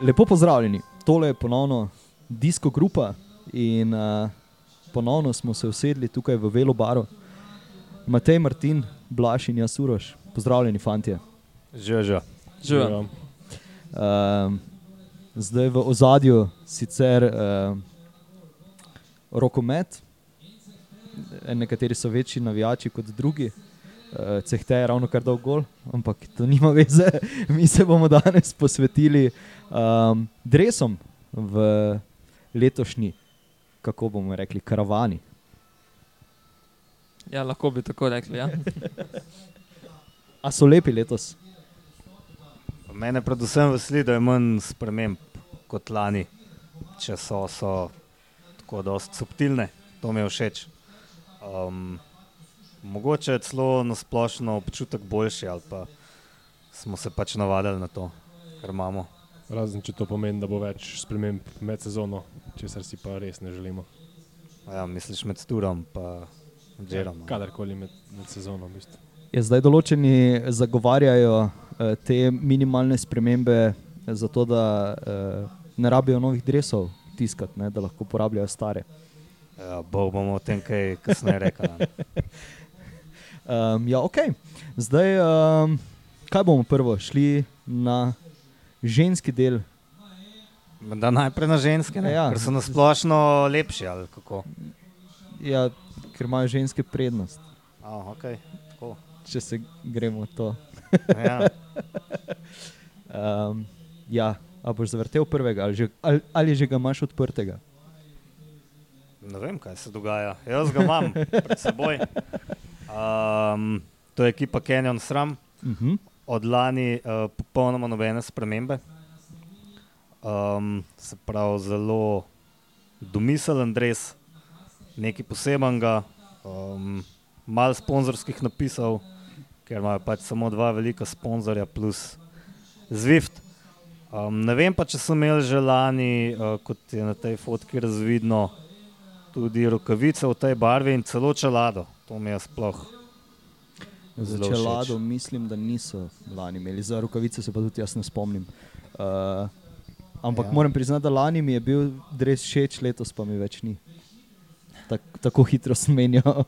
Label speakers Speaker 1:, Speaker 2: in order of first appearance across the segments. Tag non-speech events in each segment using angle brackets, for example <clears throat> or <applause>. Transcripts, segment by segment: Speaker 1: Lepo pozdravljeni, tole je ponovno Disko Grupa in uh, ponovno smo se usedli tukaj v Velo Baru. Matej Martin, Blaž in jaz Uroš, pozdravljeni fantje.
Speaker 2: Že, že.
Speaker 3: Živijo.
Speaker 1: Um, zdaj v ozadju sicer um, rokomet, E, nekateri so večji navijači kot drugi. Uh, Cehte je ravno kar dolg gol, ampak to nima veze. <laughs> Mi se bomo danes posvetili um, dresom v letošnji, kako bomo rekli, karavani.
Speaker 3: Ja, lahko bi tako rekli. Ja.
Speaker 1: A so lepi letos?
Speaker 2: Mene predvsem veseli, da je manj sprememb kot lani. Če so, so tako dosti subtilne, to mi je všeč. Um, mogoče je celo nasplošno občutek boljši, ali pa smo se pač navadili na to, kar imamo.
Speaker 4: Razen če to pomeni, da bo več sprememb med sezono, česar si pa res ne želimo.
Speaker 2: A Ja, misliš med Turom in Džerom?
Speaker 4: Kadarkoli med, med sezono. V bistvu.
Speaker 1: Ja, zdaj določeni zagovarjajo eh, te minimalne spremembe, eh, zato da eh, ne rabijo novih drevesov tiskati, ne, da lahko uporabljajo stare.
Speaker 2: Ja, bo bomo o tem kaj kasneje rekli. ne.
Speaker 1: Um, ja, ok. Zdaj, um, kaj bomo prvo šli na ženski del?
Speaker 2: Da najprej na ženske, ne?
Speaker 1: Ja.
Speaker 2: ker so nasplošno lepši ali kako.
Speaker 1: Ja, ker imajo ženske prednost,
Speaker 2: Oh, okay. tako.
Speaker 1: če se gremo to.
Speaker 2: ja.
Speaker 1: Um, ja, a boš zavrtel prvega ali, že, ali, ali že ga imaš odprtega?
Speaker 2: Ne vem, kaj se dogaja. Jaz ga imam pred seboj. Um, to je ekipa Canyon Sram,
Speaker 1: Uh -huh.
Speaker 2: od lani uh, popolnoma nobene spremembe. Um, se pravi, zelo domiseln dres, nekaj posebenega, um, malo sponzorskih napisov, ker imajo pač samo dva velika sponzorja, plus Zwift. Um, ne vem pa, če so imeli že lani, uh, kot je na tej fotki razvidno, tudi rokavice v tej barvi in celo čelado. To mi je sploh.
Speaker 1: Za
Speaker 2: Zelo všeč.
Speaker 1: čelado mislim, da niso lani imeli, za rokavice se pa tudi jaz ne spomnim. Uh, ampak ja.
Speaker 2: Ja.
Speaker 1: moram priznati, da lani mi je bil res všeč, letos pa mi več ni. Tak, tako hitro smenijo.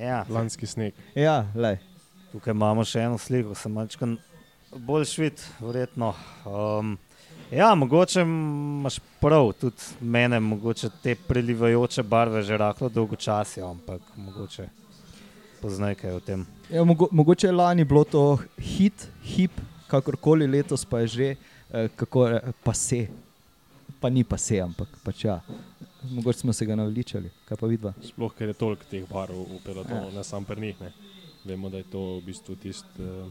Speaker 2: Ja.
Speaker 4: Lanski sneg.
Speaker 1: <laughs> ja, lej.
Speaker 2: Tukaj imamo še eno sliko, sem malčkan bolj švit, verjetno. Um, ja, mogoče imaš prav, tudi mene, mogoče te prelivajoče barve že rahlo dolgočasijo, ampak mogoče poznaj kaj o tem.
Speaker 1: ja, mogo, mogoče je lani bilo to hit, hip, kakorkoli letos pa je že, eh, kako je, pa se. Pa ni pa se, ampak pač ja. Mogoče smo se ga naveličali, kaj pa vidva.
Speaker 4: Sploh, ker je toliko teh barov v pelotonu, ne samo pri njih. Ne. Vemo, da je to v bistvu tisti eh,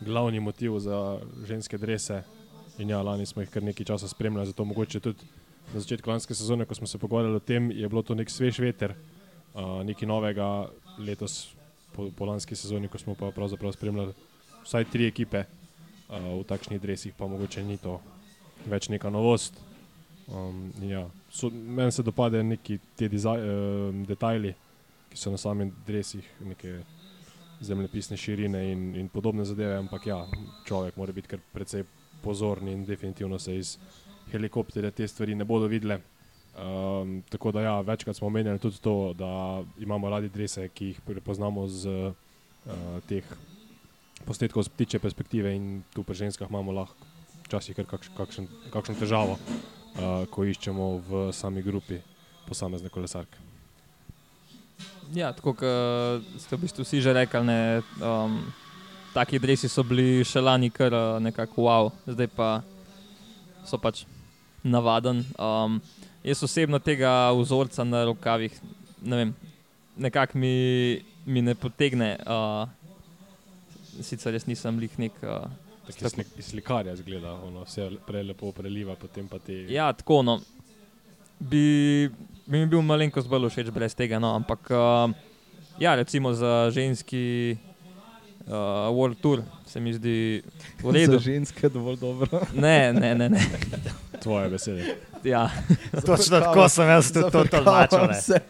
Speaker 4: glavni motiv za ženske drese. In ja, lani smo jih kar nekaj časa spremljali, zato mogoče tudi na začetku lanske sezone, ko smo se pogovarjali o tem, je bilo to nek svež veter, uh, nekaj novega letos po, po lanski sezoni, ko smo pa pravzaprav spremljali vsaj tri ekipe uh, v takšnih dresih, pa mogoče ni to več neka novost. Um, in ja, so, meni se dopade neki ti uh, detajli, ki so na samih dresih, neke zemljepisne širine in, in podobne zadeve, ampak ja, človek mora biti kar precej pozoren in definitivno se iz helikopterja te stvari ne bodo videle. Um, tako da ja, večkrat smo omenjali tudi to, da imamo radi drese, ki jih prepoznamo z uh, teh posnetkov z ptiče perspektive in tu pri ženskah imamo lahko včasih kar kakš, kakšen, kakšno težavo, uh, ko iščemo v sami grupi posamezne kolesarke.
Speaker 3: ja, tako kot ste v bistvu vsi že rekli, ne, um, taki dresi so bili še lani kar eh, nekako wow, zdaj pa so pač navaden. Um, jaz osebno tega vzorca na rokavih ne vem, nekako mi, mi ne potegne. Uh, sicer jaz nisem lih nek. Uh,
Speaker 4: Tako
Speaker 3: Tako.
Speaker 4: je slik, iz slikarja zgleda, ono, vse prej lepo preliva, potem pa te.
Speaker 3: Ja, tako no. Bi, bi mi bil malenkost bolj všeč brez tega, no, ampak uh, ja, recimo za ženski uh, World Tour se mi zdi v redu.
Speaker 1: <laughs> Za ženske je dovolj dobro.
Speaker 3: Ne, ne, ne. ne.
Speaker 4: Tvoje besede.
Speaker 3: Ja.
Speaker 2: <laughs> Točno tako sem jaz tudi
Speaker 1: <laughs>
Speaker 2: to tolmačil. ne.
Speaker 1: Vse.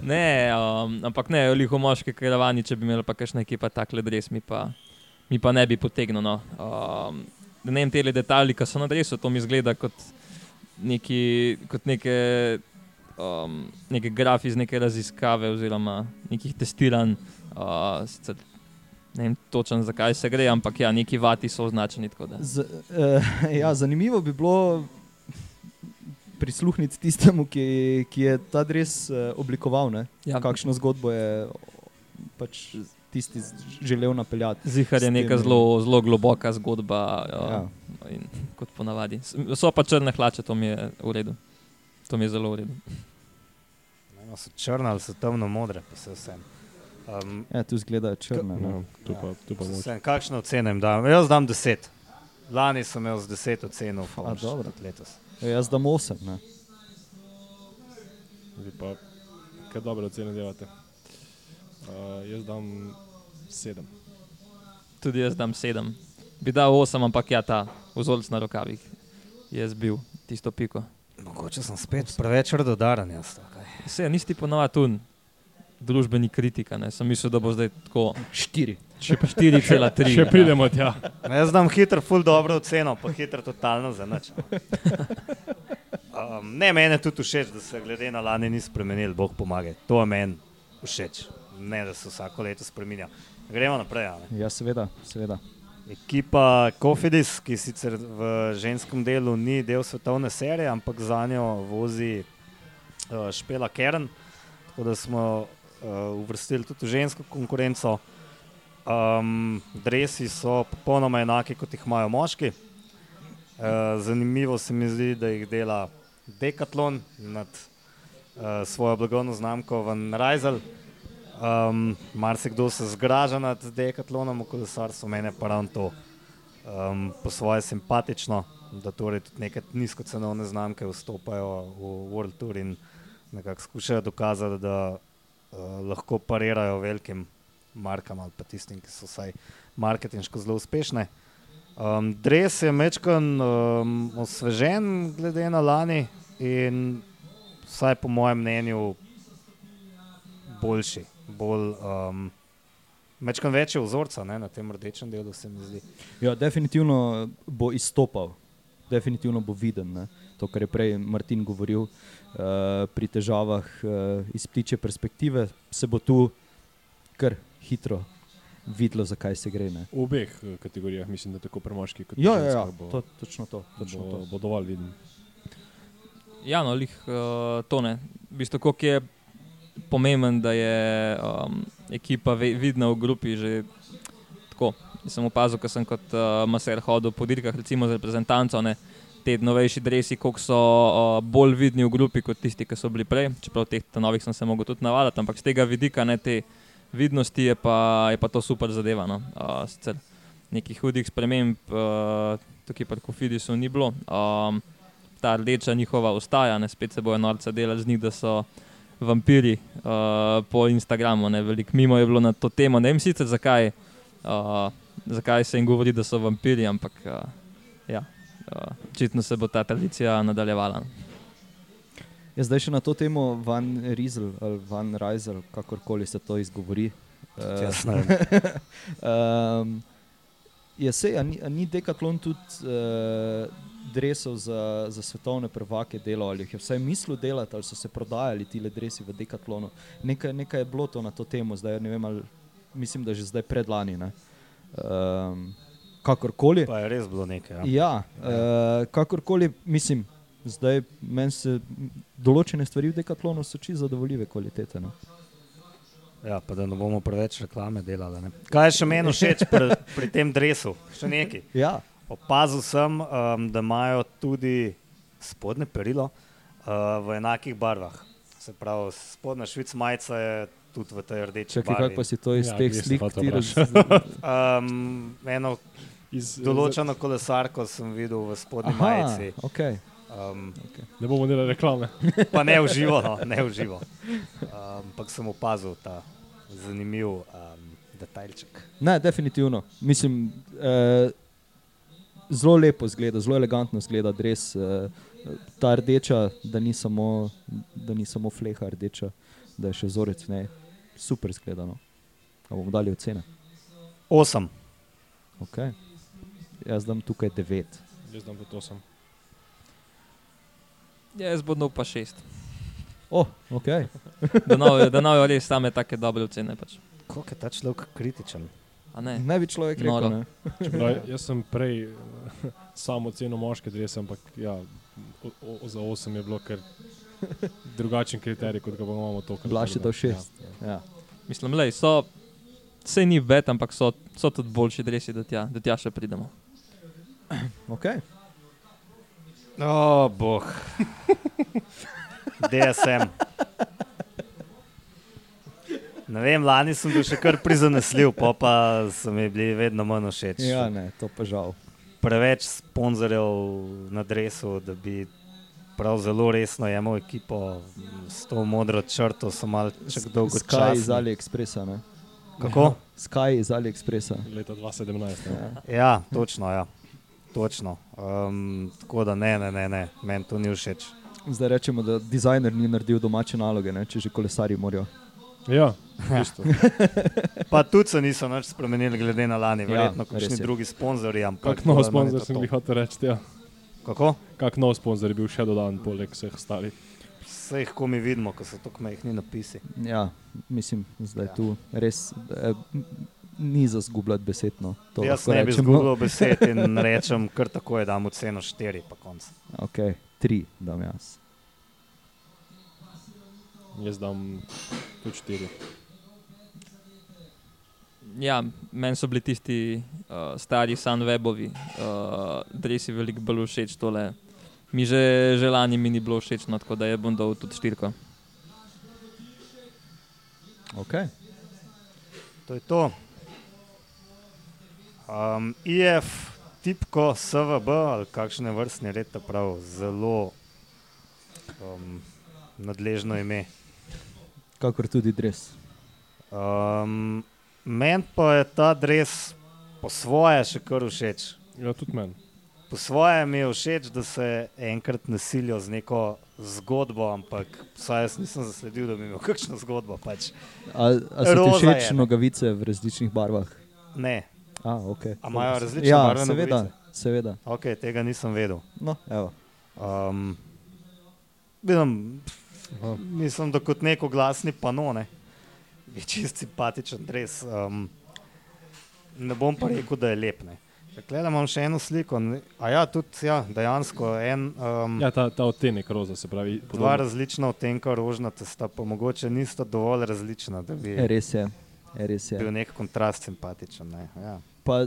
Speaker 3: ne um, ampak ne, liho moški karavani, če bi imeli pa kakšne ekipa takle dres, mi pa, mi pa ne bi potegnil. No. Um, ne vem, te detajli, ki so na drevesu, to mi zgleda kot, neki, kot neke, um, neke graf iz neke raziskave oziroma nekih testiranj. Uh, sicer ne vem točno, zakaj se gre, ampak ja, neki vati so označeni. tako da.
Speaker 1: Z, uh, <laughs> ja, zanimivo bi bilo prisluhniti tistemu, ki, ki je ta dres uh, oblikoval. Ne?
Speaker 3: Ja,
Speaker 1: Kakšno zgodbo je pač tisti z- želel napeljati.
Speaker 3: Zihar
Speaker 1: s
Speaker 3: je neka
Speaker 1: temi-
Speaker 3: zelo, zelo globoka zgodba,
Speaker 1: Ja.
Speaker 3: ja. in, kot ponavadi. S- So pa črne hlače, to mi je v redu. To mi je zelo v redu.
Speaker 2: Eno so črne ali so temno modre, pa se vsem. Um,
Speaker 1: Ja, tu zgleda črno. No.
Speaker 4: Ja, tu pa, tu pa moč.
Speaker 2: vsem. Kakšno oceno jim dam? Jaz dam deset. Lani sem imel z deset oceno,
Speaker 1: A,
Speaker 2: pa
Speaker 1: dobro.
Speaker 2: tudi letos.
Speaker 1: Jaz dam 8. Ne?
Speaker 4: Vi pa kar dobre ocene delate. Uh, jaz dam sedem.
Speaker 3: Tudi jaz dam sedem. Bi dal osem, ampak ja, ta vzorc na rokavih je zbil tisto piko.
Speaker 2: Mogoče sem spet preveč radodaren. Jaz, ali kaj.
Speaker 3: Se, nisi ti ponovadi tu družbeni kritika, ne? sem mislil, da bo zdaj tako
Speaker 1: 4.
Speaker 3: še 4,3.
Speaker 4: Še pridemo tja.
Speaker 2: Ma No, jaz dam hitro, ful dobro oceno, pa hitro totalno za nič. Um, ne, meni je tudi všeč, da se glede na lani ni spremenil, bog pomaga. To je meni všeč. Ne, da se vsako leto spremenja. Gremo naprej. a ne.
Speaker 1: Ja, seveda, seveda.
Speaker 2: Ekipa Kofidis, ki sicer v ženskem delu ni del svetovne serije, ampak za njo vozi uh, Špela Kern, tako da smo uh, uvrstili tudi žensko konkurenco. Um, dresi so popolnoma enaki, kot jih imajo moški. Uh, zanimivo se mi zdi, da jih dela Decathlon nad uh, svojo blagovno znamko Van Rysel. Um, Marsikdo se zgraža nad Decathlonom, v kolesarstvu meni je pa ravno to. Um, po svoje simpatično, da torej tudi neke nizkocenovne znamke vstopajo v World Tour in nekako skušajo dokazati, da uh, lahko parirajo velikim markam ali pa tistim, ki so vsaj marketinško zelo uspešne. Um, Dres je mečkan um, osvežen, glede na lani, in vsaj po mojem mnenju boljši, bolj. Um, Mečkam več je vzorca ne, na tem rdečem delu, se mi zdi.
Speaker 1: Ja, definitivno bo izstopal, definitivno bo viden. Ne? To, kar je prej Martin govoril, uh, pri težavah uh, iz ptiče perspektive, se bo tu kar hitro videlo, zakaj se gre. Ne?
Speaker 4: V obeh eh, kategorijah mislim, da tako pri moških kot pri
Speaker 1: Ja, ja, ja
Speaker 4: ženskah bo,
Speaker 1: to, točno to. Točno
Speaker 4: bo,
Speaker 1: to.
Speaker 4: bo dovolj viden.
Speaker 3: Ja, no, lih uh, tone. V bistvu, koliko je pomemben, da je um, ekipa ve, vidna v grupi že tako. Jaz Sem opazil, ko sem kot uh, maser hodil po dirkah, recimo z reprezentanco, ne, te novejši dresi, koliko so uh, bolj vidni v grupi kot tisti, ki so bili prej. Čeprav teh ta novih sem se mogel tudi navaditi, ampak z tega vidika ne te vidnosti je pa, je pa to super zadeva. No. Uh, sicer nekih hudih sprememb uh, tukaj pri Kofidisu ni bilo. Um, ta rdeča njihova ostaja, ne spet se bojo norce delali z njih, da so vampiri uh, po Instagramu. ne, Veliko mimo je bilo na to temo. Ne vem sicer zakaj, uh, zakaj se jim govori, da so vampiri, ampak uh, ja, uh, očitno se bo ta tradicija nadaljevala.
Speaker 1: Ja, zdaj še na to temo Van Rizel ali Van Rizel, kakorkoli se to izgovori. eh,
Speaker 2: Jasno.
Speaker 1: Um, ja, sej, a ni, a ni Decathlon tudi uh, drevesov za, za svetovne prvake delal, ali jih je vsaj mislil delati, ali so se prodajali ti drevesi v Decathlonu. Nekaj, nekaj je bilo to na to temo, zdaj ne vem, ali, mislim, da že zdaj predlani. ne. Um, kakorkoli.
Speaker 2: Pa je res bilo nekaj. Ja.
Speaker 1: Ja, uh, kakorkoli, mislim, zdaj meni se m, določene stvari v Decathlonu so čisto zadovoljive kvalitete. No.
Speaker 2: Ja, pa da ne bomo preveč reklame delali. Ne. Kaj je še meni všeč pri, pri tem drevesu? Še nekaj.
Speaker 1: Ja,
Speaker 2: Opazil sem, um, da imajo tudi spodne perilo uh, v enakih barvah. Se pravi, spodnja švica majica je tudi v tej rdeči.
Speaker 1: čakaj,
Speaker 2: barvi.
Speaker 1: kako pa si to iz
Speaker 4: Ja,
Speaker 1: ja, teh
Speaker 4: kje sem
Speaker 1: slik
Speaker 4: hotel
Speaker 1: ti raz,
Speaker 2: Um, eno
Speaker 4: Iz, eh,
Speaker 2: določeno kolesarko sem videl v spodnji Aha.
Speaker 1: Aha,
Speaker 2: majici.
Speaker 1: okay.
Speaker 2: Um,
Speaker 4: Ne bomo delali reklame.
Speaker 2: Pa ne uživo, no, ne uživo. Um, Ampak sem opazil ta zanimiv um, detajlček.
Speaker 1: Ne, definitivno. Mislim, eh, zelo lepo zgleda, zelo elegantno zgleda res. Eh, ta rdeča, da ni samo, da ni samo fleha rdeča, da je še vzorec. Ne, super no. zgledano. Bomo dali ocene.
Speaker 2: Osem.
Speaker 1: Okay. Jaz dam tukaj 9.
Speaker 4: Jaz dam tudi 8.
Speaker 3: Jaz bom dal pa šest.
Speaker 1: Oh, okay.
Speaker 3: Da novijo, da novijo res same take dobre ocene. Pač.
Speaker 2: Kako je ta človek kritičen?
Speaker 3: A Ne?
Speaker 1: Ne bi človek
Speaker 3: Noro.
Speaker 1: rekel. Ne?
Speaker 4: Čeprav, No,
Speaker 2: Ja.
Speaker 4: jaz sem prej <laughs> samo ceno moške drese, ampak ja, o, o, za 8 je bilo kar drugačen kriterij, kot ga pa imamo tokrat.
Speaker 1: Blaž je
Speaker 4: tako da,
Speaker 1: dal 6. Ja.
Speaker 3: Mislim, lej, so, se ni bed, ampak so, so tudi boljši dresi, da tja, do tja še pridemo.
Speaker 1: Okay.
Speaker 2: O, boh. DSM. Ne vem, lani sem bil še kar prizanesljiv, pol pa so mi bili vedno manj všeč.
Speaker 1: ja, ne, to pa žal.
Speaker 2: Preveč sponzorjev na dresu, da bi prav zelo resno jemal ekipo s to modro črto, so malce dolgo
Speaker 1: Sky iz
Speaker 2: časa.
Speaker 1: AliExpressa. Ne?
Speaker 2: Kako?
Speaker 1: Sky iz AliExpressa.
Speaker 4: Ja. Leta 2017. Ja.
Speaker 1: Ja.
Speaker 2: Ja, točno. Ja. točno. Um, tako da ne, ne, ne, ne. meni to ni všeč.
Speaker 1: Zdaj rečemo, da dizajner ni naredil domače naloge, ne? če že kolesari morajo.
Speaker 4: ja, <laughs> v bistvu.
Speaker 2: Pa tudi se niso nič spremenili, glede na lani, verjetno
Speaker 1: res
Speaker 2: kakšni
Speaker 1: je.
Speaker 2: drugi sponzorji. ampak
Speaker 4: Ja, Kak
Speaker 2: tako
Speaker 4: nov
Speaker 2: da meni je
Speaker 4: sponzor
Speaker 2: to
Speaker 4: sem
Speaker 2: to.
Speaker 4: jih hotel reči. Ja.
Speaker 2: Kako?
Speaker 4: Kak nov sponzor je bil še dodan, poleg vseh starih.
Speaker 2: Vse jih komi vidimo, ko so tako mehni napisi.
Speaker 1: Ja, mislim, da je
Speaker 2: Ja.
Speaker 1: ja. tu res eh, m- ni za zgubljati no. besedno.
Speaker 2: To Jaz ne bi izgubil besed in rečem, kar tako je, da mu ceno 4, pa konc.
Speaker 1: Okay, tri dam jaz.
Speaker 4: Jaz dam tudi 4.
Speaker 3: Ja, meni so bili tisti uh, stari Sunwebovi, uh, dresi veliko bolj všeč tole. Mi že, že lani mi ni bilo všeč, no, tako da je bom dal tudi štirko.
Speaker 1: Okay.
Speaker 2: To je to. Um, IF, tipko SVB ali kakšne vrstne red, ta prav zelo um, nadležno ime.
Speaker 1: Kakor tudi dres.
Speaker 2: Um, Meni pa je ta dres po svoje še kar všeč.
Speaker 4: Ja, tudi meni.
Speaker 2: Po svoje mi je všeč, da se enkrat nasilijo z neko zgodbo, ampak vsaj jaz nisem zasledil, da bi imel kakšno zgodbo. Pač.
Speaker 1: A, a so ti
Speaker 2: Roza
Speaker 1: všeč
Speaker 2: je, ne.
Speaker 1: nogavice v različnih barvah?
Speaker 2: Ne,
Speaker 1: A, okay.
Speaker 2: A imajo različne
Speaker 1: ja,
Speaker 2: barve
Speaker 1: seveda,
Speaker 2: nogavice?
Speaker 1: Seveda.
Speaker 2: okay, tega nisem vedel.
Speaker 1: No, evo.
Speaker 2: Um, vidim, mislim, da kot neko glasni panone je čist simpatičen dres. Um, ne bom pa rekel, da je lep. Ne. Klele imam še eno sliko. ne. A ja, tudi ja, dejansko en. Um,
Speaker 4: Ja, ta, ta odtenek roza se pravi.
Speaker 2: Dva
Speaker 4: podoben.
Speaker 2: različna odtenka rožnata sta, pa mogoče nista dovolj različna, da bi
Speaker 1: E, Res je. E, Res je.
Speaker 2: bil nek kontrast simpatičen. Ne? Ja.
Speaker 1: pa,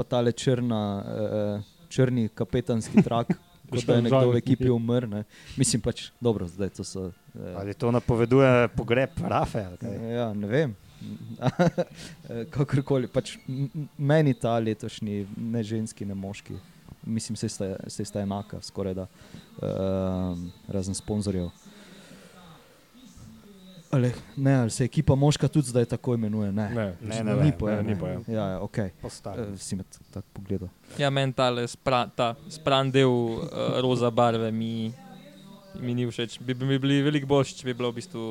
Speaker 1: pa tale črna, eh, črni kapetanski
Speaker 2: <laughs>
Speaker 1: trak, kot da je nekdo v ekipi umrl. Ne. Mislim pač, dobro, zdaj to so. Eh,
Speaker 2: Ali to napoveduje pogreb Rafe? ali kaj?
Speaker 1: ja, ne vem. <laughs> Eh, Kakorkoli, pač m- m- meni ta letošnji, ne ženski, ne moški, mislim, vse sta, vse sta enaka, skoraj da, um, razen sponzorjev. Ali, ne, ali se ekipa moška tudi zdaj tako imenuje? Ne,
Speaker 4: Ne,
Speaker 1: ne,
Speaker 2: Ne, ne,
Speaker 1: ni
Speaker 2: ne.
Speaker 1: pojma.
Speaker 4: ne, ni pojma.
Speaker 1: Ja, ja, ok. Eh,
Speaker 2: Po starem.
Speaker 1: Si me t- tako pogledal.
Speaker 3: Ja, meni tale spra, ta spran del uh, roza barve mi, mi ni všeč. Bi, bi mi bili veliko boljši, če bi bilo v bistvu,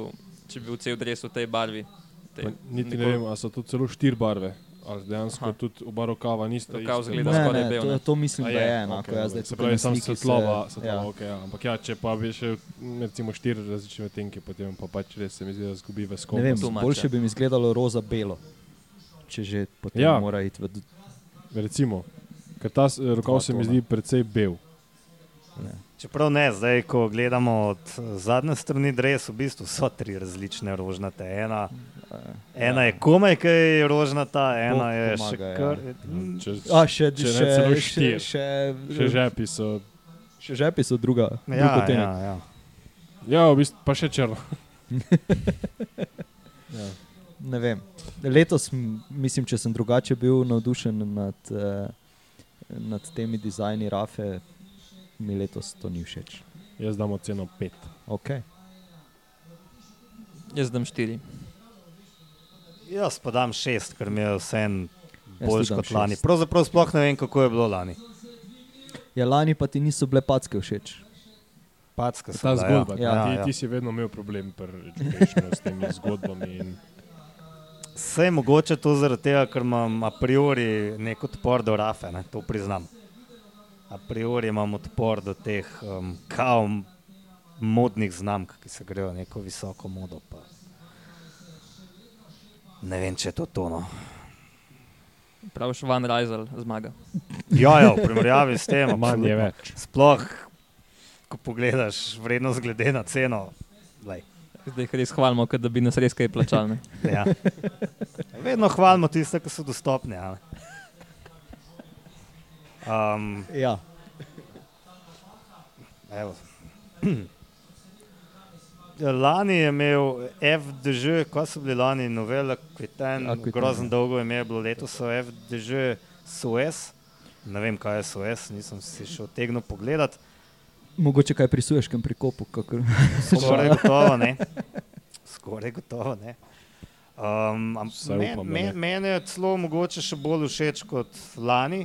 Speaker 3: če bi bil cel dres v tej barvi.
Speaker 4: Pa
Speaker 3: Tej,
Speaker 4: Niti ne
Speaker 3: nikoli-
Speaker 4: vem, ali so tu celo štiri barve. Ali dejansko
Speaker 3: Aha.
Speaker 4: Aha. tudi oba rokava nista.
Speaker 3: Rokav
Speaker 4: ista.
Speaker 3: izgleda
Speaker 1: Ne,
Speaker 3: skoraj
Speaker 1: ne,
Speaker 3: bel,
Speaker 1: to,
Speaker 3: ne.
Speaker 1: to mislim,
Speaker 4: A
Speaker 1: da je
Speaker 4: okej,
Speaker 1: enako.
Speaker 4: dobro.
Speaker 1: no, Jaz zdaj
Speaker 4: se
Speaker 1: tukaj
Speaker 4: pravi,
Speaker 1: na
Speaker 4: samo
Speaker 1: sliki se-
Speaker 4: svetloba, svetloba
Speaker 1: ja.
Speaker 4: ja. Okay, ja. ampak ja, če pa bi še m, recimo štiri različne odtenke, potem pa pač res se mi zdi, da zgubi v
Speaker 1: Ne
Speaker 4: skopu.
Speaker 1: vem,
Speaker 3: Too much,
Speaker 1: boljše
Speaker 3: ja.
Speaker 1: bi mi izgledalo roza-belo, če že potem ja.
Speaker 4: Ja.
Speaker 1: mora iti v d-
Speaker 4: Recimo, ker ta s- eh,
Speaker 1: Dva
Speaker 4: rokav se mi
Speaker 1: tona.
Speaker 4: zdi precej bel.
Speaker 2: Čeprav ne, zdaj, ko gledamo od eh, zadnje strani dresa, v bistvu so tri različne rožnate. Ena,
Speaker 1: eh,
Speaker 2: ena je komaj kaj rožnata,
Speaker 1: Bog
Speaker 2: ena je še
Speaker 1: pomaga, ja.
Speaker 2: kar.
Speaker 4: Mm. Če,
Speaker 1: A, še, še,
Speaker 4: Če ne
Speaker 1: še,
Speaker 4: celo
Speaker 1: še,
Speaker 4: štiri.
Speaker 1: še,
Speaker 4: še žepi so.
Speaker 1: še žepi so druga.
Speaker 2: Ja,
Speaker 1: drug odtenek.
Speaker 2: ja, ja.
Speaker 4: Ja, v bistvu pa še
Speaker 1: <laughs>
Speaker 4: črno. ja.
Speaker 1: Ne vem. Letos, m, mislim, če sem drugače bil navdušen nad, eh, nad temi dizajni Rafe, mi letos to ni všeč.
Speaker 4: Jaz dam oceno 5.
Speaker 1: Okay.
Speaker 3: Jaz dam štiri.
Speaker 2: Jaz pa dam šest, ker mi je vseeno
Speaker 1: Jaz
Speaker 2: bolj
Speaker 1: tudi dam
Speaker 2: kot lani.
Speaker 1: šest.
Speaker 2: Pravzaprav sploh ne vem, kako je bilo lani.
Speaker 1: Ja, lani pa ti niso bile packe všeč.
Speaker 2: Packa so
Speaker 4: Ta
Speaker 2: bila, ja.
Speaker 4: zgodba, ja,
Speaker 2: Ja,
Speaker 4: ti,
Speaker 2: ja.
Speaker 4: ti si vedno imel problem pri educationu s temi zgodbami. In,
Speaker 2: Sej mogoče to zaradi tega, ker imam a priori nek odpor do rafe, ne? to priznam. A priori imam odpor do teh um, kao modnih znamk, ki se grejo neko visoko modo. Pa. Ne vem, če je to no. tono.
Speaker 3: Praviš, Van Rajzel zmaga.
Speaker 2: Ja, ja, v primerjavi s
Speaker 4: <laughs>
Speaker 2: tem,
Speaker 4: manj je
Speaker 2: absolutno.
Speaker 4: več.
Speaker 2: Sploh, ko pogledaš vrednost glede na ceno. Lej.
Speaker 3: Zdaj jih res hvalimo, kot da bi nas res kaj
Speaker 4: <laughs>
Speaker 3: plačali. ne.
Speaker 2: Ja. Vedno hvalimo tiste, ki so dostopni. a ne. Um,
Speaker 1: Ja.
Speaker 2: evo. Lani je imel FDŽ, ko so bili lani novela Kviten,
Speaker 1: Aquitain,
Speaker 2: grozen
Speaker 1: ja.
Speaker 2: dolgo ime je bilo letos so FDŽ SOS. Ne vem, kaj je SOS, nisem si še otegnil pogledati.
Speaker 1: Mogoče kaj prisuješ, kam prikopu. kakor- <laughs>
Speaker 2: Skoraj gotovo ne. Skoraj gotovo ne. Um, am-
Speaker 4: Vsaj
Speaker 2: men-
Speaker 4: upam, da
Speaker 2: men-
Speaker 4: ne.
Speaker 2: Meni je celo mogoče še bolj všeč kot lani.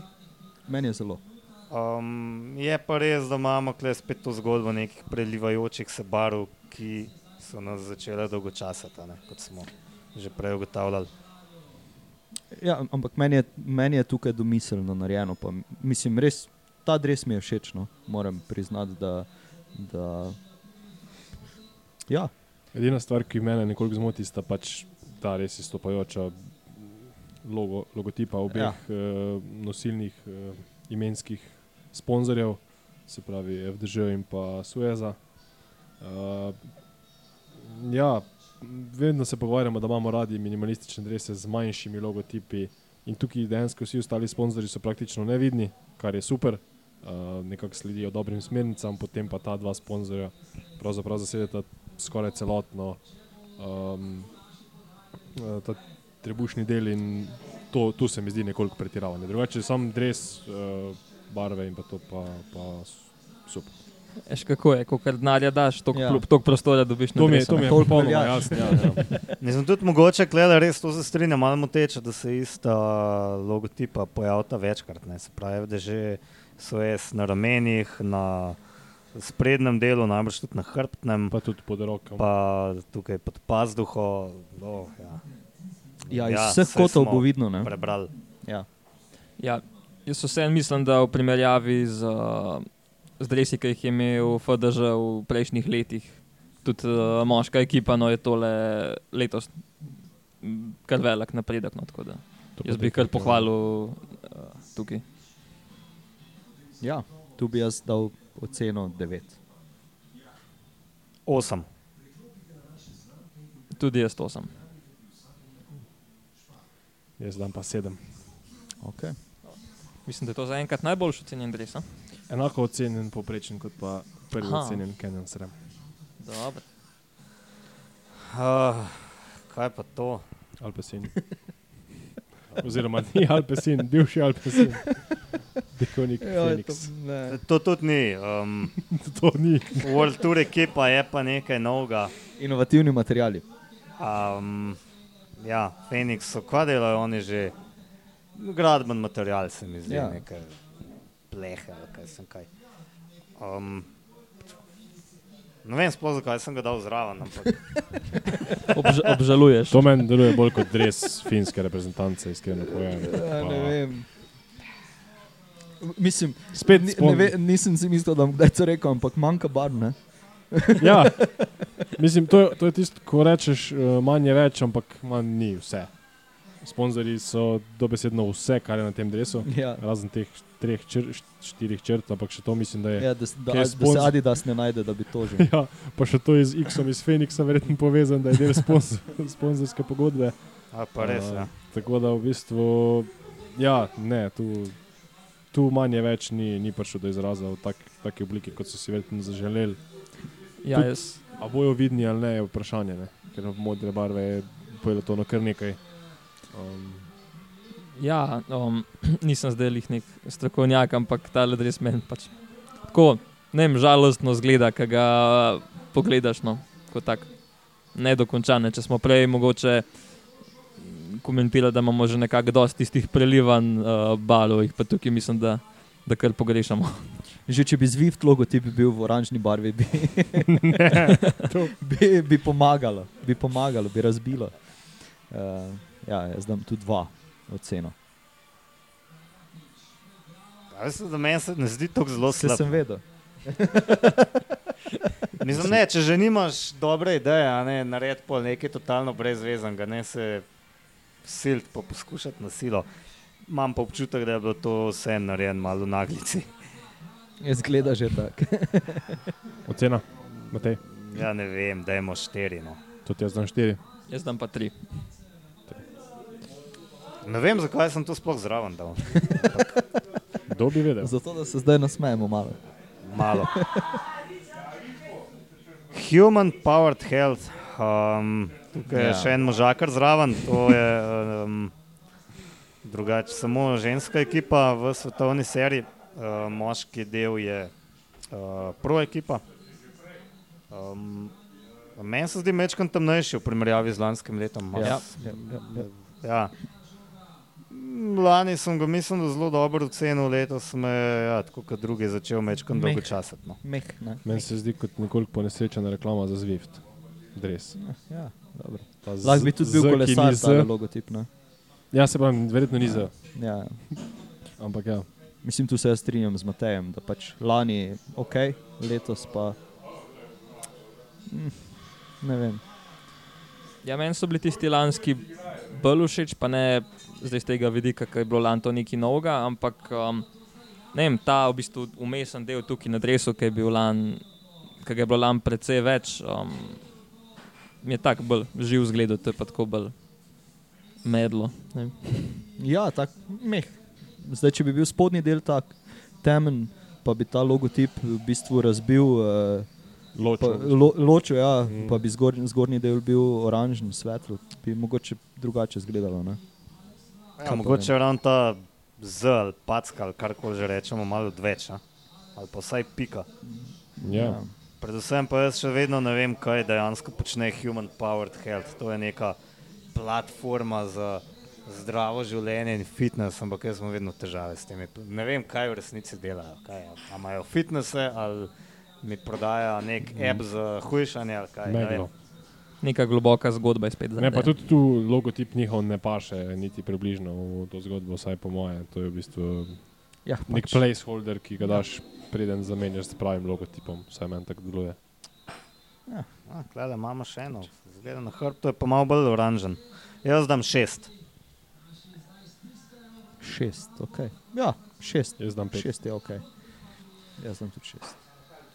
Speaker 1: Meni je zelo.
Speaker 2: Um, je pa res, da imamo tukaj spet to zgodbo nekih prelivajočih se barov, ki so nas začele dolgočasati, a ne, kot smo že prej ugotavljali.
Speaker 1: Ja, am- ampak meni je, meni je tukaj domiselno narejeno. Pa, m- mislim, res, ta dres mi je všeč, no. moram priznati, da. da ja,
Speaker 4: Edina stvar, ki me nekoliko zmoti, sta pač ta res izstopajoča logo, logotipa obeh
Speaker 1: Ja.
Speaker 4: ja. uh, nosilnih uh, imenskih sponzorjev, se pravi FDŽ in pa Sueza. Uh, ja, vedno se pogovarjamo, da imamo radi minimalistične drese z manjšimi logotipi in tukaj dejansko vsi ostali sponzorji so praktično nevidni, kar je super. Uh, nekako sledijo dobrim smernicam, potem pa ta dva sponzorja pravzaprav zasedeta skoraj celotno um, eh, ta trebušni del in to, tu se mi zdi nekoliko pretiravanje. Drugače, sam dres, uh, barve in pa to pa, pa s- super.
Speaker 3: Veš kako je, ko kar denarja daš, toliko
Speaker 1: Ja.
Speaker 3: ja. tok prostora dobiš na
Speaker 4: To mi je,
Speaker 3: dresu,
Speaker 4: to mi
Speaker 3: ne.
Speaker 4: je
Speaker 1: Toliko
Speaker 4: popolnoma
Speaker 1: velja.
Speaker 4: jasno. Ja, ja.
Speaker 2: Ne znam tudi mogoče, da res to zastrinjam, malo moteče, da se ista logotipa pojavlja večkrat. Ne. Se pravi, da že so jaz na ramenih, na sprednjem delu, namreč tudi na hrbtnem,
Speaker 4: Pa tudi pod rokom.
Speaker 2: pa tukaj pod pazduho. Oh, ja.
Speaker 1: ja, iz ja, vseh kotov bo vidno. ne.
Speaker 2: Prebral.
Speaker 1: Ja.
Speaker 3: Ja, jaz vseeno mislim, da v primerjavi z, uh, z dresi, ki jih je imel FDŽ v prejšnjih letih, tudi uh, moška ekipa, no je tole letos m, kar velik napredek. No, tako da
Speaker 4: To ja. pa
Speaker 3: jaz bi kar
Speaker 4: definitivno.
Speaker 3: pohvalil uh, tukaj.
Speaker 1: ja, tu bi jaz dal oceno 9.
Speaker 2: Osem.
Speaker 3: Tudi jaz to sem.
Speaker 4: Jaz dam pa sedem.
Speaker 1: Okay.
Speaker 3: Mislim, da je to zaenkrat najboljši ocenjen dres. a?
Speaker 4: Enako ocenjen poprečen kot pa prvi
Speaker 3: Aha.
Speaker 4: Aha. ocenjen Kenyon Srem.
Speaker 3: Dobro.
Speaker 2: Uh, kaj pa to?
Speaker 4: Alpesin. Oziroma, ni Alpesin, bivši Alpesin. Dekonik
Speaker 1: Ja,
Speaker 4: Phoenix.
Speaker 2: To tudi ni. Um,
Speaker 4: <laughs> To ni.
Speaker 2: World Tour ekipa je pa nekaj novega.
Speaker 1: Inovativni materiali.
Speaker 2: Um, ja, Phoenix so kvadrili, oni že gradben material, se mi zdi,
Speaker 1: Ja.
Speaker 2: ja. nekaj plehe ali kaj sem kaj. Um, ne vem sploh, zakaj sem ga dal zraven, ampak
Speaker 3: Obž obžaluješ.
Speaker 4: To meni deluje bolj kot dres finske reprezentance, iskreno povedano.
Speaker 1: Ja, ne
Speaker 4: Pa-
Speaker 1: vem. Mislim,
Speaker 4: Spet
Speaker 1: ni, ne
Speaker 4: spomnim.
Speaker 1: ve, nisem si mislil, da bom kdaj to rekel, ampak manjka barvne.
Speaker 4: Ja, mislim, to, je- to je tisto, ko rečeš, eh, manj je več, ampak manj ni vse. Sponzorji so dobesedno vse, kar je na tem dresu,
Speaker 1: Ja.
Speaker 4: razen teh treh, čr, štirih črt, ampak še to mislim, da je.
Speaker 1: Ja, da, s- da,
Speaker 4: Ker je
Speaker 1: da se
Speaker 4: sponzor-
Speaker 1: Adidas ne najde, da bi to že.
Speaker 4: <laughs> Ja, pa še to je z X-om iz Feniksa, verjetno povezan, da je del sponzor, sponzorske pogodbe.
Speaker 2: a pa res. Ja.
Speaker 4: Tako da v bistvu, ja, ne, tu, tu manj je več, ni, ni prišel do izraza v tak, taki obliki, kot so si verjetno zaželeli.
Speaker 3: Ja,
Speaker 4: Tudi-
Speaker 3: jaz,
Speaker 4: A bojo vidni ali ne, je vprašanje, ne? ker modre barve je pelotonu kar nekaj. Um,
Speaker 3: ja um, <clears throat> nisem zdaj lih nek strokovnjak, ampak ta res meni pač. Tako, ne vem, žalostno zgleda, ki ga pogledaš, no, kot tak. Nedokončane, če smo prej mogoče mm, komentirali, da imamo že nekako dosti tistih prelivanj uh, balov, jih pa tukaj mislim, da, da kar pogrešamo. <laughs>
Speaker 1: Že če bi Zwift logotip bil v oranžni barvi, bi,
Speaker 4: to,
Speaker 1: bi, bi pomagalo, bi pomagalo, bi razbilo. Uh, Ja, jaz dam tu dva oceno.
Speaker 2: A Veste, da meni se ne zdi tako zelo
Speaker 1: Vse
Speaker 2: slabo.
Speaker 1: sem vedel.
Speaker 2: Mislim, ne, če že nimaš dobre ideje, a ne naredi pol nekaj totalno brezveznega, ne se silt pa poskušati na silo. Imam pa občutek, da je bilo to vse narejeno malo v naglici.
Speaker 1: Jaz gledam že tako.
Speaker 4: Ocena, Matej,
Speaker 2: Ja, ne vem, dajmo štiri. No.
Speaker 4: tudi jaz dam štiri.
Speaker 3: Jaz dam pa tri.
Speaker 2: Ne vem, zakaj sem to sploh zraven dal.
Speaker 4: Kdo bi vedel?
Speaker 1: Zato, da se zdaj nasmejemo malo.
Speaker 2: Malo. Human powered health. Um, tukaj
Speaker 1: Ja.
Speaker 2: je še en možakar zraven, to je um, drugače samo ženska ekipa v svetovni seriji, uh, moški del je uh, pro ekipa. Um, meni se zdi mečkam temnejši v primerjavi z lanskim letom. malo
Speaker 1: Ja, ja, ja, ja.
Speaker 2: Ja. Mm, Lani sem ga, mislim, da zelo dobro ocenil, letos me je, ja, tako kot drugi, začel mečkam
Speaker 1: Meh.
Speaker 2: dolgočasati. No.
Speaker 1: Meh, ne.
Speaker 4: Meni se zdi kot nekoliko ponesrečena reklama za Zwift. Dres.
Speaker 1: Ja, dobro.
Speaker 4: Ta z-
Speaker 1: Lahko bi tudi
Speaker 4: Z,
Speaker 1: bil
Speaker 4: ki
Speaker 1: kolesar,
Speaker 4: ni Z.
Speaker 1: zelo logotip. Ne?
Speaker 4: Ja, se pravi, verjetno ni za.
Speaker 1: Ja.
Speaker 4: Ampak ja,
Speaker 1: Mislim, tu se jaz strinjam z Matejem, da pač lani ok, letos pa. Mm, ne vem.
Speaker 3: Ja, meni so bili tisti lanski bolj všeč, pa ne zdaj z tega vidika, ker je bilo lani to nekaj novega, ampak um, ne vem, ta v bistvu umesen del tukaj na drevesu, ki je bil lani, ki ga je bilo lani precej več, um, mi je tako bolj živ zgled, to je pa tako bolj medlo. ne vem.
Speaker 1: Ja, tako meh. Zdaj, če bi bil spodnji del tako temen, pa bi ta logotip v bistvu razbil, eh, pa,
Speaker 4: ločen.
Speaker 1: lo, ločil, ja,
Speaker 4: Mm.
Speaker 1: mm. pa bi zgornji, zgornji del bil oranžen, svetlo, bi mogoče drugače izgledalo. Ne?
Speaker 2: Ja, mogoče je ravno ta z ali packa ali karkoli že rečemo, malo odveč. a? Ali pa vsaj pika.
Speaker 4: Ja.
Speaker 2: Predvsem pa jaz še vedno ne vem, kaj dejansko počne Human Powered Health. To je neka platforma za zdravo življenje in fitness, ampak jaz imam vedno težave s tem. Ne vem, kaj v resnici delajo. Kaj, a imajo fitnesse ali mi prodajajo nek app za hujšanje ali kaj. ne vem.
Speaker 4: Meglo.
Speaker 3: Neka globoka zgodba je spet za
Speaker 4: Ne, pa tudi tu logotip njihov ne paše, niti približno v to zgodbo, vsaj po moje. To je v bistvu
Speaker 1: Ja,
Speaker 4: nek
Speaker 1: pač.
Speaker 4: placeholder, ki ga daš, preden zamenjaš s pravim logotipom. Vsaj meni tako deluje.
Speaker 2: A, Klele, imamo še eno, zgleda na hrbtu, je pa malo bolj oranžen. Jaz dam šest.
Speaker 1: Šest, ok. Ja, šest.
Speaker 4: Jaz dam pet.
Speaker 1: Šest je ok. Jaz sem tudi šest.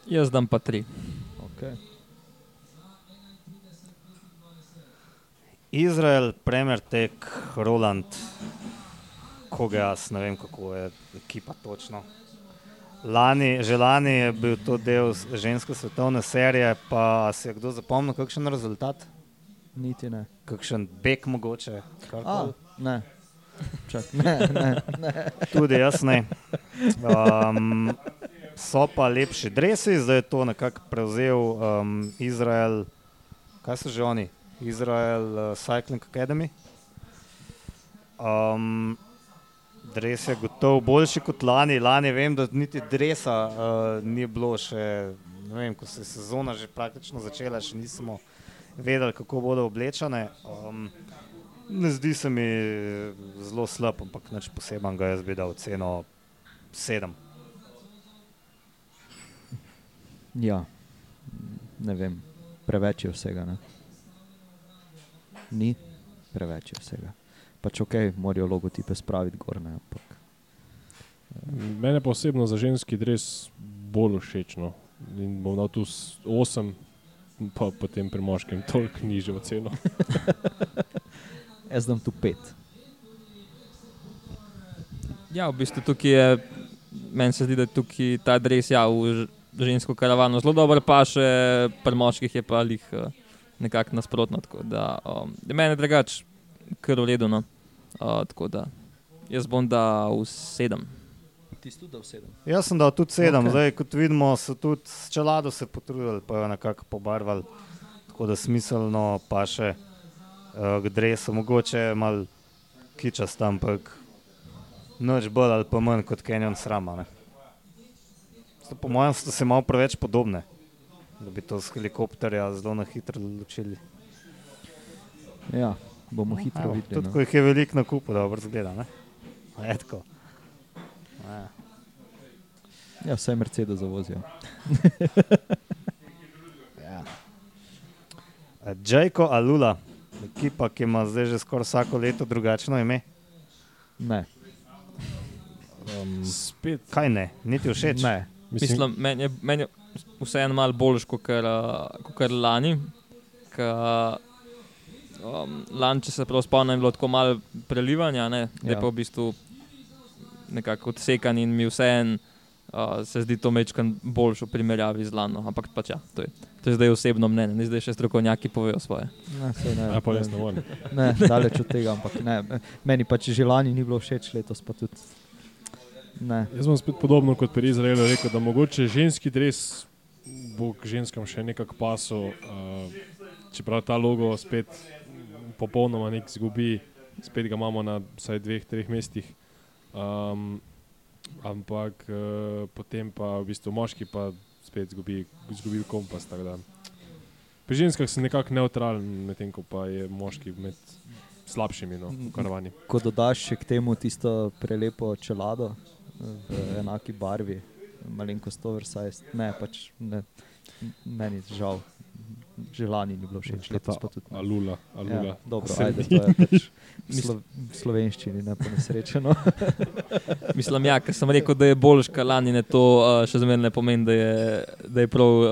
Speaker 3: Jaz dam pa tri.
Speaker 1: Okay.
Speaker 2: Izrael, Premier Tech, Roland, koga jaz ne vem, kako je ekipa točno. Lani, že lani je bil to del s- ženske svetovne serije, pa si je kdo zapomnil, kakšen rezultat,
Speaker 1: Niti ne.
Speaker 2: kakšen beg mogoče.
Speaker 1: A,
Speaker 2: karkoli?
Speaker 4: <laughs>
Speaker 1: ne. Čak, ne, ne.
Speaker 2: Tudi jaz ne. Um, so pa lepši dresi, zdaj je to nekako prevzel um, Izrael, kaj so že oni, Izrael uh, Cycling Academy. Um, dres je gotovo boljši kot lani. Lani vem, da niti dresa uh, ni bilo še, ne vem, ko se je sezona že praktično začela, še nismo vedeli, kako bodo oblečene. Um, Ne zdi se mi eh, zelo slab, ampak nič posebnega. Jaz bi dal ceno 7.
Speaker 1: Ja, Mm, ne vem. Preveč je vsega. Ne? Ni, preveč je vsega. Pač ok, morajo logotipe spraviti gor, ne, ampak
Speaker 4: Mene pa osebno za ženski dres bolj všečno. In bom dal tu 8, pa potem pri moškem toliko nižjo oceno.
Speaker 1: jaz dam tu pet.
Speaker 3: Ja, v bistvu tukaj je, meni se zdi, da tukaj ta dres ja, v ž- žensko karavano zelo dobro paše, pri moških je pa jih nekako nasprotno. Tako da, um, meni je drugače, kar uredno. Uh, tako da, jaz bom dal sedem.
Speaker 1: Ti si tudi dal sedem.
Speaker 2: Jaz sem dal tudi 7, okay.
Speaker 1: Okej.
Speaker 2: zdaj kot vidimo, so tudi s čelado se potrudili, pa jo nekako pobarvali. Tako da smiselno pa še uh, k dresu, mogoče malo kičast, ampak noč bolj ali pa manj kot Kenyon srama. Ne? So, po mojem, so se malo preveč podobne, da bi to z helikopterja zelo na hitro ločili.
Speaker 1: Ja, bomo hitro
Speaker 2: Evo,
Speaker 1: videli.
Speaker 2: Tudi
Speaker 1: No.
Speaker 2: ko jih je veliko na kupu, dobro zgleda. Ne? A Je tako. Ja.
Speaker 1: Ja, vse Mercedes zavozijo.
Speaker 2: Ja. Džajko Alula, ekipa, ki ima zdaj že skoraj vsako leto drugačno ime.
Speaker 1: Ne,
Speaker 2: Um,
Speaker 4: Spet,
Speaker 2: kaj ne, niti všeč.
Speaker 1: ne.
Speaker 3: Mislim, meni je, men je vseeno malo boljš kot kar, kar lani. Ka, um, lani, če se prav spomnim, je bilo tako malo prelivanja, ne? da
Speaker 1: Ja.
Speaker 3: je pa v bistvu nekako odsekan in mi vseeno uh, se zdi to mečkan boljš v primerjavi z lani. Ampak pač ja, to je, to je zdaj osebno mnenje, ne zdaj še strokovnjaki povejo svoje.
Speaker 1: Ne, saj ne,
Speaker 4: Ja, pa jaz ne
Speaker 1: ne,
Speaker 4: morem.
Speaker 1: ne, daleč od tega, ampak ne. Meni pač že lani ni bilo všeč, letos pa tudi. Ne.
Speaker 4: Jaz bom spet podobno kot pri Izraelu rekel, da mogoče ženski dres bo k ženskam še nekako pasu, uh, čeprav ta logo spet popolnoma nek zgubi, spet ga imamo na vsaj dveh, treh mestih. Um, ampak uh, potem pa v bistvu moški pa spet zgubi, zgubi kompas. tako da. Pri ženskah sem nekako neutralen, medtem ko pa je moški med slabšimi, no, v karavani.
Speaker 1: Ko dodaš še k temu tisto prelepo čelado v enaki barvi, malenkost oversized, ne, pač ne, meni žal. Že lani ni bilo všeč, letos pa tudi. ne.
Speaker 4: Alula, alula.
Speaker 1: Ja, dobro,
Speaker 4: Se
Speaker 1: ajde,
Speaker 4: mi-
Speaker 1: to je
Speaker 4: <laughs>
Speaker 1: pač v slo v slovenščini, ne no. pa nesrečeno.
Speaker 3: Mislim, ja, ker sem rekel, da je boljš kot lani, ne to uh, še zmeraj ne pomeni, da je, da je prav uh,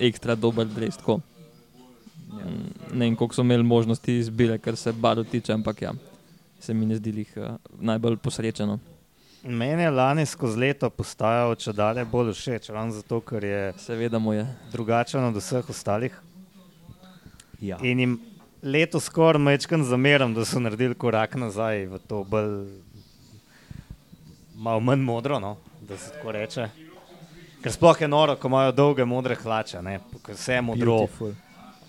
Speaker 3: ekstra dober dres. Tako. Mm, Ne vem, koliko so imeli možnosti izbire, kar se barv tiče, ampak ja, se mi ne zdi jih uh, najbolj posrečeno.
Speaker 2: Meni je lani skozi leto postajal če dalje bolj všeč, ravno zato, ker je
Speaker 3: Seveda mu je.
Speaker 2: drugačen od vseh ostalih.
Speaker 1: Ja.
Speaker 2: In jim leto skoraj mečkam zameram, da so naredili korak nazaj v to bolj, malo manj modro, no, da se tako reče. Ker sploh je noro, ko imajo dolge modre hlače, ne, ker vse je modro.
Speaker 1: Beautiful.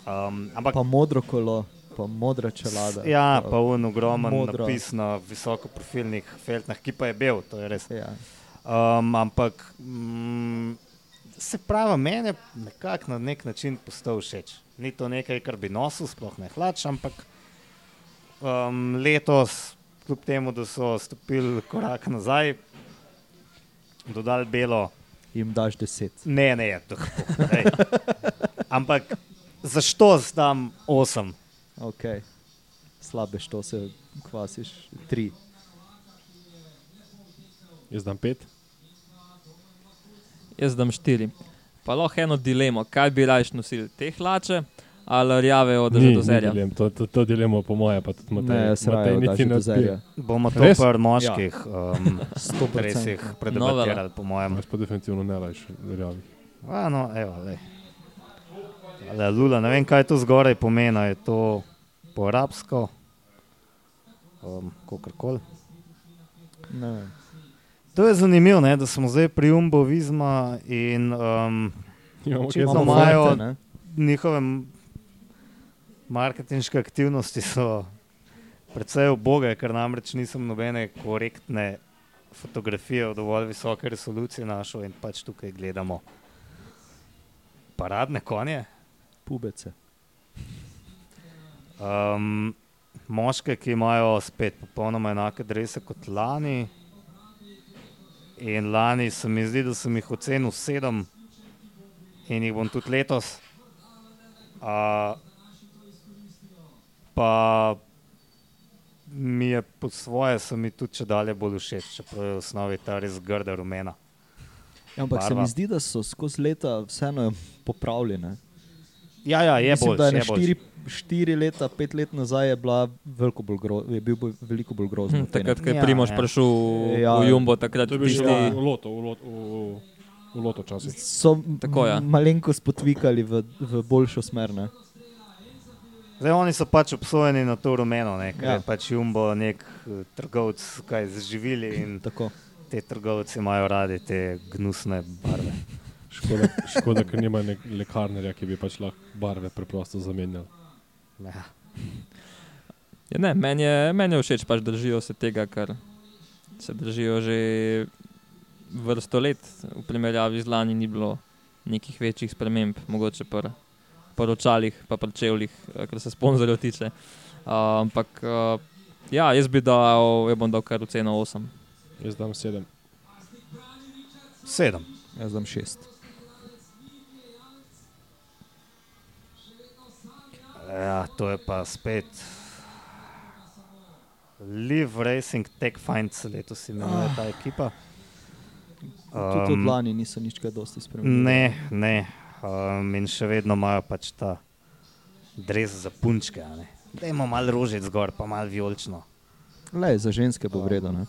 Speaker 2: Um, ampak
Speaker 1: Pa modro kolo, pa modra čelada.
Speaker 2: Ja, pa un ogromen
Speaker 1: modro.
Speaker 2: Modro. napis na visokoprofilnih feltnah, ki pa je bel, to je res.
Speaker 1: Ja.
Speaker 2: Um, ampak mm, se pravi, meni je nekako na nek način postal všeč. Ni to nekaj, kar bi nosil, sploh ne hlač, ampak um, letos, kljub temu, da so stopili korak nazaj, dodali belo.
Speaker 1: Im daš deset.
Speaker 2: Ne, ne, to
Speaker 1: <laughs>
Speaker 2: je. Ampak zašto zdam osem?
Speaker 1: Okay. Slabe što se kvasiš, tri.
Speaker 4: Jaz dam pet.
Speaker 3: Jaz dam štiri. Pa lahko eno dilemo, kaj bi rajš nosili, te hlače ali rjave od
Speaker 4: Ni, ni
Speaker 3: žadozerja.
Speaker 4: dilem, To, to, to dilemo, po mojem, pa tudi Matej.
Speaker 1: Ne, se
Speaker 4: Matej
Speaker 1: raje daš
Speaker 4: niti ne
Speaker 1: do
Speaker 4: odpira.
Speaker 1: zerja.
Speaker 2: Bomo to
Speaker 4: Res?
Speaker 2: pri moških um,
Speaker 1: Ja. Sto
Speaker 2: stresih
Speaker 1: procentno.
Speaker 2: predebatirali, po mojem.
Speaker 4: Jaz pa definitivno ne lajš, verjamem.
Speaker 2: A, no, evo, lej. Ale, Lula, ne vem, kaj to zgoraj pomeni. Je to po arabsko, um, kakorkoli.
Speaker 1: Ne vem.
Speaker 2: To je zanimivo, ne, da smo zdaj pri Umbo Vizma in um,
Speaker 4: Imamo
Speaker 1: Če
Speaker 4: kaj
Speaker 1: imamo
Speaker 2: doma-
Speaker 4: za
Speaker 2: imajo-
Speaker 1: fante, ne?
Speaker 2: njihove m- marketinške aktivnosti so precej oboge, ker namreč nisem nobene korektne fotografije v dovolj visoke resolucije našel in pač tukaj gledamo paradne konje.
Speaker 1: pubece.
Speaker 2: Um, moške, ki imajo spet popolnoma enake drese kot lani. In lani se mi zdi, da sem jih ocenil sedem in jih bom tudi letos. Uh, pa mi je po svoje, se mi tudi če dalje bolj všeč, čeprav je v osnovi ta res grda rumena.
Speaker 1: Ja, ampak se
Speaker 2: Barva.
Speaker 1: mi zdi, da so skozi leta vseeno popravljene.
Speaker 2: Ja, ja, je
Speaker 1: Mislim,
Speaker 2: bolj,
Speaker 1: da je
Speaker 2: je
Speaker 1: ne
Speaker 2: bolj.
Speaker 1: štiri, štiri leta, pet let nazaj je, bila veliko bolj gro, je bil bolj, veliko bolj grozno.
Speaker 3: Hm, takrat, ko je
Speaker 2: Ja,
Speaker 3: Primož
Speaker 2: ja.
Speaker 3: prišel v,
Speaker 1: Ja.
Speaker 3: v Jumbo, takrat
Speaker 4: To je bil ja. že
Speaker 3: tisti-
Speaker 4: v loto, v loto, v, v loto časih.
Speaker 1: so
Speaker 3: Tako, ja.
Speaker 1: malenko spotvikali v, v boljšo smer. Ne?
Speaker 2: Zdaj, oni so pač obsojeni na to rumeno, ne, ker
Speaker 1: Ja.
Speaker 2: ja. je pač Jumbo nek eh, trgovec, kaj zaživili in
Speaker 1: Tako.
Speaker 2: te trgovci imajo radi te gnusne barve.
Speaker 4: Škoda, škoda ker nima nek lekarnerja, ki bi pač lahko barve preprosto zamenjal.
Speaker 2: Ja.
Speaker 3: Ja, ne, meni je, meni je všeč, pač držijo se tega, kar se držijo že vrsto let. V primerjavi z lani ni bilo nekih večjih sprememb, mogoče pri poročalih, pa pri čevljih, eh, kar se sponzorjev tiče. Uh, ampak uh, ja, jaz bi dal, jaz bom dal kar oceno 8.
Speaker 4: Jaz dam sedem.
Speaker 2: Sedem.
Speaker 1: Jaz dam šest.
Speaker 2: Ja, to je pa spet. Live Racing Tech Finds letos imenuje ta ekipa.
Speaker 1: Tudi
Speaker 2: Um,
Speaker 1: od lani niso nič kaj dosti spremenili.
Speaker 2: Ne, ne. Um, in še vedno imajo pač ta dres za punčke. a ne. Dajmo malo rožec zgor, pa malo vijolično.
Speaker 1: Le, za ženske bo vredno. ne.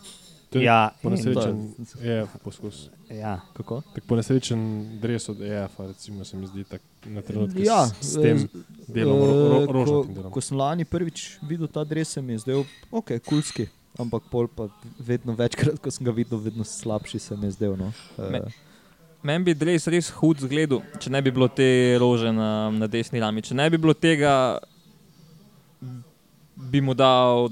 Speaker 4: To je
Speaker 2: Ja, in-
Speaker 4: Ponesrečen je poskus.
Speaker 2: Ja,
Speaker 1: Kako?
Speaker 4: Tak ponesrečen dres od EF-a, recimo, se mi zdi tak na trenutke
Speaker 1: Ja,
Speaker 4: s, s tem
Speaker 1: eh,
Speaker 4: delom, ro, ro,
Speaker 1: Eh,
Speaker 4: rožnatim delom.
Speaker 1: ko, ko sem lani prvič videl ta dres, se mi je zdel ok, kulski. Ampak pol pa vedno večkrat, ko sem ga videl, vedno slabši se mi je zdel. No. Eh,
Speaker 3: Me- Meni bi res, res hud zgled, če ne bi bilo te rože na, na desni rami. Če ne bi bilo tega, bi mu dal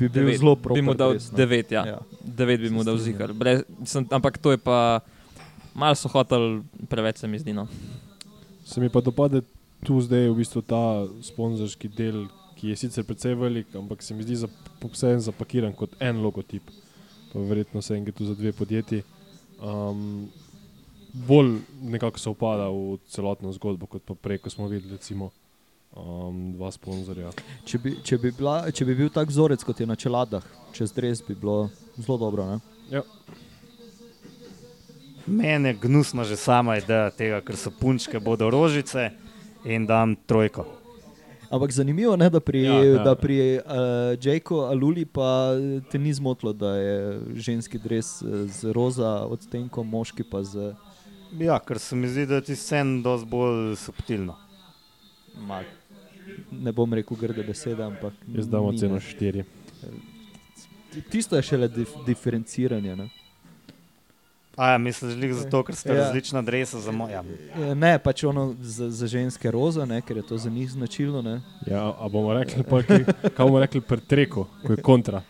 Speaker 1: bi bil
Speaker 3: devet.
Speaker 1: zelo
Speaker 3: Bi
Speaker 1: proper.
Speaker 3: mu dal
Speaker 1: dres, no.
Speaker 3: 9, ja.
Speaker 1: Ja.
Speaker 3: 9 bi
Speaker 1: Se
Speaker 3: mu dal
Speaker 1: strinjam.
Speaker 3: zihar. Brez, sem, ampak to je pa, malo so hotel, preveč se mi zdi. No.
Speaker 4: Se mi pa dopade tu zdaj v bistvu ta sponzorski del, ki je sicer precej velik, ampak se mi zdi zap- vseeno zapakiran kot en logotip. Pa verjetno se en gre tu za dve podjetji. Um, bolj nekako se upada v celotno zgodbo, kot pa prej, ko smo videli recimo, um, dva sponzorja.
Speaker 1: Če, bi, če, bi bila, če bi bil tak vzorec kot je na čeladah, čez dres bi bilo zelo dobro. Ne?
Speaker 4: Ja,
Speaker 2: meni je gnusno že sama ideja tega, ker so punčke, bodo rožice in dam trojko.
Speaker 1: Ampak zanimivo je, da pri,
Speaker 4: Ja,
Speaker 1: ja,
Speaker 4: ja.
Speaker 1: ja. da pri uh, Jaku Aluli pa te ni zmotilo, da je ženski dres eh, z roza odtenkom, moški pa z.
Speaker 2: Ja, ker se mi zdi, da je tisti sen dosti bolj subtilno.
Speaker 1: Ma, ne bom rekel grde besede, ampak.
Speaker 4: Jaz dam
Speaker 1: ni,
Speaker 4: oceno
Speaker 1: ne.
Speaker 4: štiri.
Speaker 1: Tisto je šele dif diferenciranje. Ne?
Speaker 2: A ja, misliš, da je zato, ker
Speaker 1: Ja.
Speaker 2: sta ja. različna dresa za ja. moja.
Speaker 1: Eh, ne, pač ono za, za ženske roza, ne, ker je to za njih značilno. Ne?
Speaker 4: Ja, a bomo rekli, pa, kaj, kaj bomo rekli pri treku, ko je kontra.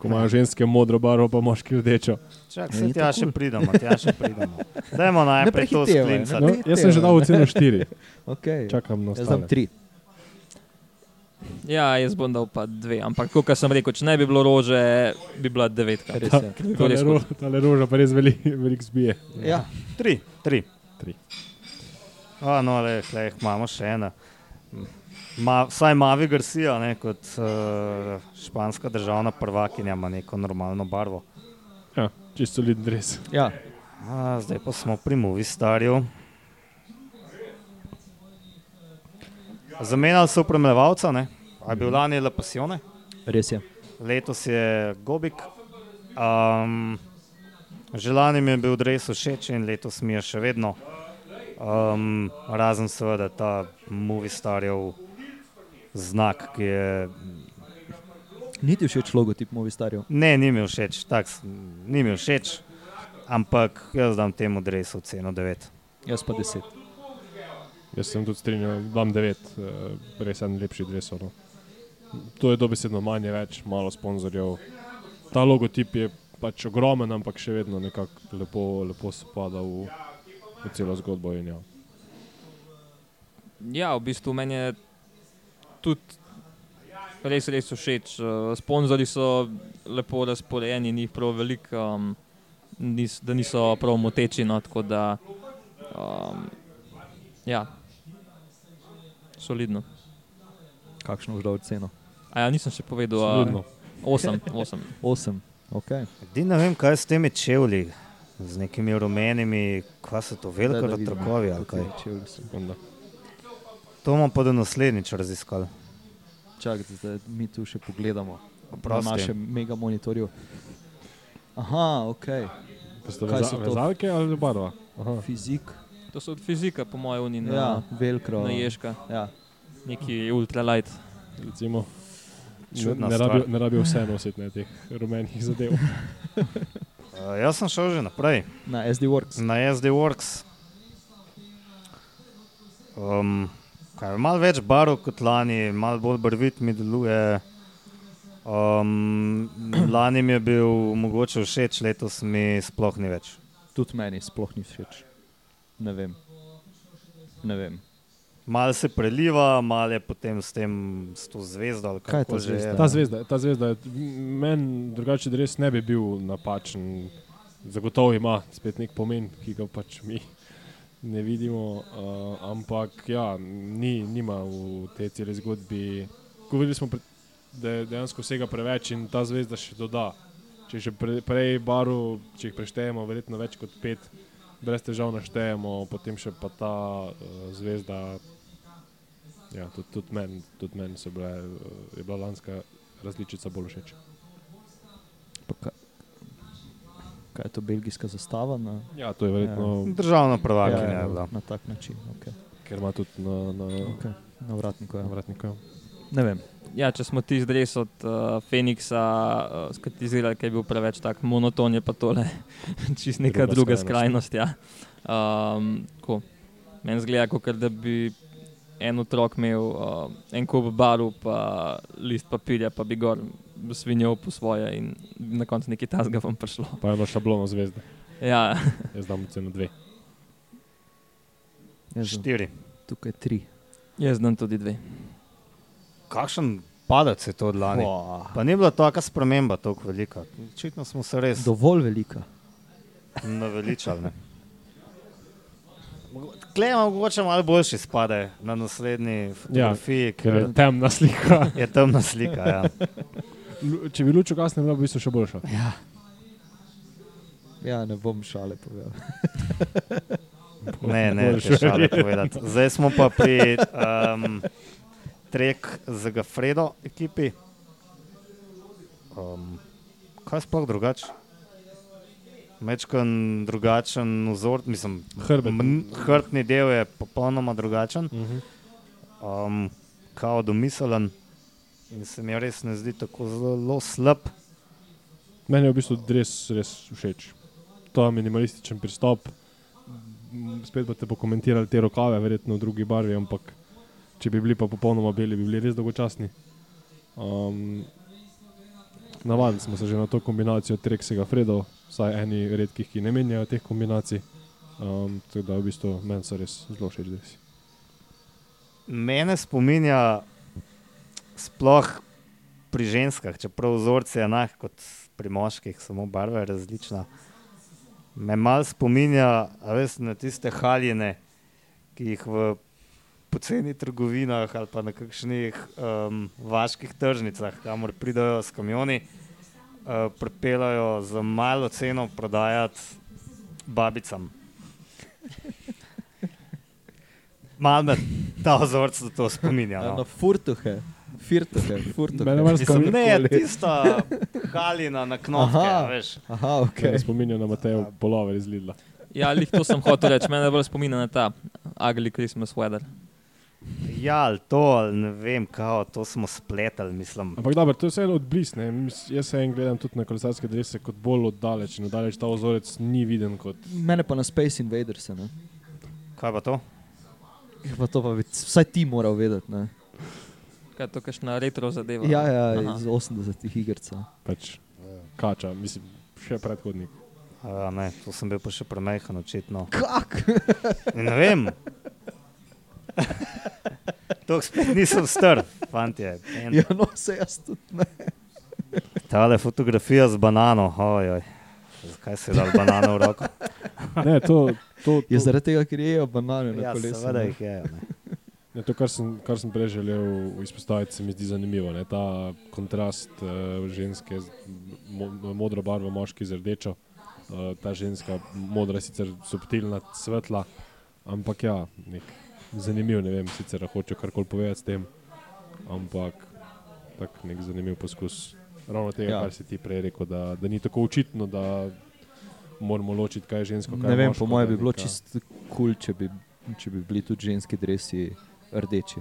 Speaker 4: Ko imajo ženske modro barvo, pa moški rdečo.
Speaker 2: Čak,
Speaker 1: Ne,
Speaker 2: se
Speaker 1: ni
Speaker 2: tja
Speaker 1: tako
Speaker 2: še pridemo, tja še
Speaker 1: <laughs>
Speaker 2: pridemo. Dajmo najprej to
Speaker 1: prehitevaj, ne.
Speaker 2: sklincati.
Speaker 4: No, jaz sem že dal oceno štiri,
Speaker 1: Okay.
Speaker 4: čakam na
Speaker 1: Jaz dam
Speaker 4: ostale.
Speaker 1: tri.
Speaker 3: Ja, jaz bom dal pa 2, ampak kot sem rekel, če ne bi bilo rože, bi bila 9.
Speaker 1: Res je.
Speaker 3: Bi bilo
Speaker 4: Tale,
Speaker 3: res
Speaker 4: ro,
Speaker 3: hud.
Speaker 4: tale roža pa res velik, velik zbije.
Speaker 1: Ja.
Speaker 2: Tri, tri.
Speaker 4: Tri.
Speaker 2: A, no, le, le, imamo še ena. Ma, vsaj Mavi Garcia, ne, kot uh, španska državna prvakinja, ima neko normalno barvo.
Speaker 4: Ja, čisto soliden res.
Speaker 1: Ja.
Speaker 2: A, zdaj pa smo pri Movi starju. Zamenjali so upremljevalca, ne? a je bil lani Le Pasione,
Speaker 1: Res je.
Speaker 2: letos je Gobik. Um, že lani mi je bil res všeč in letos mi je še vedno. Um, razen seveda ta Movi starjev znak, ki je
Speaker 1: Ni ti všeč logotip Movistarjev?
Speaker 2: Ne, ni mi všeč, tako ni mi všeč, ampak jaz dam temu drevesu ceno 9.
Speaker 1: Jaz pa deset.
Speaker 4: Jaz sem tudi strinjal, dam 9, res en lepši dres. No. To je dobesedno manje več, malo sponzorjev. Ta logotip je pač ogromen, ampak še vedno nekako lepo, lepo spada v, v celo zgodbo. In, ja.
Speaker 3: Ja, v bistvu meni je tudi res, res všeč. Eh, Sponzorji so lepo razporejeni, ni jih prav veliko, um, nis, da niso prav moteči. No, tako da, um, ja, solidno.
Speaker 1: Kakšno boš dal ceno?
Speaker 3: A ja, nisem še povedal,
Speaker 4: Solidno.
Speaker 3: 8, 8.
Speaker 1: Osem. Okay.
Speaker 2: Edino ne vem, kaj je s temi čevlji, z nekimi rumenimi, kaj so to veliki
Speaker 1: Daj, da vidim.
Speaker 2: rotrokovi ali kaj.
Speaker 1: Čevlji so.
Speaker 4: Onda.
Speaker 2: To bomo pa do naslednjič raziskali.
Speaker 1: Čakajte, da mi tu še pogledamo
Speaker 2: Oprosti.
Speaker 1: na našem mega monitorju. Aha, ok,
Speaker 4: Pa sta
Speaker 1: Kaj so
Speaker 4: veza-
Speaker 1: to?
Speaker 4: Vezalke ali barva? Aha.
Speaker 1: fizik,
Speaker 3: To so od fizika, po mojem, unine.
Speaker 1: ja, velkro.
Speaker 3: Na ježka,
Speaker 1: Ja.
Speaker 3: neki ultralight.
Speaker 4: Recimo, ne,
Speaker 2: Čudna
Speaker 4: ne,
Speaker 2: stvar.
Speaker 4: rabijo, ne rabijo vse nositi ne, teh rumenih zadev.
Speaker 2: Uh, jaz sem šel že naprej,
Speaker 1: Na SD Works.
Speaker 2: na SD Works. Um, kaj, malo več barov kot lani, malo bolj barvit mi deluje. Um, lani mi je bil mogoče všeč, letos mi sploh ni več.
Speaker 1: Tudi meni sploh ni všeč. Ne vem. Ne vem.
Speaker 2: Mal se preliva, mal je potem s, tem, s to zvezdo. ali
Speaker 1: Kaj je ta
Speaker 2: kako že
Speaker 1: zvezda?
Speaker 2: je.
Speaker 1: Ja.
Speaker 4: Ta zvezda, ta zvezda je- m- meni drugače res ne bi bil napačen. Zagotovo ima spet nek pomen, ki ga pač mi ne vidimo. Uh, ampak ja, ni, nima v tej celi zgodbi. Govorili smo, pred, da je dejansko vsega preveč in ta zvezda še doda. Če še pre, prej baru, če jih preštejemo, verjetno več kot pet, brez težav naštejemo, potem še pa ta uh, zvezda Ja, tudi, tudi meni tud men so bile, eh, je bila lanska različica bolj všeč.
Speaker 1: Pa Kaj, kaj je to belgijska zastava? Na,
Speaker 4: Ja, to je verjetno, ja.
Speaker 2: Državna prvakinja
Speaker 1: ja,
Speaker 2: je bila.
Speaker 1: na tak način. Okay.
Speaker 4: ker ima tudi na, na,
Speaker 1: Okay. Na vratniku je.
Speaker 4: na vratniku.
Speaker 1: Ne vem.
Speaker 3: Ja, če smo ti zdres od uh, Feniksa uh, skritizirali, ker je bil preveč tak monoton, je pa tole <laughs> čist neka
Speaker 4: Druga
Speaker 3: druga skrajnost.
Speaker 4: skrajnost.
Speaker 3: Ja. Um, tako. Meni zgleda, kot da bi en otrok imel uh, en kup baru, pa list papirja, pa bi gor svinjal po svoje in bi na koncu nekaj tasga vam prišlo.
Speaker 4: Pa eno šablono zvezde,
Speaker 3: Ja,
Speaker 4: jaz dam ceno dve.
Speaker 2: Ja,
Speaker 1: Jaz, dam
Speaker 2: Štiri.
Speaker 1: tukaj tri.
Speaker 3: jaz znam tudi dve.
Speaker 2: Kakšen padec je to od lani?
Speaker 1: Wow.
Speaker 2: Pa ni bila taka sprememba tako velika. Očitno smo se res
Speaker 1: Dovolj velika.
Speaker 2: naveličali. ne. Klej ima mogoče malo boljši spade na naslednji fotografiji, ja,
Speaker 4: Ker
Speaker 2: ker
Speaker 4: je temna slika.
Speaker 2: je temna slika. Ja.
Speaker 4: Lu- Če bi luč ugasnil, bi bila v bistvu še boljša.
Speaker 1: Ja, ne bom šale povedal.
Speaker 2: Ne, ne,
Speaker 4: Boljše.
Speaker 2: še šale povedati. Zdaj smo pa pri um, trek z Gafredo ekipi. Um, kaj sploh drugače? Mečkan drugačen vzor, mislim,
Speaker 4: Hrbet.
Speaker 2: mn- hrbtni del je popolnoma drugačen,
Speaker 4: Uh -huh.
Speaker 2: um, kao domiselen in se mi res ne zdi tako zelo slab.
Speaker 4: Meni je v bistvu res, res všeč. Ta minimalističen pristop. M, Spet boste pokomentirali te rokave, verjetno v drugi barvi, ampak če bi bili pa popolnoma beli, bi bili res dolgočasni. Um, Navadili smo se že na to kombinacijo Treksega Fredo, vsaj eni redkih, ki ne menjajo teh kombinacij. Um, tako da v bistvu meni so res zelo všeč dresi.
Speaker 2: Mene spominja sploh pri ženskah, čeprav vzorci je enak kot pri moških, samo barva je različna. Me malo spominja a veš, na tiste haljine, ki jih v poceni trgovinah ali pa na kakšnih um, vaških tržnicah, kamor pridajo s kamioni, uh, pripeljajo za malo ceno prodajati babicam. Malo me ta vzorec na to spominja.
Speaker 1: Ja,
Speaker 2: No.
Speaker 1: na furtuhe, furtuhe, furtuhe.
Speaker 4: Mene mar-
Speaker 2: Mislim, ne,
Speaker 1: Kakorkoli.
Speaker 2: tista halina na knopke,
Speaker 1: Aha.
Speaker 2: a veš.
Speaker 1: Aha,
Speaker 4: Okay.
Speaker 1: ok.
Speaker 4: Spominja na Mateja Polover iz Lidla.
Speaker 3: Ja, lih to sem hotel reči, mene bolj spominja na ta ugly Christmas weather.
Speaker 2: Ja, ali to, ali ne vem, kao, to smo spletali, mislim.
Speaker 4: Ampak dobro, to je vseeno odblis. ne. Mis- Jaz se en gledam tudi na kolesarske drese kot bolj oddaleč in oddaleč ta ozorec ni viden kot
Speaker 1: Mene pa na Space Invaders. Ne?
Speaker 2: Kaj pa to?
Speaker 1: Ja, Pa to pa bi, vsaj ti moral vedeti. Ne?
Speaker 3: Kaj je to, kakšna retro zadeva?
Speaker 1: Ja, ja,
Speaker 3: Aha.
Speaker 1: iz 80-ih igrica.
Speaker 4: pač kača, mislim, še predhodnik.
Speaker 2: A, ne, to sem bil pa še premajhen, očitno.
Speaker 1: Kak?
Speaker 2: Ne vem. <laughs> To spet nisem star, fantje. En-
Speaker 1: Ja, no, se jaz tudi ne.
Speaker 2: Tale fotografija z banano, ojoj. Zakaj si dal
Speaker 1: <laughs>
Speaker 2: banano v roko?
Speaker 4: Ne, to, to, to,
Speaker 1: Je zaradi tega, ker jejo banane na
Speaker 2: Ja,
Speaker 1: kolesu.
Speaker 2: seveda
Speaker 1: ne.
Speaker 2: jih je. ne.
Speaker 4: ne, Ja, to kar, sem, kar sem prej želel izpostaviti, se mi zdi zanimivo. Ne? Ta kontrast uh, ženske, z mo, modro barvo, moški z rdečo. Uh, ta ženska, modra, je sicer subtilna, svetla, ampak ja, nek, zanimiv. Ne vem, sicer hoče karkoli povedati s tem, ampak tak nek zanimiv poskus. Ravno tega,
Speaker 1: Ja.
Speaker 4: ja. kar si ti prej rekel, da, da ni tako očitno, da moramo ločiti, kaj je žensko. Kaj
Speaker 1: Ne
Speaker 4: je
Speaker 1: vem,
Speaker 4: moško,
Speaker 1: po mojem
Speaker 4: da
Speaker 1: bi bilo
Speaker 4: neka-
Speaker 1: čisto kul, cool, če, bi, če bi bili tudi ženski dresi rdeči.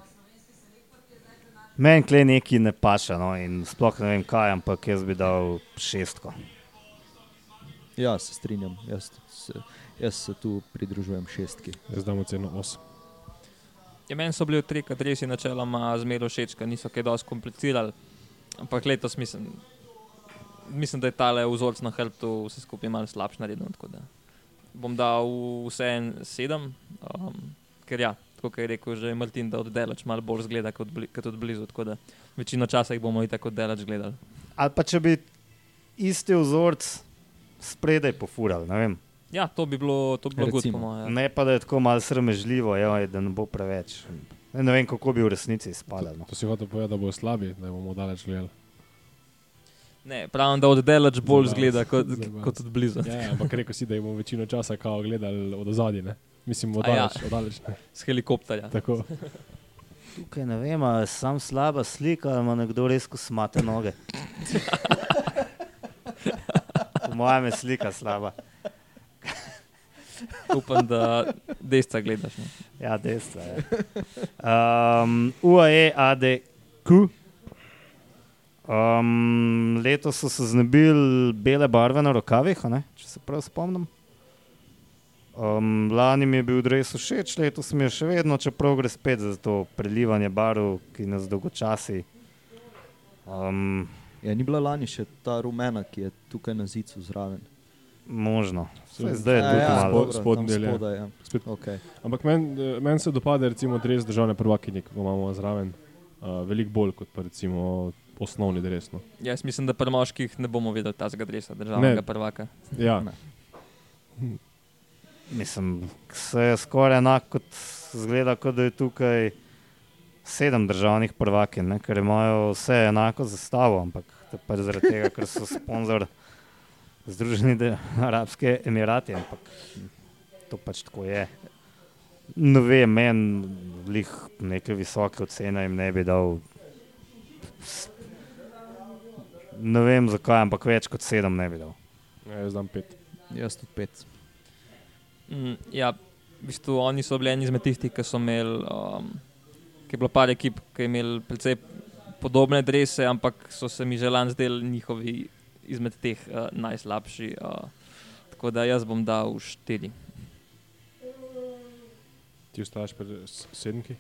Speaker 2: Meni kle neki ne paše, no, in sploh ne vem kaj, ampak jaz bi dal šestko.
Speaker 1: Ja, se strinjam, jaz, tudi se, jaz se tu pridružujem šestki.
Speaker 4: Jaz dam oceno 8.
Speaker 3: Ja, meni so bili tri, kateri si načeloma zmerno všeč, ker niso kaj dosti komplicirali. Ampak letos mislim, mislim da je tale vzorc na hrbtu vse skupaj malo slabš naredil. tako da Bom dal vse en sedem, um, ker ja, Tako kot je rekel že Martin, da oddelač malo bolj zgleda kot, bli, kot od blizu. Tako da večino časa jih bomo itak oddelač gledali.
Speaker 2: Ali pa če bi isti vzorec spredaj pofural, ne vem.
Speaker 3: Ja, to bi bilo, to bi bilo good, po
Speaker 1: Recimo.
Speaker 2: Ja.
Speaker 3: mojem.
Speaker 2: Ne pa da je tako malo sramežljivo, joj, da ne bo preveč. Ne, ne vem, kako bi v resnici izpadalo. no.
Speaker 4: To si hotel povedati, da bojo slabi, da bomo daleč gledali.
Speaker 3: Ne, pravim, da oddelač bolj
Speaker 4: Zabavno.
Speaker 3: zgleda kot,
Speaker 4: Zabavno.
Speaker 3: kot od blizu.
Speaker 4: Ja, ja, ampak rekel si, da bomo večino časa kao gledali od zadine. Mislim, od
Speaker 3: A ja.
Speaker 4: daleč, ja. od daleč.
Speaker 3: Z helikopterja.
Speaker 4: Tako.
Speaker 2: Tukaj ne vem, ali je sam slaba slika, ali ima nekdo res kosmate noge. <laughs> po mojem je slika slaba.
Speaker 3: Upam, da desca gledaš. Ne.
Speaker 2: Ja, desno je. Um, UAE, ADQ. Um, letos so se znebili bele barve na rokavih, a ne, če se prav spomnim. Um, lani mi je bil res všeč, letos mi je še vedno, čeprav gre spet za to prelivanje barv, ki nas dolgočasi. Um,
Speaker 1: Ja, ni bila lani še ta rumena, ki je tukaj na zidu zraven.
Speaker 2: možno, Saj
Speaker 4: Ja,
Speaker 2: zdaj je
Speaker 1: A,
Speaker 2: tudi
Speaker 4: ja.
Speaker 2: malo.
Speaker 1: dobro, tam
Speaker 4: Spodnji del, ja.
Speaker 1: spodaj, ja.
Speaker 4: Spet
Speaker 1: Okay.
Speaker 4: Ampak meni eh, men se dopade, recimo, dres državne prvakinje, ki ga imamo zraven, uh, veliko bolj kot pa recimo osnovni dres. No.
Speaker 3: Jaz mislim, da pri moških ne bomo videli tega drevesa, državnega ne.
Speaker 4: Ne.
Speaker 3: prvaka.
Speaker 4: Ja,
Speaker 1: Ne.
Speaker 2: Mislim, se je skoraj enako kot zgleda, kot da je tukaj sedem državnih prvakin, ne, ker imajo vse enako zastavo, ampak to je pač zaradi tega, ker so sponzor Združeni de- Arabski Emirati, ampak to pač tako je. Ne vem, meni lih neke visoke ocene jim ne bi dal. Ne vem zakaj, ampak več kot sedem ne bi dal.
Speaker 4: ja, jaz dam pet.
Speaker 1: Jaz tudi pet.
Speaker 3: Mm, ja, v bistvu oni so bili eni izmed tistih, ki so imeli, um, ki je bilo par ekip, ki je imel precej podobne drese, ampak so se mi že lani zdeli njihovi izmed teh uh, najslabši. Uh, tako da jaz bom dal štiri.
Speaker 4: Ti ostaješ pri s- sedmki?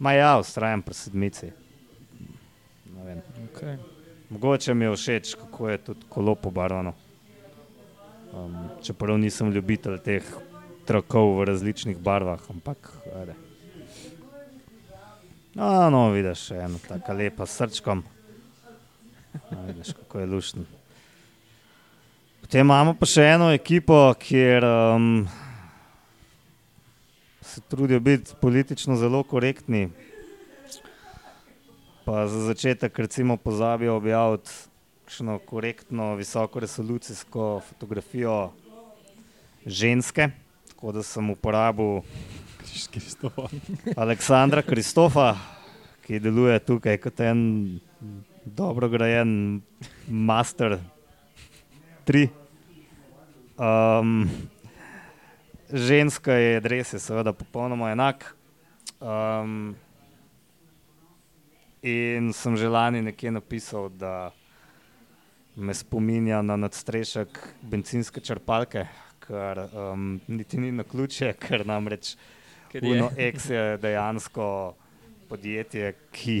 Speaker 2: Ma ja, ustrajam pri sedmici. Ne vem.
Speaker 1: Okay.
Speaker 2: Mogoče mi je všeč, kako je tudi kolo pobarvano. Um, čeprav nisem ljubitelj teh trakov v različnih barvah, ampak ajde. No, no, vidiš, še ena tako lepa s srčkom. No, vidiš, kako je lušten. Potem imamo pa še eno ekipo, kjer um, se trudijo biti politično zelo korektni, Pa za začetek, recimo, pozabijo objaviti kakšno korektno, visoko resolucijsko fotografijo ženske. Tako da sem uporabil
Speaker 4: Križ Kristofa.
Speaker 2: Aleksandra Kristofa, ki deluje tukaj kot en dobro grajen master 3. Um, ženska je res, je seveda popolnoma enak. Um, in sem že lani nekje napisal, da me spominja na nadstrešek benzinske črpalke, kar um, niti ni na ključe, ker namreč
Speaker 3: Ker je
Speaker 2: Uno X je dejansko podjetje, ki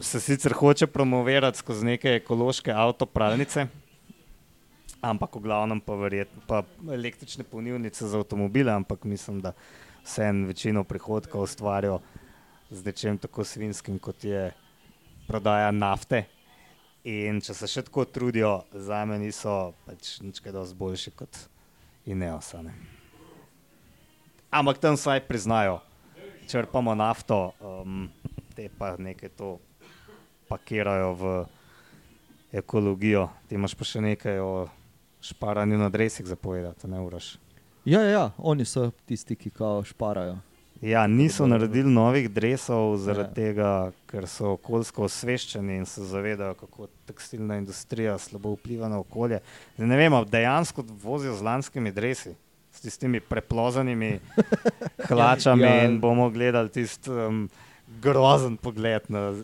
Speaker 2: se sicer hoče promovirati skozi neke ekološke avtopravnice, ampak v glavnem pa, verjetno, pa električne polnilnice za avtomobile, ampak mislim, da vseeno večino prihodka ustvarijo z nečem tako svinskim, kot je prodaja nafte. In če se še tako trudijo, za me niso pač nič kaj dosti boljši kot Ineosane ampak tam vsaj priznajo, črpamo nafto, um, te pa nekaj to pakirajo v ekologijo. Ti imaš pa še nekaj o šparanju na drevesih zapovedati, ne uraš.
Speaker 1: Ja, ja, ja, oni so tisti, ki kao šparajo.
Speaker 2: Ja, niso naredili novih drevesov zaradi
Speaker 1: Ja.
Speaker 2: ja. tega, ker so okoljsko osveščeni in se zavedajo, kako tekstilna industrija slabo vpliva na okolje. Zdaj, ne vem, ali dejansko vozijo z lanskimi drevesi, s tistimi
Speaker 1: <laughs>
Speaker 2: preplozanimi hlačami
Speaker 1: Ja.
Speaker 2: ja. in bomo gledali tisti um, grozen pogled na z-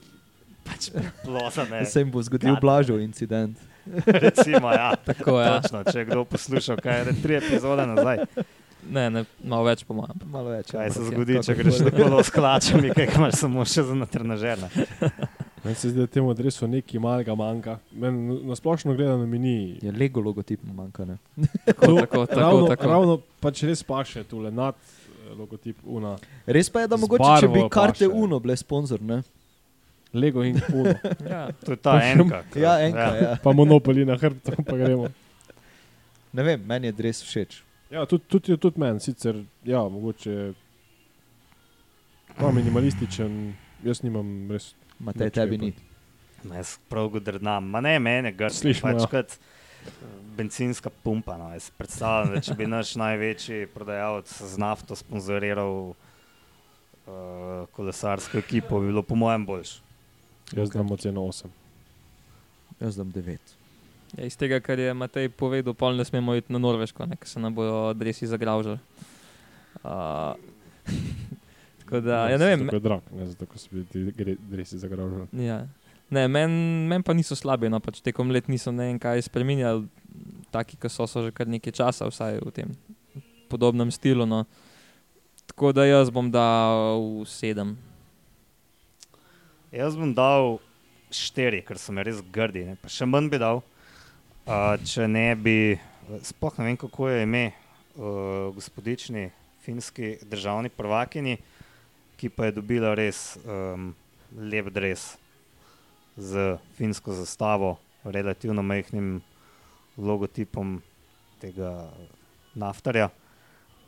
Speaker 2: pač preplozane.
Speaker 1: <laughs> Se jim bo zgodil
Speaker 2: Gadno.
Speaker 1: blažev incident.
Speaker 2: Recimo, ja.
Speaker 3: tako,
Speaker 4: <laughs>
Speaker 3: ja.
Speaker 2: Točno, če je kdo poslušal, kaj je tri epizode nazaj.
Speaker 3: Ne, ne, malo več po mojem.
Speaker 1: Malo več.
Speaker 2: Kaj
Speaker 1: ampak
Speaker 2: se
Speaker 1: ja,
Speaker 2: zgodi, če
Speaker 1: kakor
Speaker 2: greš
Speaker 1: koli.
Speaker 2: na kolo s hlačami, kaj imaš samo še za natrnažene.
Speaker 4: Meni se zdi, da temu dresu nekaj malega manjka. Meni na splošno gledano mi ni.
Speaker 1: Je lego logotip mu manjka. Ne?
Speaker 3: Tako, tako, tako,
Speaker 4: ravno,
Speaker 3: tako.
Speaker 4: ravno pač res paše tule nad eh, logotip Una.
Speaker 1: Res pa je, da
Speaker 4: Z
Speaker 1: mogoče, če bi
Speaker 4: barvo
Speaker 1: karte
Speaker 4: paše.
Speaker 1: Uno bile sponzor, ne?
Speaker 4: Lego in Uno.
Speaker 3: Ja,
Speaker 2: To je ta enka. kar-
Speaker 1: Ja, enka, ja.
Speaker 4: pa monopoli na hrbtu, pa gremo.
Speaker 1: Ne vem, meni je res všeč.
Speaker 4: Ja, tudi, tudi, tudi meni, sicer, ja, mogoče pa minimalističen, jaz nimam res.
Speaker 1: Matej,
Speaker 4: Nič
Speaker 1: tebi
Speaker 4: kaj
Speaker 1: ni.
Speaker 2: Ma Jaz prav godrnam, ma ne mene, greš
Speaker 4: Slišimo,
Speaker 2: pač
Speaker 4: ja.
Speaker 2: kot eh, bencinska pumpa. No. Jaz predstavljam, da če bi naš največji prodajalec z nafto sponzoriral uh, kolesarsko ekipo, bi bilo po mojem boljše.
Speaker 4: Jaz dam oceno 8.
Speaker 1: Jaz dam 9.
Speaker 3: ja, iz tega, kar je Matej povedal, pol ne smemo iti na Norveško, ne, ker se nam bodo dresi zagravžali. Uh, <laughs> tako da, ja, ne vem.
Speaker 4: Tako je drag, ne zato, ker so bili ti gre- dresi zagroženi.
Speaker 3: Ja. Ne, meni men pa niso slabi, no pač tekom let niso ne vem kaj spremenjali, taki, ki so, so že kar nekaj časa, vsaj v tem podobnem stilu. No. Tako da jaz bom dal sedem.
Speaker 2: Jaz bom dal štiri, ker so me res grdi. Ne. Pa še manj bi dal, uh, če ne bi, sploh ne vem, kako je ime uh, gospodični finski državni prvakini, ki pa je dobila res um, lep dres z finsko zastavo, relativno majhnim logotipom tega naftarja.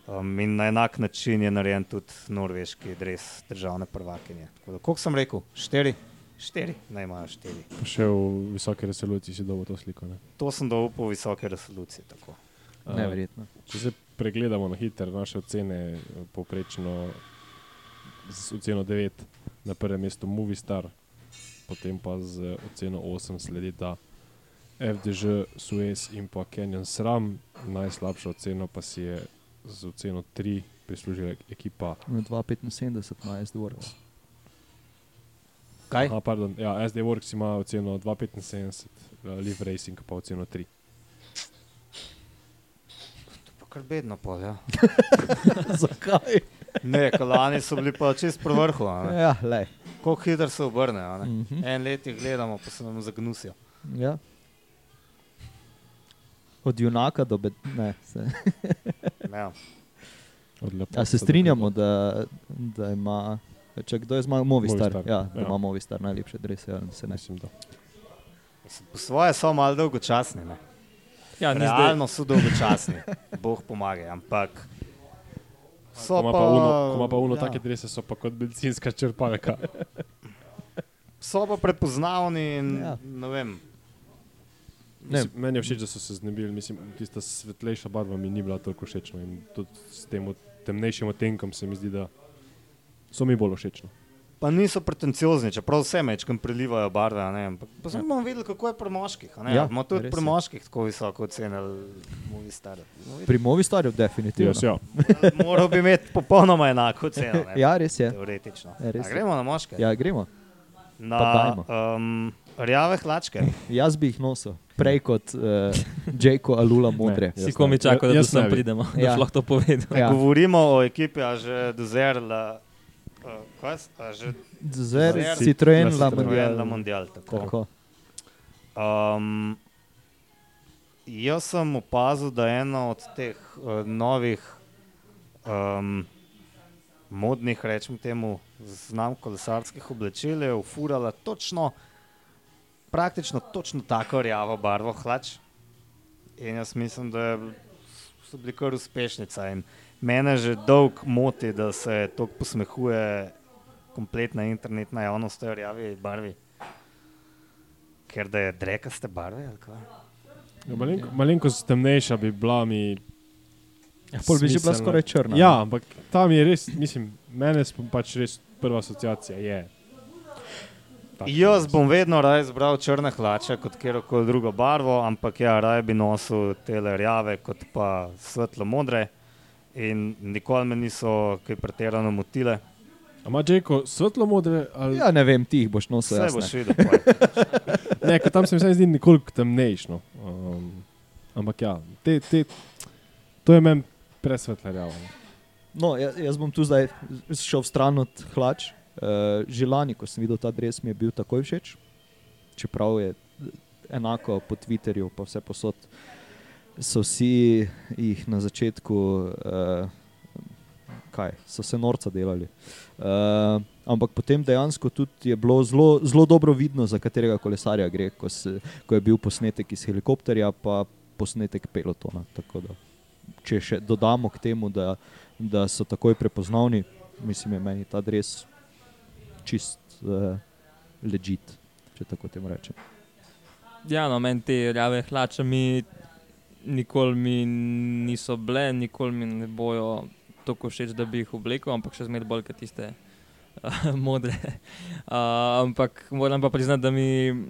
Speaker 2: Um, in na enak način je narejen tudi norveški dres državne prvakinje. Tako da, Koliko sem rekel? Štiri? Štiri, naj imajo štiri.
Speaker 4: Pa še v visoki resoluciji si dobil to sliko. Ne?
Speaker 2: To sem doupal v visoke resolucije. Tako.
Speaker 4: A,
Speaker 1: Neverjetno.
Speaker 4: Če se pregledamo na hitro naše ocene, eh, poprečno z oceno 9 na prvem mestu Movistar, potem pa z oceno 8 sledita FDŽ, Suez in pa Canyon Sram. Najslabšo oceno pa si je z oceno 3 prislužila ekipa.
Speaker 1: 2,75 No, ima jaz dvor.
Speaker 2: Kaj?
Speaker 4: Aha, pardon, ja, SD Works ima oceno 2,75, eh, Live Racing pa oceno 3.
Speaker 2: To pa kar bedno pol, ja.
Speaker 1: <laughs> Zakaj?
Speaker 2: <laughs> Ne, kolani so bili pa čist pri vrhu. a ne.
Speaker 1: Ja, lej.
Speaker 2: Koliko hitro se obrnejo. a ne.
Speaker 1: Mhm.
Speaker 2: En let jih gledamo, pa se nam zagnusijo.
Speaker 1: Ja. Od junaka do bed... Ne, se.
Speaker 2: Ja.
Speaker 4: Ja,
Speaker 1: A se strinjamo, da, da ima... Če kdo je zmagal, Movistar. Movistar.
Speaker 4: Movistar,
Speaker 1: Ja, da
Speaker 4: ja.
Speaker 1: ima Movistar najlepše drese, ali se ne.
Speaker 4: Mislim, da.
Speaker 2: Mislim, Po svoje so malo dolgočasni. Ne?
Speaker 3: Ja, ni zdaj.
Speaker 2: Realno so dolgočasni, Bog pomaga, ampak so
Speaker 4: Ko ima
Speaker 2: pa,
Speaker 4: pa uno, ko ima pa uno
Speaker 2: ja.
Speaker 4: ja. take drese, so pa kot bencinska črpalka.
Speaker 2: So pa prepoznavni in
Speaker 1: Ja.
Speaker 2: ja. ne vem.
Speaker 1: Ne.
Speaker 4: Mislim, meni je všeč, da so se znebili. Mislim, tista svetlejša barva mi ni bila tako všeč. no, in Tudi s tem od- temnejšim odtenkom se mi zdi, da so mi bolj všeč. no.
Speaker 2: Pa niso pretenciozni, čeprav vse mečem prelivajo barve. a ne, Ampak pa zdaj bomo videli, kako je pri moških.
Speaker 1: Ja,
Speaker 2: Ja, Imamo tudi
Speaker 1: res
Speaker 2: pri
Speaker 1: je.
Speaker 2: moških tako visoko ocenili, movi stari.
Speaker 1: Pri Movistarju definitivno.
Speaker 4: Jaz, ja.
Speaker 2: Moral bi imeti popolnoma enako ceno. Ne,
Speaker 1: <laughs> Ja, res je.
Speaker 2: Teoretično.
Speaker 1: Ja, res
Speaker 2: A
Speaker 1: je.
Speaker 2: gremo na moške.
Speaker 1: Ja, gremo. pa
Speaker 2: na
Speaker 1: dajmo.
Speaker 2: um, rjave hlačke.
Speaker 1: Jaz bi jih nosil, prej kot uh, Jake Alula modre.
Speaker 4: Ne.
Speaker 3: Si
Speaker 4: Jaz
Speaker 3: komi
Speaker 4: ne.
Speaker 3: čakal, da do
Speaker 4: Jaz
Speaker 3: sem
Speaker 4: ne bi.
Speaker 3: pridemo, <laughs> ja.
Speaker 1: Ja.
Speaker 3: da bi lahko to
Speaker 1: <laughs>
Speaker 3: povedal.
Speaker 1: Ja.
Speaker 2: Ja. Govorimo o ekipi, a že dozer, la, uh, kaj, s- a že
Speaker 1: Zer,
Speaker 2: Zer,
Speaker 1: Citroen,
Speaker 4: Citroen,
Speaker 1: La
Speaker 2: dojer na
Speaker 1: Mondial.
Speaker 2: mondial. Tako.
Speaker 1: Tako.
Speaker 2: Um, jaz sem opazil, da je ena od teh uh, novih, um, modnih, rečemo temu, znamk kolesarskih oblačil je ufurala točno, praktično točno tako rjavo barvo hlač. In jaz mislim, da je, so bili kar uspešnica. In mene že dolg moti, da se tako posmehuje kompletna internetna javnost o rjavi barvi. Ker da je drekaste barve, ali kaj?
Speaker 4: Ja, malenko, malenkost temnejša bi bila mi.
Speaker 1: Ja, Pol bi že bila
Speaker 4: smiselna.
Speaker 1: skoraj črna.
Speaker 4: Ja, ampak tam je res, mislim, mene sp- pač res prva asociacija je. Takšna.
Speaker 2: Jaz bom vedno raje izbral črne hlače kot kjerkoli drugo barvo, ampak ja, raje bi nosil te rjave kot pa svetlo modre. In nikoli me niso kaj pretirano motile.
Speaker 4: A ima Jeko svetlo modre? Ali...
Speaker 1: Ja, ne vem, ti jih boš nosil.
Speaker 2: Vse
Speaker 1: jaz ne.
Speaker 2: boš videl. pol.
Speaker 4: Ne, ker tam se mi vsaj zdi nekoliko temnejšno. Um, ampak ja, te, te, to je meni presvetlarjavo.
Speaker 1: No, jaz, jaz bom tu zdaj z- šel stran od hlač. Uh, že lani, ko sem videl ta dres, mi je bil takoj všeč. Čeprav je eh, enako po Twitterju, pa vse posod. So vsi jih na začetku, uh, eh, kaj, so se norca delali. Uh, ampak potem dejansko tudi je bilo zelo, zelo dobro vidno, za katerega kolesarja gre, ko, se, ko je bil posnetek iz helikopterja, pa posnetek pelotona. Tako da, če še dodamo k temu, da, da so takoj prepoznavni, mislim, je meni ta res čist uh, ležit, če tako temu rečem.
Speaker 3: Ja, no, meni te rjave hlače mi nikoli mi niso bile, nikoli mi ne bojo tako všeč, da bi jih oblekel, ampak še zmeraj bolj kot tiste <laughs> uh, modre. Uh, ampak moram pa priznati, da mi,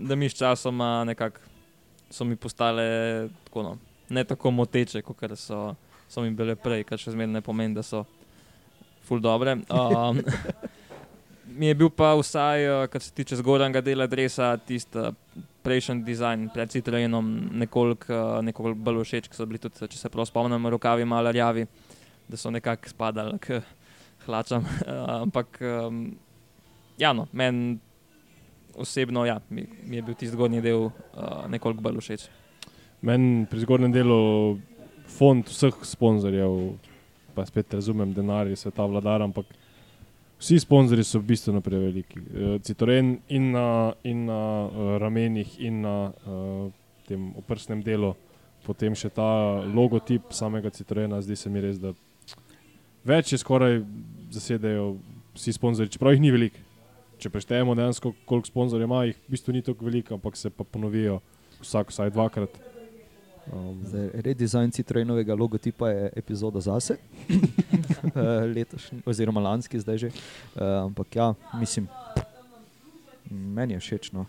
Speaker 3: da mi s časoma nekako so mi postale tako, no, ne tako moteče, kot so, so mi bile prej, kar še zmeraj ne pomeni, da so ful dobre. Um, <laughs> mi je bil pa vsaj, uh, kar se tiče zgornjega dela drevesa, tisti uh, prejšnji dizajn pred Citroenom nekoliko uh, nekoliko bolj všeč, ki so bili tudi, če se prav spomnim, rokavi malo rjavi, da so nekako spadali k hlačam. <laughs> Eh, Ampak, um, ja, no, meni osebno ja, mi, mi je bil tisti zgornji del eh, nekoliko bolj všeč.
Speaker 4: Meni pri zgornjem delu fond vseh sponzorjev, pa spet razumem, denar je sveta vladar, ampak vsi sponzorji so bistveno preveliki. Eh, Citroen in na, in na eh, ramenih, in na eh, tem oprsnem delu, potem še ta logotip samega Citroena, zdi se mi res, da več je skoraj zasedajo vsi sponzorji, čeprav jih ni veliko. Če preštejemo dejansko, koliko sponzorjev ima, jih v bistvu ni tako veliko, ampak se pa ponovijo vsak vsaj dvakrat. Um,
Speaker 1: Zdaj, redizajn Citroenovega logotipa je epizoda zase, Eh, letošnji, oziroma lanski, zdaj že. Eh, Ampak ja, mislim, meni je všeč. No.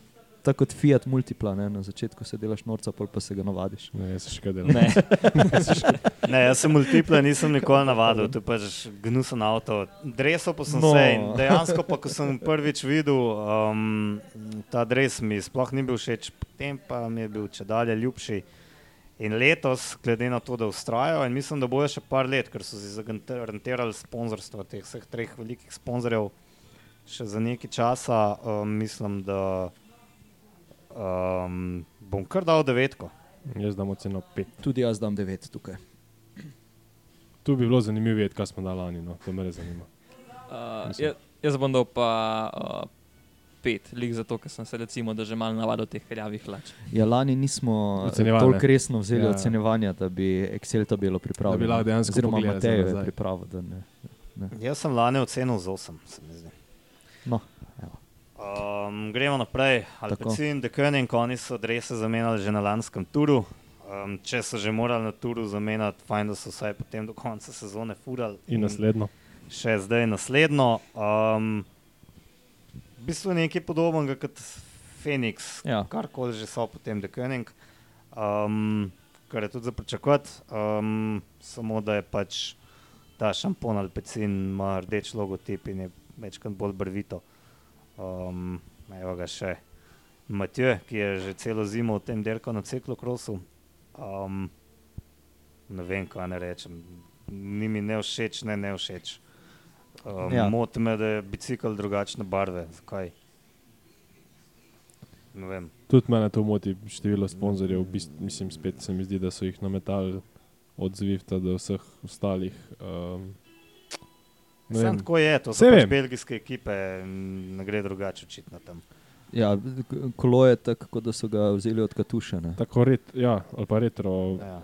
Speaker 1: Tako kot Fiat Multipla, ne? na začetku se delaš norca, pol pa se ga navadiš.
Speaker 4: ne, jaz se še kaj delam.
Speaker 3: Ne,
Speaker 2: <laughs> Ne, jaz sem multiple, nisem nikoli navadil, to je pač gnusen avto. Dresel pa sem
Speaker 1: No.
Speaker 2: no. se in dejansko, pa, ko sem prvič videl, um, ta dres mi sploh ni bil všeč, potem pa mi je bil če dalje ljubši. In letos, glede na to, da ustrajajo, in mislim, da bojo še par let, ker so si zagarantirali sponzorstvo teh vseh treh velikih sponzorjev, še za nekaj časa, um, mislim, da um, bom kar dal devetko.
Speaker 4: Jaz dam oceno 5.
Speaker 1: Tudi jaz dam 9 tukaj.
Speaker 4: Tu bi bilo zanimivo videti, kaj smo dali lani, no. to me res zanima.
Speaker 3: uh,
Speaker 4: Mislim.
Speaker 3: jaz, jaz bom dal pa uh, pet, lik zato, ker sem se recimo, da že malo navadil teh rjavih hlač.
Speaker 1: Ja, lani nismo eh,
Speaker 4: Ocenjevanje.
Speaker 1: toliko resno vzeli
Speaker 4: Ja,
Speaker 1: ja.
Speaker 4: ja.
Speaker 1: ocenjevanja, da bi Excel tabelo pripravili.
Speaker 4: Da bi lahko dejansko
Speaker 1: Oziroma,
Speaker 4: pogledali za
Speaker 1: Matejo je
Speaker 4: nazaj.
Speaker 1: pripravil. da ne.
Speaker 2: Jaz sem lani ocenil z 8, se mi zdi.
Speaker 1: No,
Speaker 2: Um, gremo naprej.
Speaker 1: Tako.
Speaker 2: Alpecin, Dekönig, oni so drese zamenjali že na lanskem turu. Um, če so že morali na turu zamenjati, fajn, da so vsaj potem do konca sezone furali.
Speaker 3: Mm.
Speaker 4: In naslednjo.
Speaker 2: Še zdaj naslednjo. Um, v bistvu nekaj podobnega kot Phoenix,
Speaker 1: Ja.
Speaker 2: karkoli že so potem Dekönig. Um, kar je tudi za pričakovati, um, samo da je pač ta šampon Alpecin ima rdeč logotip in je večkrat bolj brvito. Um, evo ga še Matjo, ki je že celo zimo v tem derku na ciklokrosu. Um, ne vem, kaj ne rečem. Ni mi ne všeč, ne, ne všeč. Um,
Speaker 1: Ja.
Speaker 2: ja. Moti me, da je bicikl drugačne barve. Zakaj? Ne vem.
Speaker 4: Tudi mene to moti, število sponzorjev, v bistvu, mislim, spet se mi zdi, da so jih nametali od Zwifta do vseh ostalih. Um, ne
Speaker 2: Sam
Speaker 4: vem,
Speaker 2: tako je, to so
Speaker 4: Saj
Speaker 2: pač
Speaker 4: vem.
Speaker 2: belgijske ekipe, m, ne gre drugače očitno tam.
Speaker 1: ja, kolo je tako, kot da so ga vzeli od Katuša. Ne?
Speaker 4: tako ret, ja, ali pa retro.
Speaker 2: Ja.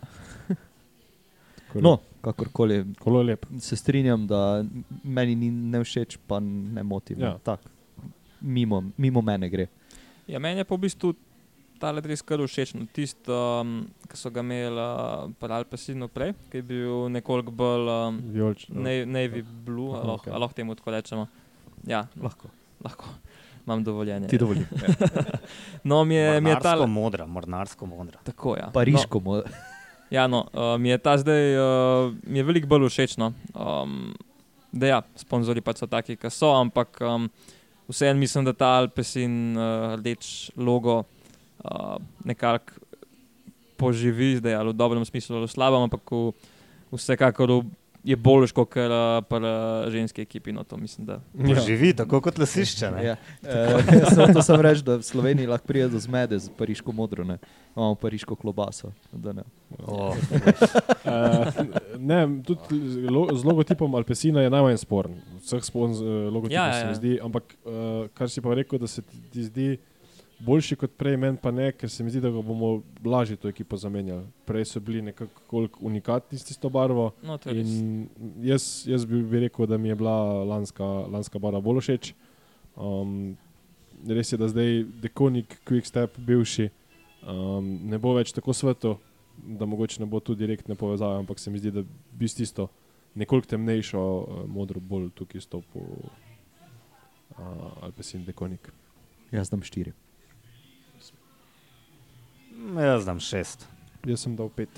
Speaker 4: tako
Speaker 1: No, kakorkoli,
Speaker 4: Kolo je lep.
Speaker 1: se strinjam, da meni ni ne všeč, pa ne motim.
Speaker 4: Ja.
Speaker 1: Ja. Tako, mimo, mimo mene gre.
Speaker 3: Ja, meni je pa v bistvu ta let res kar všeč. No, Tisto, um, ki so ga imeli uh, pri Alpesinu prej, ki je bil nekoliko bolj um,
Speaker 4: Vijolč,
Speaker 3: ne, navy blue,
Speaker 4: Aha,
Speaker 3: ali lahko
Speaker 4: okej.
Speaker 3: okay. temu tako rečemo. Ja,
Speaker 1: Lahko.
Speaker 3: lahko. Imam dovoljenje.
Speaker 1: Ti dovolim.
Speaker 3: No, mi je, mi je ta
Speaker 2: Mornarsko modra, mornarsko modra.
Speaker 3: Tako, ja.
Speaker 1: <laughs> Pariško, no.
Speaker 3: No, ja, no, uh, mi je ta zdaj uh, mi je veliko bolj všeč. No. Um, da, ja, sponzorji pač so taki, ki so, ampak um, vseeno mislim, da ta Alpesin uh, rdeč logo uh, nekako poživi, zdaj ali v dobrem smislu ali v slabem, ampak v, vsekakor v- je bolj ško, ker uh, pri uh, ženski ekipi. No, to mislim, da
Speaker 2: Ja. Živi tako kot lasišče. ne.
Speaker 1: Ja. Eh, <laughs> Samo to sem reči, da v Sloveniji lahko pride do zmede z pariško
Speaker 2: Oh.
Speaker 1: modro, ne imamo pariško klobaso. da ne.
Speaker 2: O,
Speaker 4: Uh, ne, tudi lo, z logotipom Alpesina je najmanj sporen. Vseh sporn z eh, logotipom
Speaker 3: Ja, ja,
Speaker 4: ja, ja. se
Speaker 3: ja.
Speaker 4: mi zdi, ampak uh, kar si pa rekel, da se ti, ti zdi boljši kot prej, meni pa ne, ker se mi zdi, da ga bomo lažje to ekipo zamenjali. Prej so bili nekako koliko unikatni s tisto barvo.
Speaker 3: No, to je res.
Speaker 4: In jaz, jaz bi, bi rekel, da mi je bila lanska, lanska bara bolj všeč. Um, res je, da zdaj Dekonik, Quickstep, bivši, um, ne bo več tako sveto, da mogoče ne bo tu direktne povezave, ampak se mi zdi, da bi s tisto nekoliko temnejšo eh, modro bolj tukaj stopil uh, Alpesin Dekonik.
Speaker 1: Jaz dam štiri.
Speaker 2: Mm, Jaz dam šest.
Speaker 4: Jaz sem dal pet.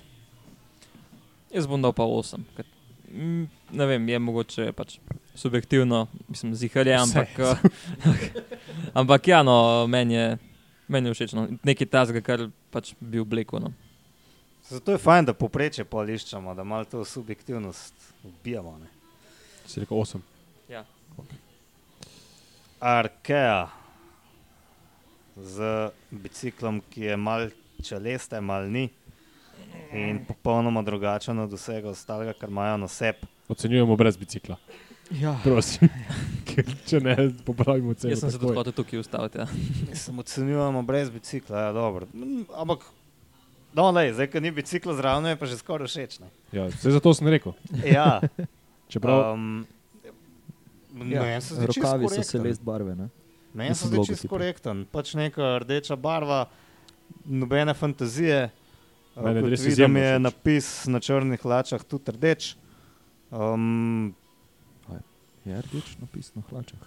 Speaker 3: Jaz bom dal pa 8. Ker, mm, ne vem, je mogoče pač subjektivno, mislim, ziharje, ampak. eh, <laughs> ampak ja, no, meni je, meni je všeč. No. Nekaj tazga, kar pač bi oblekel. No.
Speaker 2: Zato je fajn, da poprečje poliščamo, da malo to subjektivnost ubijamo. Ne?
Speaker 4: Si rekel osem.
Speaker 3: Ja.
Speaker 2: Arkea z biciklom, ki je mal čeleste, mal ni in popolnoma drugačen od vsega ostalega, kar imajo na sebi.
Speaker 4: Ocenjujemo brez bicikla.
Speaker 1: Ja.
Speaker 3: <laughs>
Speaker 4: Prosim, Ker če ne popravimo ceno.
Speaker 3: Jaz sem se
Speaker 4: takoj.
Speaker 3: tudi hotel tukaj ustaviti. Ja.
Speaker 2: Mislim, ocenjujemo brez bicikla, ja, dobro. Mm, Ampak, no, lej, zdaj, ko ni bicikla zraven, je pa že skoraj všeč. ne.
Speaker 4: Ja, vse zato sem rekel.
Speaker 2: Ja,
Speaker 4: Čeprav,
Speaker 2: um, ja,
Speaker 1: Ja,
Speaker 2: meni se zdi, da
Speaker 1: rokavi so celest barve. Ne?
Speaker 2: Meni se
Speaker 1: Mislim,
Speaker 2: zdi
Speaker 1: logotipi.
Speaker 2: čisto korekten, pač neka rdeča barva, nobene fantazije. Uh,
Speaker 4: Meni je
Speaker 2: kot
Speaker 4: res
Speaker 2: vidim,
Speaker 4: izjemno
Speaker 2: je
Speaker 4: všeč.
Speaker 2: napis na črnih hlačah tudi rdeč. Um,
Speaker 1: Je rdeč napis na Ja, hlačah.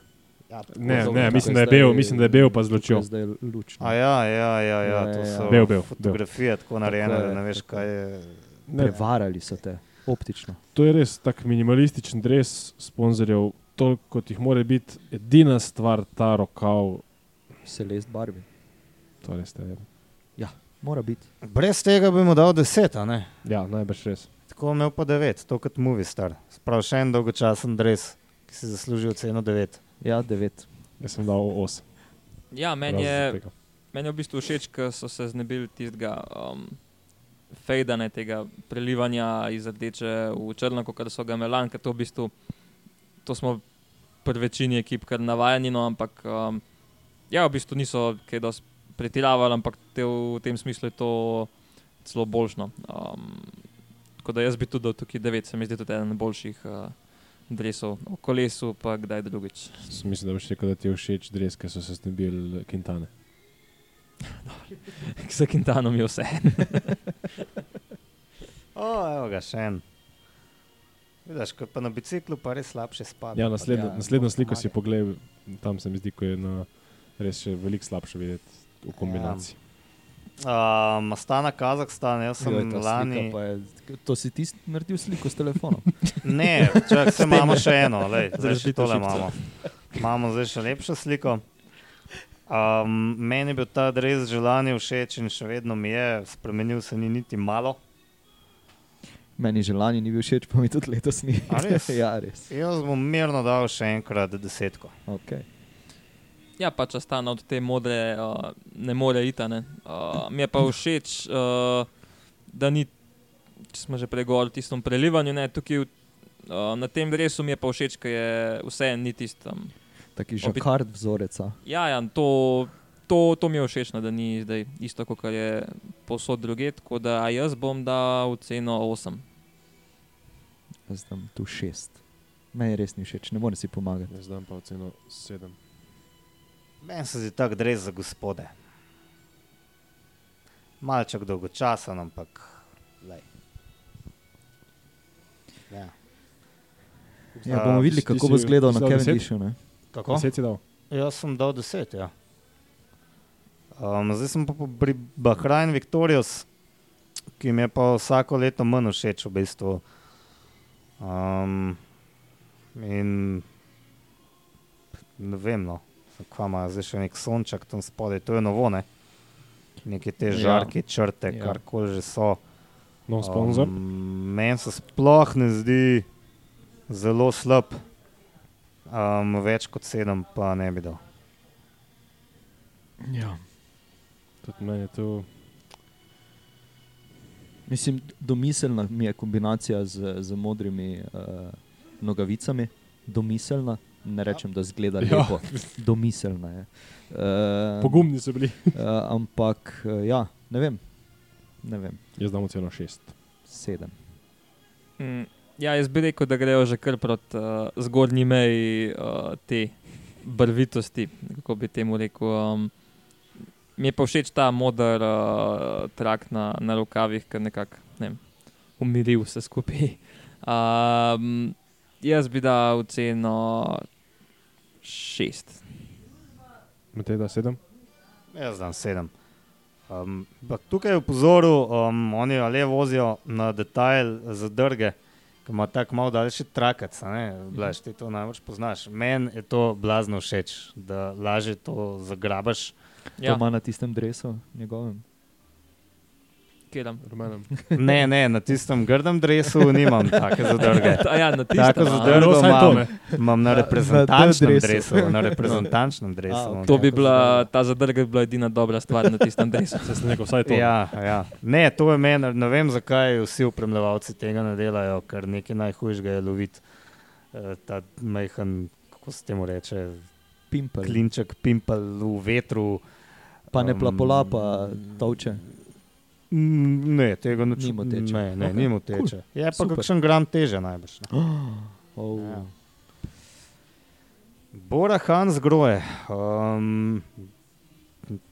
Speaker 2: ja,
Speaker 4: ne,
Speaker 1: Zelo
Speaker 4: ne,
Speaker 1: tako
Speaker 4: mislim,
Speaker 1: je
Speaker 4: da je
Speaker 1: zdaj-
Speaker 4: bil, mislim, da je bil pa
Speaker 1: Tukaj
Speaker 4: zločil.
Speaker 1: je Zdaj no. lučno.
Speaker 2: A ja, ja, ja, ja,
Speaker 1: Ja,
Speaker 2: to
Speaker 1: ja, ja.
Speaker 2: so
Speaker 4: Bel, bel,
Speaker 2: fotografije tako narejene,
Speaker 1: Tako je,
Speaker 2: da ne veš,
Speaker 1: tako
Speaker 2: kaj je.
Speaker 4: Ne,
Speaker 1: Prevarali so te optično.
Speaker 4: to je res tak minimalističen dres sponzorjev, toliko kot jih mora biti. Edina stvar, ta rokav,
Speaker 1: Celest barvi. Ja,
Speaker 4: to res te.
Speaker 1: Mora biti.
Speaker 2: Brez tega bi mu dal deset, a ne?
Speaker 4: Ja, najbrž res.
Speaker 2: Tako imel pa devet, to kot Movie Star. Sprav še en dolgočasen dres, ki si zasluži oceno devet.
Speaker 1: Ja, devet.
Speaker 4: Jaz sem dal osem.
Speaker 3: Ja, meni
Speaker 4: razen
Speaker 3: je,
Speaker 4: tega.
Speaker 3: meni je v bistvu všeč, ker so se znebili tistega um, fejdane, tega prelivanja iz rdeče v črno, kot so ga Melan, ker to v bistvu to smo pri večini ekip kar navajeni, no, ampak um, ja, v bistvu niso kaj dosti pretiravali, ampak te, v tem smislu je to celo boljšno. Um, tako da jaz bi tudi dal tukaj 9, se mi zdi tudi eden boljših uh, dresov, o kolesu pa kdaj drugič. <laughs>
Speaker 4: Sem Mislim, da boš rekel, da ti je všeč dres, ker so se znebili Kintane.
Speaker 3: S Kintanom je vse.
Speaker 2: O, evo ga, še en. Vidiš, ko je pa na biciklu, pa res slabše spada.
Speaker 4: Ja,
Speaker 2: Pa
Speaker 4: naslednjo,
Speaker 1: ja,
Speaker 4: ja, naslednjo sliko
Speaker 2: pomaga.
Speaker 4: si pogledaj, tam se mi zdi, ko je na, res še veliko slabše videti v kombinaciji.
Speaker 2: Um, Astana, Kazahstan, jaz sem
Speaker 1: Joj,
Speaker 2: Joj,
Speaker 1: ta slika
Speaker 2: lani.
Speaker 1: pa Je, to si ti naredil sliko s telefonom. <laughs>
Speaker 2: Ne, čak, se imamo še eno, lej, zdaj še
Speaker 3: Zarazito
Speaker 2: tole
Speaker 3: živce.
Speaker 2: imamo. Imamo zdaj še lepšo sliko. Um, meni je bil ta res želanje všeč in še vedno mi je, spremenil se ni niti malo.
Speaker 1: Meni že lani ni bil všeč, pa mi tudi letos ni.
Speaker 2: A res?
Speaker 1: <laughs> ja, res.
Speaker 2: Jaz bom mirno dal še enkrat desetko.
Speaker 1: Okay.
Speaker 3: Ja, pač ostane od te modre, uh, ne more iti. a ne. Uh, mi je pa všeč, uh, da ni, če smo že pregovorili o tistem prelivanju, ne, tukaj, v- uh, na tem drevesu mi je pa všeč, ker je vse ni tistem.
Speaker 1: Taki
Speaker 3: Obi-
Speaker 1: žakard vzorec.
Speaker 3: Ja, ja to, to, to mi je všeč, no, da ni zdaj isto, kot je posod druge. Tako da jaz bom dal ceno 8.
Speaker 1: Jaz dam tu šest. Meni res ni všeč, ne morem si pomagati.
Speaker 4: Jaz dam pa oceno sedem.
Speaker 2: Meni se zdi tak res za gospode. Malček dolgočasen, ampak. Lej. Ja.
Speaker 1: Ja,
Speaker 2: A,
Speaker 1: bomo videli,
Speaker 4: ti- ti
Speaker 1: kako
Speaker 4: si-
Speaker 1: bo izgledal
Speaker 4: ti
Speaker 1: na
Speaker 4: si dal deset?
Speaker 1: Cavendishu. ne.
Speaker 2: Kako?
Speaker 4: Deset si dal.
Speaker 2: Jaz sem dal 10. Ja. Um, zdaj sem pa po- pri Bahrajnu Victorious, ki mi je pa vsako leto manj všeč v bistvu. Um, in ne vem, no. kva ima zdaj še nek sonček tam spodaj, to je novo, ne? Neke te
Speaker 1: Ja.
Speaker 2: žarke,
Speaker 1: Ja.
Speaker 2: črte, ja. karkoli že so.
Speaker 4: No, sponzor. Um,
Speaker 2: Um, Meni se sploh ne zdi zelo slab. Um, več kot sedem, pa ne bi dal.
Speaker 1: Ja.
Speaker 4: Ja. Tudi meni je to.
Speaker 1: Mislim, domiselna mi je kombinacija z, z modrimi uh, nogavicami, domiselna. Ne rečem, da zgleda
Speaker 4: Ja.
Speaker 1: lepo, domiselna je. Uh,
Speaker 4: Pogumni so bili.
Speaker 1: Uh, ampak, uh, ja, ne vem, ne vem,
Speaker 4: Jaz dam oceno šest.
Speaker 1: sedem.
Speaker 3: Mm, ja, jaz bi rekel, da grejo že kar proti uh, zgornji meji uh, te barvitosti, kako bi temu rekel. Um, mi je pa všeč ta modar uh, trak na, na rokavih, ker nekako ne vem, umiri vse skupaj. <laughs> Um, jaz bi dal ceno šest.
Speaker 4: Matej da sedem?
Speaker 2: Jaz znam sedem. Um, ampak tukaj je opozoril, um, oni le vozijo na detajl zadrge, ki ima tako malo daljši trakac. a ne, Blaž, ti to najbolj poznaš. Meni je to blazno všeč, da lažje to zagrabaš.
Speaker 1: Ja. To
Speaker 3: Ja,
Speaker 1: ima na tistem drevesu, njegovem.
Speaker 3: kiram.
Speaker 4: Rumenem.
Speaker 2: Ne, ne, na tistem grdem drevesu nimam take zadrge.
Speaker 3: A ja, na
Speaker 2: Tako
Speaker 3: tistem, a?
Speaker 2: zadrgo
Speaker 4: vsaj to,
Speaker 2: imam,
Speaker 4: ne.
Speaker 2: imam na
Speaker 1: Na- na
Speaker 2: reprezentančnem
Speaker 1: dresu.
Speaker 2: drevesu. Na reprezentančnem no, ja. dresu.
Speaker 1: A,
Speaker 2: imam
Speaker 3: To bi
Speaker 2: tako
Speaker 3: bila,
Speaker 2: zadrgo.
Speaker 3: ta zadrga bi bila edina dobra stvar na tistem drevesu.
Speaker 4: Saj sem rekel, vsaj to.
Speaker 2: Ja, ja. Ne, to je meni, ne vem, zakaj vsi upremljevalci tega ne delajo, ker nekaj najhujšega je loviti eh, ta majhen, kako se temu reče,
Speaker 1: Pimpel,
Speaker 2: klinček, pimpel v vetru.
Speaker 1: pa ne
Speaker 2: um,
Speaker 1: plapolapa, tolče.
Speaker 2: Mm, Ne, tega noč-
Speaker 1: Ni mu teče.
Speaker 2: Ne, ne
Speaker 1: Okej,
Speaker 2: okay. ni mu
Speaker 1: cool.
Speaker 2: teče. Cool. Je pa
Speaker 1: Super.
Speaker 2: Super. kakšen gram teže najbrž. ne.
Speaker 1: Oh.
Speaker 2: Ja. Bora Hans groje. Um,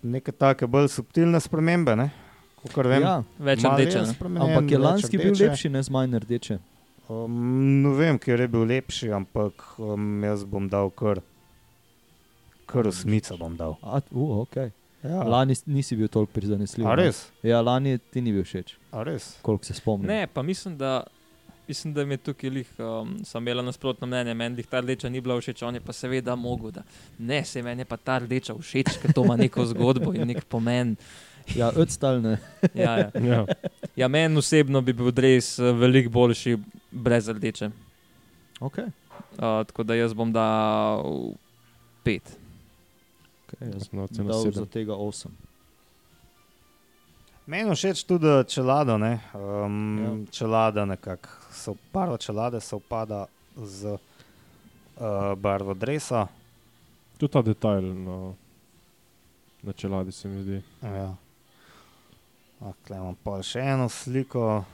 Speaker 2: neke take bolj subtilne spremembe, ne? Kakor vem.
Speaker 1: Ja,
Speaker 3: Več
Speaker 2: malo je
Speaker 3: rdeče. ne?
Speaker 2: spremenjen,
Speaker 1: ampak je
Speaker 2: več
Speaker 1: lanski bil
Speaker 2: rdeče.
Speaker 1: lepši, ne z manj rdeče.
Speaker 2: Um, ne vem, kje je bil lepši, ampak um, jaz bom dal kar, kar osmico. Bom dal.
Speaker 1: A, uh, okay.
Speaker 2: Ja.
Speaker 1: Lani s- nisi bil toliko prizanesljiv.
Speaker 2: A
Speaker 1: ne?
Speaker 2: res,
Speaker 1: Ja, lani ti ni bil všeč,
Speaker 2: a res.
Speaker 1: koliko se spomnim.
Speaker 3: Ne, pa mislim, da, mislim, da mi je tukaj lih, um, sem imela nasprotno mnenje, meni lih ta rdeča ni bila všeč, on je pa seveda mogel, da ne, se meni je pa ta rdeča všeč, ker to ima neko zgodbo in nek pomen.
Speaker 1: Ja, odstalne.
Speaker 3: Ja, ja.
Speaker 4: <laughs> Ja.
Speaker 3: ja meni osebno bi bil res eh, veliko boljši brez rdeče.
Speaker 1: Okay.
Speaker 3: Uh, tako da jaz bom dal pet.
Speaker 1: Okay, jaz
Speaker 4: Jaz sem na
Speaker 1: sem
Speaker 4: oceno
Speaker 1: dal za
Speaker 4: sedem.
Speaker 1: tega osem.
Speaker 2: Meni je všeč tudi čelado. Ne? Um, ja. Čelada nekako, so- barva čelade se upada z uh, barvo dresa.
Speaker 4: Tudi ta detajl na, na čeladi se mi zdi.
Speaker 2: Ja. Tukaj imam pa še eno sliko.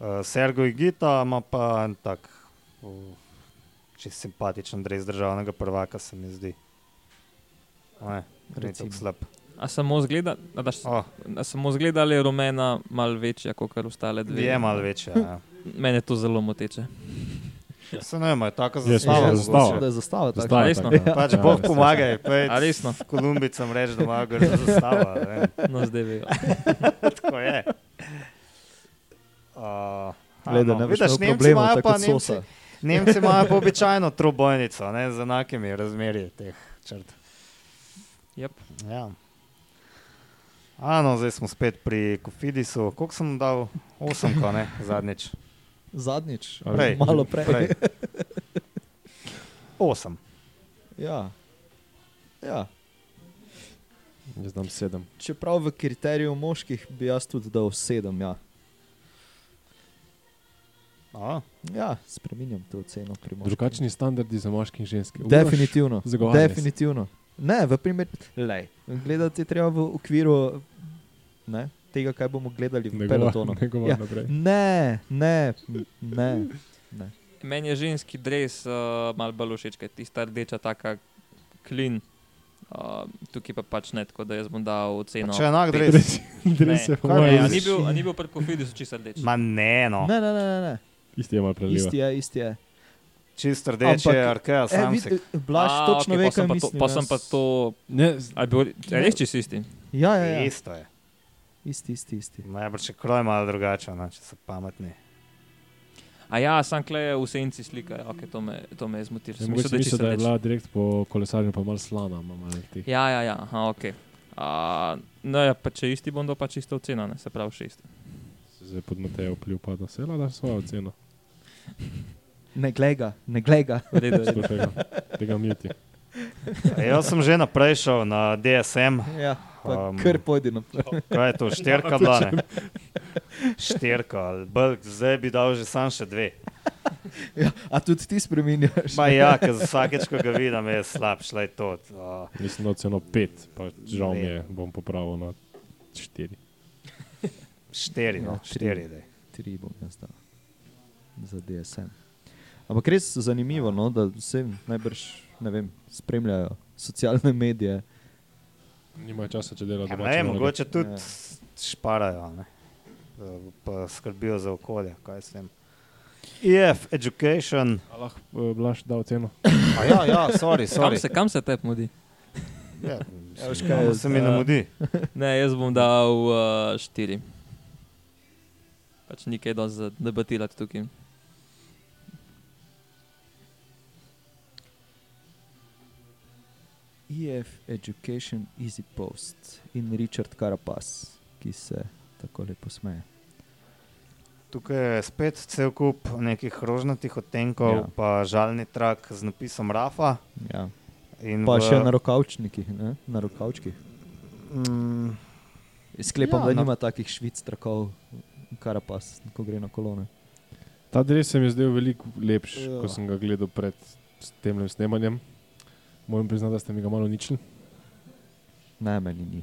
Speaker 2: Uh, Sergo Igita ima pa en tak uh, čist simpatičen dres državnega prvaka, se mi zdi. Ne, ni
Speaker 1: Recimo.
Speaker 2: tako slab.
Speaker 3: A samo zgleda, a daš,
Speaker 2: Oh,
Speaker 3: a samo zgleda ali je rumena malo večja kot ostale dve?
Speaker 2: je malo večja. Ja.
Speaker 3: Meni je to zelo moteče.
Speaker 2: Se ne vem, a je taka
Speaker 4: Jaz mislim,
Speaker 2: zastava. mogoče.
Speaker 4: da je zastava.
Speaker 1: Da je zastava taka.
Speaker 4: Zastava je
Speaker 3: resno?
Speaker 4: taka, ja.
Speaker 2: Pač
Speaker 4: Ja,
Speaker 2: Bog
Speaker 4: res je.
Speaker 2: pomagaj,
Speaker 3: A resno?
Speaker 2: Kolumbicam reči, da imajo grdo zastavo. a ne.
Speaker 3: No, zdaj vejo.
Speaker 2: Tako je. Uh,
Speaker 1: Gleda,
Speaker 2: no,
Speaker 1: ne veš,
Speaker 2: vidiš,
Speaker 1: kakšen
Speaker 2: Nemci
Speaker 1: problem
Speaker 2: imajo
Speaker 1: ima
Speaker 2: pa
Speaker 1: ta
Speaker 2: Nemci-
Speaker 1: sosa.
Speaker 2: Nemci imajo pa običajno trobojnico, ne, z enakimi razmerji teh črt.
Speaker 3: Yep.
Speaker 2: Ja. A, no, zdaj smo spet pri Kofidisu. Koliko sem dal? Osem, ko ne, zadnjič.
Speaker 1: Zadnjič,
Speaker 4: Ali-
Speaker 2: Prej.
Speaker 1: <laughs> malo prej.
Speaker 2: Prej. Osem.
Speaker 1: Ja. Ja.
Speaker 4: Jaz dam sedem.
Speaker 1: Čeprav v kriteriju moških bi jaz tudi dal sedem. Ja,
Speaker 2: A,
Speaker 1: ja spremenjam to ceno pri moških.
Speaker 4: Drugačni standardi za moški in ženski. Uroš,
Speaker 1: Definitivno.
Speaker 4: zagovarjaj se.
Speaker 1: Definitivno. Ne, v primeru, lej, gledati je treba v okviru ne, tega, kaj bomo gledali v
Speaker 4: Ne govorim
Speaker 1: pelotonu.
Speaker 4: ne govor
Speaker 1: Ja.
Speaker 4: naprej.
Speaker 1: Ne, ne, ne.
Speaker 3: Meni je ženski dres uh, malo bolj všeč, ker tista rdeča, taka klin. Uh, tukaj pa pač ne, tako da jaz bom dal oceno.
Speaker 2: če enak
Speaker 3: pet.
Speaker 2: dres.
Speaker 4: Res, res je, po
Speaker 2: Kaj
Speaker 3: Ne,
Speaker 4: mojem,
Speaker 3: a
Speaker 2: je?
Speaker 3: ni bil, a ni bil pri Kofidisu čisto rdeč.
Speaker 2: Ma ne, no.
Speaker 1: Ne, ne, ne, ne, ne.
Speaker 4: isti je malo prelil.
Speaker 1: isti je, isti je.
Speaker 2: Čisto rdeče je
Speaker 1: Ampak-
Speaker 2: Arkea
Speaker 1: E,
Speaker 2: Samsik.
Speaker 1: vid, Blaž,
Speaker 3: A,
Speaker 1: točno
Speaker 3: okej,
Speaker 1: ve,
Speaker 3: pa sem
Speaker 1: kaj
Speaker 3: pa to-
Speaker 1: mislim. ja.
Speaker 3: Pa
Speaker 1: jaz-
Speaker 3: sem pa to,
Speaker 4: Ne,
Speaker 3: a je bil a je res čisto isti.
Speaker 1: Ja, ja, ja.
Speaker 2: Isto je.
Speaker 1: Isti, isti, isti.
Speaker 2: Najbrž je kroj malo drugače, no, če so pametni.
Speaker 3: A ja, sam klej je v senci slika, okay, to, me, to me je zmotil.
Speaker 4: ne
Speaker 3: Sem
Speaker 4: mogoče
Speaker 3: mislil, da je
Speaker 4: misliti,
Speaker 3: čisto
Speaker 4: da je
Speaker 3: rdeč.
Speaker 4: bila direkt po kolesarju pa malo slana. ima malo teh.
Speaker 3: Ja, ja, ja, aha, ok. Uh, no, ja, pa če isti bom, dal pa čisto ocena, ne, se pravi šest.
Speaker 4: Se Zdaj pod Matejo vpliv pa da se da svojo oceno.
Speaker 1: Ne glega, ne glega.
Speaker 3: V redu, v redu.
Speaker 4: Zato Tega, tega mjuti.
Speaker 2: Jaz sem že naprej šel na DSM,
Speaker 1: <laughs> Ja, pa
Speaker 2: Um,
Speaker 1: um, kar pojdi naprej.
Speaker 2: kaj je to, šterka bila. ne? štirka ali brk, zdaj bi dal že sam še dve.
Speaker 1: Ja, a tudi ti spremenjaš?
Speaker 2: Ma ja,
Speaker 1: <laughs>
Speaker 2: ker vsakeč, ko ga vidim, je slab, šla je to. Uh,
Speaker 4: Mislim, da ceno pet, pa žal mi
Speaker 2: Ne.
Speaker 4: je, bom popravil na štiri.
Speaker 2: štiri,
Speaker 1: Ja,
Speaker 2: no,
Speaker 1: tri.
Speaker 2: štiri. Dej.
Speaker 1: tri bom jaz dal za DSM. Ampak res zanimivo, no, da vse najbrž ne vem, spremljajo socialne medije.
Speaker 4: Nimajo časa, če delajo
Speaker 2: Ja,
Speaker 4: doma.
Speaker 2: ne, vem, mogoče tudi
Speaker 1: Ja.
Speaker 2: s- šparajo, ne. Eh, pa skrbijo za okolje. kaj jaz vem. EF, education.
Speaker 4: Lahko eh, Blaž da oceno.
Speaker 2: A ja, ja, sorry,
Speaker 3: Kam
Speaker 2: sorry.
Speaker 3: se, kam se te mudi?
Speaker 2: Ja,
Speaker 1: Ja, veš,
Speaker 2: mislim,
Speaker 1: kaj je
Speaker 2: da se mi
Speaker 1: z-
Speaker 2: ne mudi.
Speaker 3: Ne, jaz bom dal uh, štiri. Pač ni kaj dosti za debatirati tukaj.
Speaker 1: EF E Education Easy Post in Richard Carapaz, ki se tako lepo smeje.
Speaker 2: Tukaj je spet cel kup nekih rožnatih odtenkov,
Speaker 1: Ja.
Speaker 2: ja. pa žalni trak z napisom Rafa.
Speaker 1: Ja.
Speaker 2: in
Speaker 1: Pa
Speaker 2: v-
Speaker 1: še na rokavčnikih, ne? na rokavčkih.
Speaker 2: Mm,
Speaker 1: Sklepam, ja, da
Speaker 2: Ja, no.
Speaker 1: nima takih švic trakov, Carapaz, ko gre na kolone.
Speaker 4: Ta dres se mi je zdel veliko lepši,
Speaker 1: Ja.
Speaker 4: ja. ko sem ga gledal pred s- temle snemanjem. Moram priznati, da ste mi ga malo uničili.
Speaker 1: Ne, meni ni.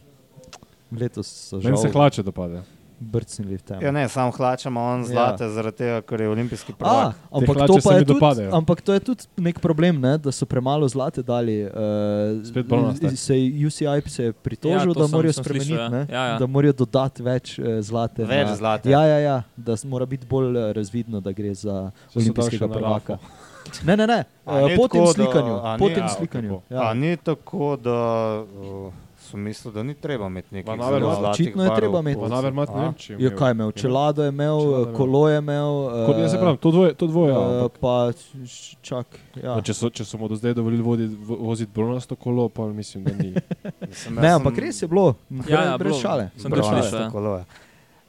Speaker 1: Letos so že
Speaker 4: Meni se hlače dopade.
Speaker 1: brcnili v tem.
Speaker 2: ja, ne, sam hlačama on zlate, ja. zaradi tega, ker je olimpijski
Speaker 1: A,
Speaker 2: prvak.
Speaker 1: ampak,
Speaker 4: hlače
Speaker 1: to
Speaker 4: se
Speaker 1: pa je
Speaker 4: mi
Speaker 1: tudi,
Speaker 4: dopadejo.
Speaker 1: ampak to je tudi nek problem, ne? da so premalo zlate dali.
Speaker 4: Spet
Speaker 1: Uh,
Speaker 4: balonastaj.
Speaker 1: se je UCI se je pritožil,
Speaker 3: Ja,
Speaker 1: ja,
Speaker 3: to
Speaker 1: da
Speaker 3: sem-
Speaker 1: morajo
Speaker 3: sem
Speaker 1: spremeniti,
Speaker 3: slišal, ja.
Speaker 1: ne,
Speaker 3: Ja, ja.
Speaker 1: da morajo dodati več uh, zlate.
Speaker 2: Več
Speaker 1: na,
Speaker 2: zlate.
Speaker 1: Ja, ja, ja, da s- mora biti bolj eh, razvidno, da gre za
Speaker 4: so
Speaker 1: olimpijskega
Speaker 4: dal še na
Speaker 1: prvaka. Ne, ne, ne,
Speaker 2: A
Speaker 1: eh,
Speaker 2: ni
Speaker 1: po tem
Speaker 2: tako, da-
Speaker 1: slikanju.
Speaker 2: a
Speaker 1: Po
Speaker 2: ni?
Speaker 1: tem
Speaker 2: A,
Speaker 1: slikanju.
Speaker 4: ok,
Speaker 2: Ja. A
Speaker 1: Ja.
Speaker 2: ni tako, da uh, sem mislil, da ni treba imeti nekih
Speaker 4: Van
Speaker 2: zelo
Speaker 4: Avermaet-
Speaker 2: zlatih
Speaker 1: Očitno je
Speaker 2: barv
Speaker 1: treba
Speaker 2: v
Speaker 1: imeti.
Speaker 2: kolcu.
Speaker 4: Pa navermat ne
Speaker 2: A?
Speaker 4: vem, če je
Speaker 1: Je
Speaker 4: imel.
Speaker 1: Ja, kaj eh, imel? Čelado je imel,
Speaker 4: Čelado je
Speaker 1: eh,
Speaker 4: imel.
Speaker 1: kolo je imel.
Speaker 4: Kot jaz se pravim, to dvoje. To dvoje ja,
Speaker 1: Uh,
Speaker 4: ampak,
Speaker 1: pa š- čak, ja.
Speaker 4: no, če, so, če so mu do zdaj dovolili vodi- vo- voziti bronasto kolo, pa mislim, da
Speaker 1: <laughs>
Speaker 4: ni.
Speaker 2: Mislim,
Speaker 1: Ne,
Speaker 2: jaz
Speaker 1: ampak
Speaker 2: sem-
Speaker 1: res je bilo,
Speaker 3: Ja, ja,
Speaker 1: brez
Speaker 3: bilo.
Speaker 1: šale.
Speaker 3: Sem
Speaker 1: Brez
Speaker 3: tudi
Speaker 1: šale.
Speaker 2: Bravo,
Speaker 3: slišal, ja.
Speaker 2: tako je.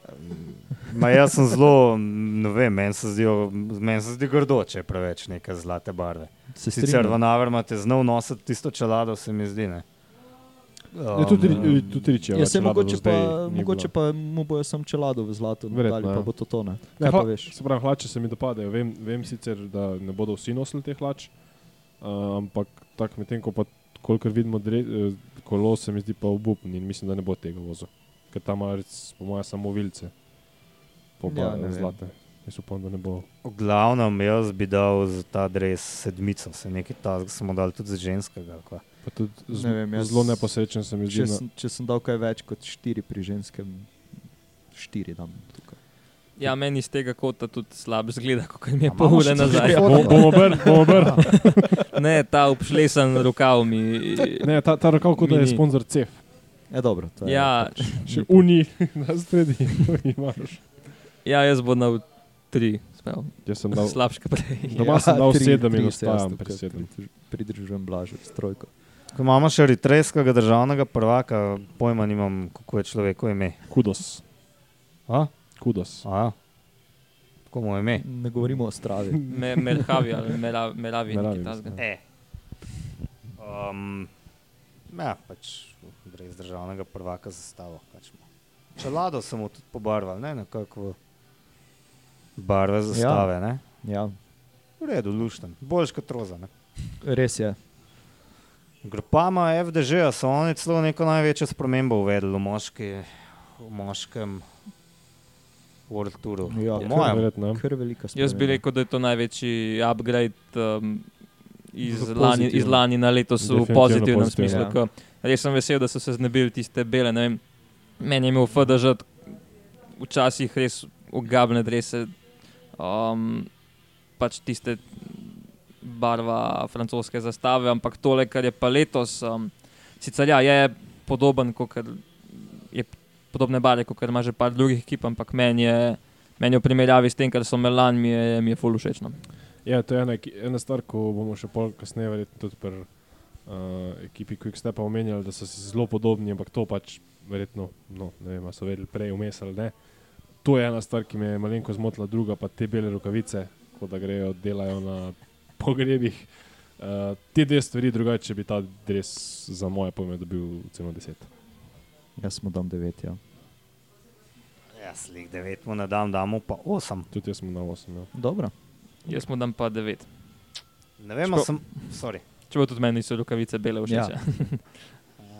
Speaker 2: Mm, Ma jaz sem zelo, ne vem, meni se, zdijo, meni se zdi grdo, če je preveč neke zlate barve.
Speaker 1: Se
Speaker 2: Sicer
Speaker 1: strinjam.
Speaker 2: v Navarmate znov nositi tisto čelado, se mi zdi. Ne?
Speaker 4: Ja, tudi, ri- tudi riče.
Speaker 1: Ja, se mogoče, pa, mogoče pa mu bojo sam čelado v zlato, ali
Speaker 4: Verjetno,
Speaker 1: pa
Speaker 4: ja.
Speaker 1: bo to tone.
Speaker 4: Ne,
Speaker 1: Kaj pa
Speaker 4: hla,
Speaker 1: veš?
Speaker 4: se pravi, hlače se mi dopadajo. Vem, vem sicer, da ne bodo vsi nosili teh hlač, uh, ampak tako medtem, ko pa kolikor vidimo dre, eh, kolo, se mi zdi pa obupno in mislim, da ne bo tega vozil. Ker tam ima, rec- po mojem, samo vilce, po
Speaker 1: Ja,
Speaker 4: pa
Speaker 1: ne
Speaker 4: ja,
Speaker 1: vem.
Speaker 4: zlate. Jaz upam, da ne bo.
Speaker 2: V glavnem, jaz bi dal za ta dres sedmico, se nekaj tazga smo dali tudi za ženskega. ali kaj.
Speaker 4: Pa tudi z,
Speaker 1: Ne
Speaker 4: ne
Speaker 1: vem,
Speaker 4: vem,
Speaker 1: jaz-
Speaker 4: zelo neposrečen se mi
Speaker 1: Če,
Speaker 4: zdi. no. na-
Speaker 1: sem- če sem dal kaj več kot štiri pri ženskem, štiri dam tukaj.
Speaker 3: Ja, meni iz tega kota tudi slab zgleda, kot je
Speaker 2: A
Speaker 3: pol
Speaker 2: imamo
Speaker 3: ure
Speaker 2: še to
Speaker 3: nazaj.
Speaker 1: Ja.
Speaker 2: že?
Speaker 4: Bo- Bomo brn, bomo
Speaker 1: <laughs>
Speaker 4: brn.
Speaker 3: Ne, ta obšlesen rokav mi.
Speaker 4: Ne, ta, ta rokav kot da je
Speaker 3: Mini.
Speaker 4: sponzor CEF.
Speaker 1: Ja, dobro, to je.
Speaker 3: Ja,
Speaker 4: Še uni <laughs> na sredi imaš.
Speaker 3: ja, jaz bom dal tri, sprav,
Speaker 4: Jaz sem dal
Speaker 3: slabš kot
Speaker 4: <laughs>
Speaker 3: prej.
Speaker 4: doma sem dal
Speaker 1: Ja, tri-
Speaker 4: sedem in
Speaker 1: tri se jaz
Speaker 4: ostajam
Speaker 1: tukaj
Speaker 4: pri sedem.
Speaker 1: pridrž- Pridružujem blažo, strojko.
Speaker 2: Ko imamo še eritrejskega državnega prvaka, pojma nimam, kako je človekovo ime.
Speaker 4: kudos.
Speaker 2: A?
Speaker 4: kudos.
Speaker 2: A? Kako mu je ime?
Speaker 1: Ne govorimo o stravi.
Speaker 3: Me, merhavi ali mera, meravi,
Speaker 4: Meravi,
Speaker 3: nekaj takega.
Speaker 4: mislim,
Speaker 2: E. Um, ja, pač brez državnega prvaka zastavo. Kačmo. Čelado sem mu tudi pobarval, ne nekako v barve zastave. Ja. Ne?
Speaker 1: Ja,
Speaker 2: V redu, lušten, boljš kot roza. Ne?
Speaker 1: res je.
Speaker 2: Grupama FDŽ so oni celo neko največjo spremembo uvedli v, moški, v moškem World Touru.
Speaker 1: Ja,
Speaker 2: Po
Speaker 1: kar
Speaker 2: mojem.
Speaker 4: Verjetno.
Speaker 1: Kar velika
Speaker 4: ja.
Speaker 1: stvar.
Speaker 3: Jaz bi rekel, da je to največji upgrade um, iz,
Speaker 4: V
Speaker 3: lani, iz
Speaker 4: pozitivno.
Speaker 3: lani na letos v
Speaker 4: Definitivno
Speaker 3: pozitivnem
Speaker 4: pozitivno,
Speaker 3: smislu.
Speaker 1: ja.
Speaker 3: ko Res sem vesel, da so se znebili tiste bele. ne Vem, meni je imel FDŽ t- včasih res ogabne drese, um, pač tiste barva francoske zastave, ampak tole, kar je pa letos, um, sicer ja, je podoben, kot je podobne barve, kot ima že par drugih ekip, ampak meni je, meni je v primerjavi s tem, kar so Melan, mi je, mi je full všeč. no.
Speaker 4: Ja, to je ena, eki- ena stvar, ko bomo še pol kasneje, verjetno tudi pri uh, ekipi Quickstepa omenjali, da so si zelo podobni, ampak to pač verjetno, no, ne vem, a so vedeli prej vmes ali ne. To je ena stvar, ki me je malenko zmotila, druga pa te bele rokavice, kot da grejo, delajo na <laughs> pogrebih. Uh, te dve stvari, drugače bi ta dres za moje pojme dobil ceno 10.
Speaker 1: Jaz smo dam devet, ja.
Speaker 2: Jaz slih 9 mu ne dam, damo pa 8.
Speaker 4: Tudi jaz sem na 8. Ja.
Speaker 1: Dobro.
Speaker 3: Jaz mu dam pa 9.
Speaker 2: Ne vem,
Speaker 3: Čeprav-
Speaker 2: ali sem. Sorry.
Speaker 3: Čeprav tudi meni so rokavice bele všeč.
Speaker 1: Ja.
Speaker 3: Ja.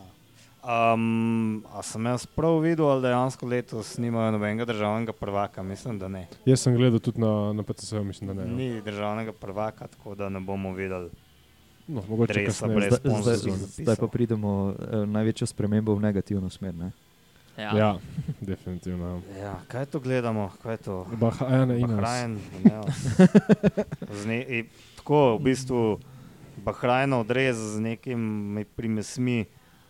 Speaker 2: Um, a sem jaz prav videl, ali dejansko letos nimajo nobenega državnega prvaka? Mislim, da ne.
Speaker 4: Jaz sem gledal tudi na, na PCS, mislim, da ne. ja.
Speaker 2: Ni državnega prvaka, tako da ne bomo videli.
Speaker 4: No, mogoče
Speaker 2: Dresa
Speaker 4: kasneje.
Speaker 2: brez
Speaker 4: Zdaj-
Speaker 1: Zdaj, zdaj,
Speaker 2: sponzorskih
Speaker 4: sezone.
Speaker 1: zdaj pa pridemo eh, največjo spremembo v negativno smer. Ne?
Speaker 3: Ja.
Speaker 4: Ja, <laughs> definitivno. ja.
Speaker 2: Ja, kaj to gledamo? Kaj je to?
Speaker 4: Bahajana in Iran.
Speaker 2: Bahrajn. Zne, i, e, tako, v bistvu Bahrajno odrez z nekimi primesmi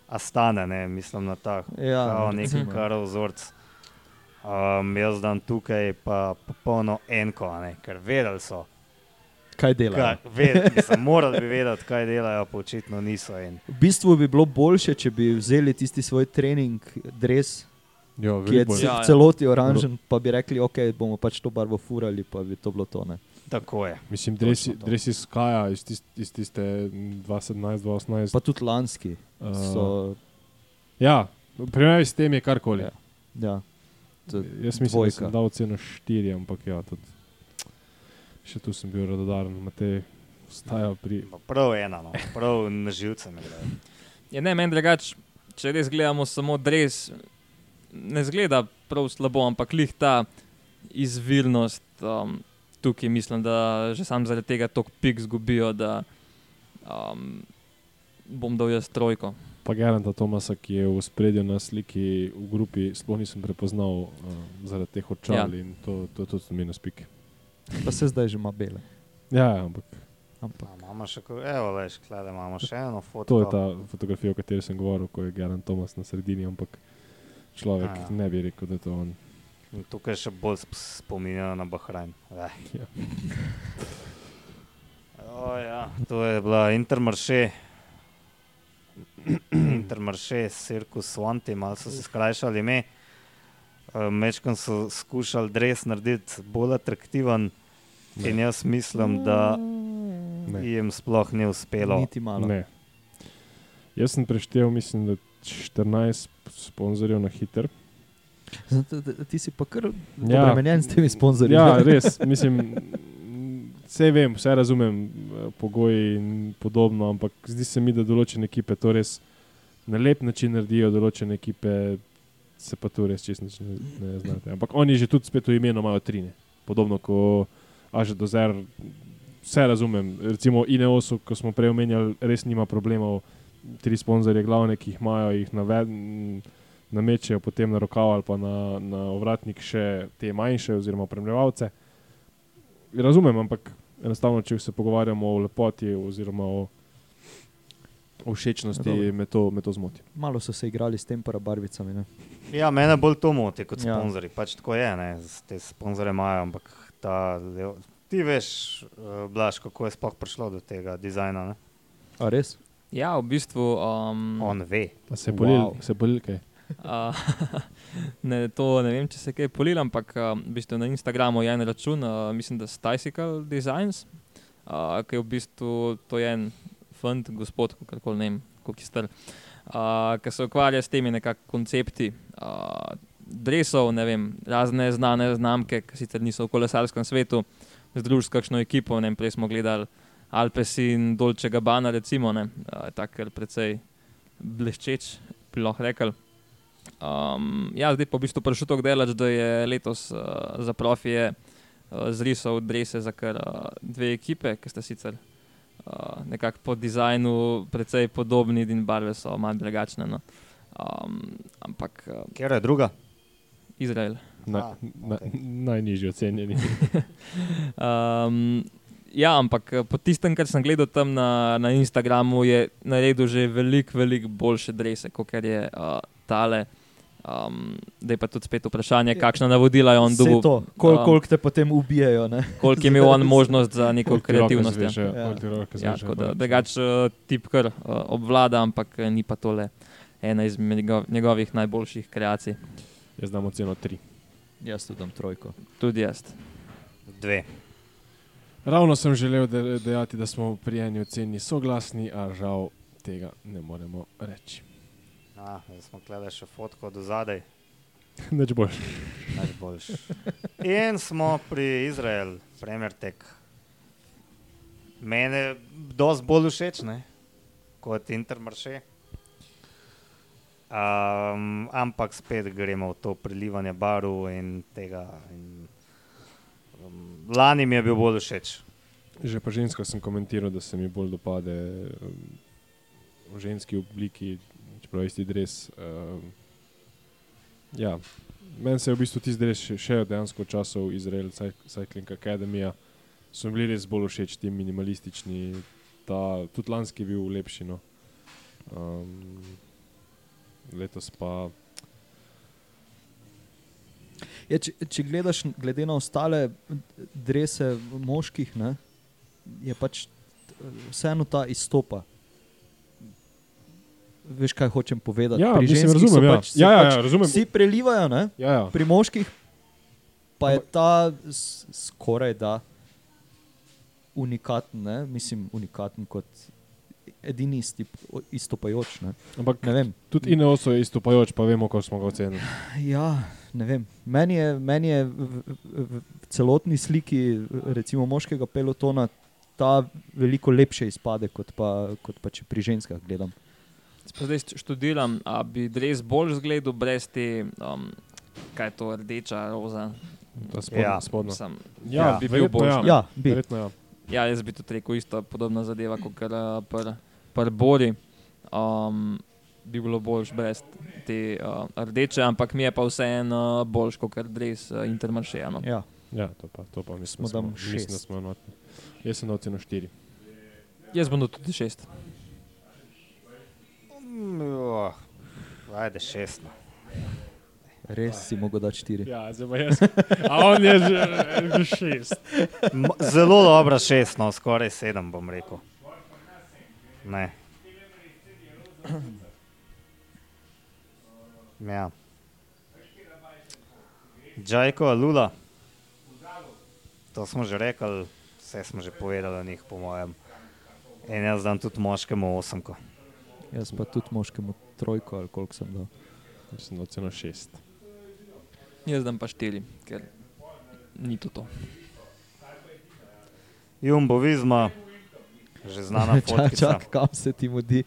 Speaker 2: Astane, ne? mislim na ta kao neki
Speaker 1: Ja, recimo.
Speaker 2: karov vzorc. Um, jaz dan tukaj pa popolno enko, a ne? ker vedeli so.
Speaker 1: Kaj delajo?
Speaker 2: Kaj, ved, mislim, morali bi vedeti, kaj delajo, pa očitno niso. In,
Speaker 1: V bistvu bi bilo boljše, če bi vzeli tisti svoj trening, dres,
Speaker 4: Ja,
Speaker 1: ki je
Speaker 4: veliko
Speaker 1: ce-
Speaker 4: je.
Speaker 3: Ja,
Speaker 1: v
Speaker 3: ja.
Speaker 1: celoti oranžen, pa bi rekli, ok, bomo pač to barvo furali, pa bi to bilo to. Ne?
Speaker 2: tako je.
Speaker 4: Mislim, dresi,
Speaker 1: Točno to.
Speaker 4: dresi skaja iz, tist, iz tiste 2017-2018.
Speaker 1: Pa tudi lanski so.
Speaker 4: eh, ja, v primerjavi s tem je karkoli.
Speaker 1: Ja. Ja. to je
Speaker 4: Jaz mislim, da
Speaker 1: dvojka.
Speaker 4: sem dal ceno 4, ampak ja, tudi. Še tu sem bil radodaren, Matej, ostaja pri.
Speaker 2: Pa Prav ena, no. prav na živce mi gre.
Speaker 3: Ja, ne, meni drugače, če res gledamo samo dres, ne zgleda prav slabo, ampak lih ta izvirnost um, tukaj, mislim, da že sam zaradi tega tok pik zgubijo, da um, bom dal jaz trojko.
Speaker 4: Pa Geranta Tomasa, ki je v spredju na sliki v grupi, sploh nisem prepoznal uh, zaradi teh očal ja. in to, to je tudi minus pik.
Speaker 1: Pa se zdaj že ima bele.
Speaker 4: Ja, ja, ampak
Speaker 1: Ampak.
Speaker 2: Imamo še, ko- evo, veš, klede imamo še eno foto.
Speaker 4: to je ta fotografija, o kateri sem govoril, ko je Gerant Tomas na sredini, ampak človek
Speaker 2: Ja.
Speaker 4: ja. ne bi rekel, da je to on.
Speaker 2: In tukaj še bolj sp- spominja na Bahrajn. Eh.
Speaker 4: Ja.
Speaker 2: O, ja. To je bila Intermarché. Intermarché, Circus Swanti, malo so si skrajšali ime. Mečkam so skušali dres narediti bolj atraktiven,
Speaker 4: Ne.
Speaker 2: in jaz mislim, da
Speaker 4: Ne.
Speaker 2: jim sploh ni uspelo.
Speaker 1: Niti malo.
Speaker 4: Ne. Jaz sem preštel, mislim, da 14 sponzorjev na hiter.
Speaker 1: Zato, da- da Ti si pa kar
Speaker 4: Ja.
Speaker 1: obremenjen s temi sponzorji.
Speaker 4: Ja, res, mislim, vse vem, vse razumem, eh, pogoji in podobno, ampak zdi se mi, da določene ekipe to res na lep način naredijo, določene ekipe se pa tu res čisto nič ne, ne znate. Ampak oni že tudi spet v imenu imajo trine. Podobno kot Aže Dozer, vse razumem. Recimo Ineosu, ko smo prej omenjali, res nima problemov, tri sponzorje glavne, ki jih imajo, jih navedeni namečejo potem na rokav ali pa na, na ovratnik še te manjše, oziroma opremljevalce. Razumem, ampak enostavno, če se pogovarjamo o lepoti, oziroma o, o všečnosti,
Speaker 1: Dobro.
Speaker 4: me to, me to zmoti.
Speaker 1: Malo so se igrali s tem parabarvicami. Ne?
Speaker 2: Ja, mene bolj to moti kot
Speaker 1: Ja.
Speaker 2: sponzorji. Pač tako je, ne? z- te sponzorje imajo, ampak ta, lev- ti veš, eh, Blaž, kako je sploh prišlo do tega dizajna. Ne?
Speaker 1: A res?
Speaker 3: Ja, v bistvu. Um,
Speaker 2: On ve.
Speaker 4: Se
Speaker 1: bolil- Wow.
Speaker 4: se bolj kaj.
Speaker 3: Uh, <laughs> ne, to ne vem, če se je kaj polil, ampak uh, v bistvu na Instagramu je en račun, uh, mislim, da Sticycle Designs, uh, ki je v bistvu to je en fant, gospod, kako ne vem, kako je star, uh, ki se ukvarja s temi nekako koncepti. Uh, Dresov, ne vem, razne znane znamke, ki sicer niso v kolesarskem svetu, združiti s kakšno ekipo. Ne, vem, prej smo gledali Alpesin, Dolce Gabbana, recimo, ne, uh, tako precej bleščeč, bi lahko rekel. Um, ja, zdaj pa v bistvu prišel tako delač, da je letos uh, za profije uh, zrisal drese za kar uh, dve ekipe, ki sta sicer uh, nekako po dizajnu precej podobni in barve so malo drugačne. No. Um, ampak uh,
Speaker 2: Kjer je druga?
Speaker 3: Izrael.
Speaker 4: Na,
Speaker 2: Ah,
Speaker 4: na,
Speaker 2: okej.
Speaker 4: najnižji ocenjeni.
Speaker 3: Um, ja, ampak eh, po tistem, kar sem gledal tam na, na Instagramu, je naredil že veliko, veliko boljše drese, kot je uh, tale. Um, da je pa tudi spet vprašanje, kakšna navodila je on
Speaker 1: Saj
Speaker 3: dobil,
Speaker 1: to, kol,
Speaker 3: um,
Speaker 1: koliko te potem ubijajo. Ne?
Speaker 3: koliko je imel on možnost za neko kreativnost. ja.
Speaker 1: Ja.
Speaker 4: Ja,
Speaker 3: Ja, tako da drugače uh, tip kar uh, obvlada, ampak eh, ni pa tole ena izmed njegov, njegovih najboljših kreacij.
Speaker 4: Jaz dam oceno 3.
Speaker 1: Jaz tudi dam trojko.
Speaker 3: Tudi jaz.
Speaker 2: Dve.
Speaker 4: Ravno sem želel de dejati, da smo pri eni oceni soglasni, a žal tega ne moremo reči.
Speaker 2: Ah, A, zdaj smo gledali še fotko do zadaj.
Speaker 4: Nič boljš.
Speaker 2: najboljši. In smo pri Izraelu, Premier Tech. Mene je dosti bolj všeč ne? kot Intermarché. Um, ampak spet gremo v to prilivanje baru in tega. In, um, lani mi je bil bolj všeč.
Speaker 4: Že pa žensko sem komentiral, da se mi bolj dopade em, v ženski obliki, čeprav isti dres. em, Ja, meni se je v bistvu tisti dres še, še dejansko od časov Izrael Cy- Cycling Academy. So mi bili res bolj všeč ti minimalistični, ta, tudi lanski je bil lepši. No. Um, letos pa
Speaker 1: Ja, če, če gledaš, glede na ostale drese moških, ne, je pač t- vseeno ta izstopa. Veš, kaj hočem povedati?
Speaker 4: Ja,
Speaker 1: Pri
Speaker 4: mislim,
Speaker 1: ženskih so
Speaker 4: razumem, ja.
Speaker 1: Pač, se
Speaker 4: Ja, ja,
Speaker 1: pač
Speaker 4: ja, razumem.
Speaker 1: Vsi prelivajo, ne?
Speaker 4: ja, ja.
Speaker 1: pri moških pa je ta s- skoraj da unikaten, ne? mislim, unikaten kot edini istip, o- izstopajoč. Ne?
Speaker 4: Ampak
Speaker 1: Ne vem.
Speaker 4: tudi Ineoso je istopajoč, pa vemo, kako smo ga ocenili.
Speaker 1: Ja, ne vem. Meni je, meni je v, v, v celotni sliki recimo, moškega pelotona ta veliko lepše izpade, kot pa, kot pa če pri ženskah gledam.
Speaker 3: Jaz pa Zdaj št- študiram, a bi res bolj zgledal brez te, um, kaj je to, rdeča roza.
Speaker 4: Ta spodnja.
Speaker 2: Ja.
Speaker 4: Ja, spodnja.
Speaker 3: Mislim,
Speaker 4: ja,
Speaker 2: Ja.
Speaker 4: bi bil
Speaker 3: Verjetno
Speaker 4: bolj.
Speaker 3: ja.
Speaker 1: Ja, bi.
Speaker 4: Verjetno, ja.
Speaker 3: Ja, jaz bi tudi rekel, isto podobna zadeva kot uh, pri pr Bori. Um, bi bilo boljš brez te uh, rdeče, ampak mi je pa vseeno uh, boljš kot res uh, Intermarché. No.
Speaker 1: Ja.
Speaker 4: ja, to pa, to pa
Speaker 1: Smo
Speaker 4: mislim, da
Speaker 1: dam
Speaker 4: smo, mislim, da
Speaker 1: šest.
Speaker 4: smo enotni. Jaz sem na oceno 4.
Speaker 3: Jaz bom dal tudi šest.
Speaker 2: Mm, oh, Ajde, šest. No.
Speaker 1: Res si mogel dati štiri.
Speaker 4: Ja, zdaj pa <laughs> jaz. A on je že 6.
Speaker 2: M- Zelo dobra šest, no, skoraj sedem bom rekel. Ne. Ja. Džajko, Lula. To smo že rekli, vse smo že povedali o njih, po mojem. In jaz dam tudi moškemu osemko.
Speaker 1: Jaz pa tudi moškemu trojko ali koliko sem dal.
Speaker 4: Mislim, da oceno 6.
Speaker 3: Jaz dam pa štiri, ker ni to to.
Speaker 2: Jumbo Vizma, že znana
Speaker 1: Čak,
Speaker 2: fotka.
Speaker 1: čak, kam se ti mudi?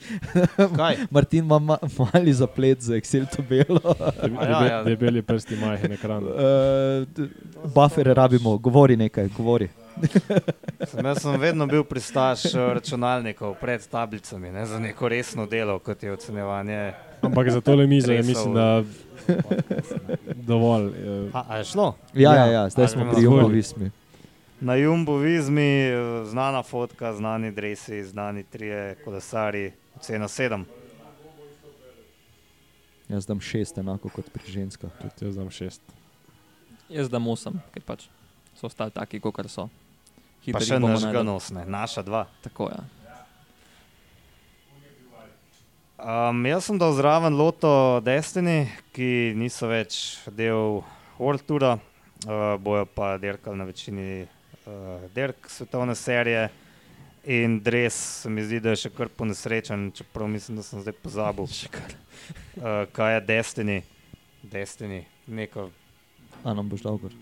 Speaker 2: Kaj?
Speaker 1: Martin ima ma, mali zaplet za Excel tabelo. <laughs>
Speaker 2: A ja, ja.
Speaker 4: Debeli prsti, majhen ekran.
Speaker 1: Uh, Buffere rabimo, govori nekaj, govori.
Speaker 2: Sem, jaz sem vedno bil pristaš eh, računalnikov pred tablicami, ne, za neko resno delo, kot je ocenjevanje.
Speaker 4: Ampak za tole mizo je,
Speaker 2: Tresel.
Speaker 4: mislim, da <laughs> dovolj. eh,
Speaker 2: A, a je šlo?
Speaker 1: Ja, ja,
Speaker 4: Ja,
Speaker 1: ja zdaj
Speaker 2: ali
Speaker 1: smo
Speaker 2: bomo
Speaker 1: pri
Speaker 4: razvojili?
Speaker 1: umovismi.
Speaker 2: Na Jumbovizmi eh, znana fotka, znani dresi, znani trije kolesari, cena sedem.
Speaker 1: Jaz dam šest, enako kot pri ženskah.
Speaker 4: Tudi jaz dam 6.
Speaker 3: Jaz dam osem, ker pač so ostali taki, kot so.
Speaker 2: Pa
Speaker 3: Hitro
Speaker 2: še
Speaker 3: jih bomo
Speaker 2: naš
Speaker 3: našli.
Speaker 1: no.
Speaker 2: ganos, ne, naša dva.
Speaker 3: Tako je. Ja.
Speaker 2: Um, jaz sem dal zraven Loto Destiny, ki niso več del World Toura, uh, bojo pa derkali na večini uh, derk svetovne serije. In res se mi zdi, da je še kar ponesrečen, čeprav mislim, da sem zdaj pozabil. Uh, kaj je Destiny? Destiny, neko,
Speaker 1: A nam boš dal gor?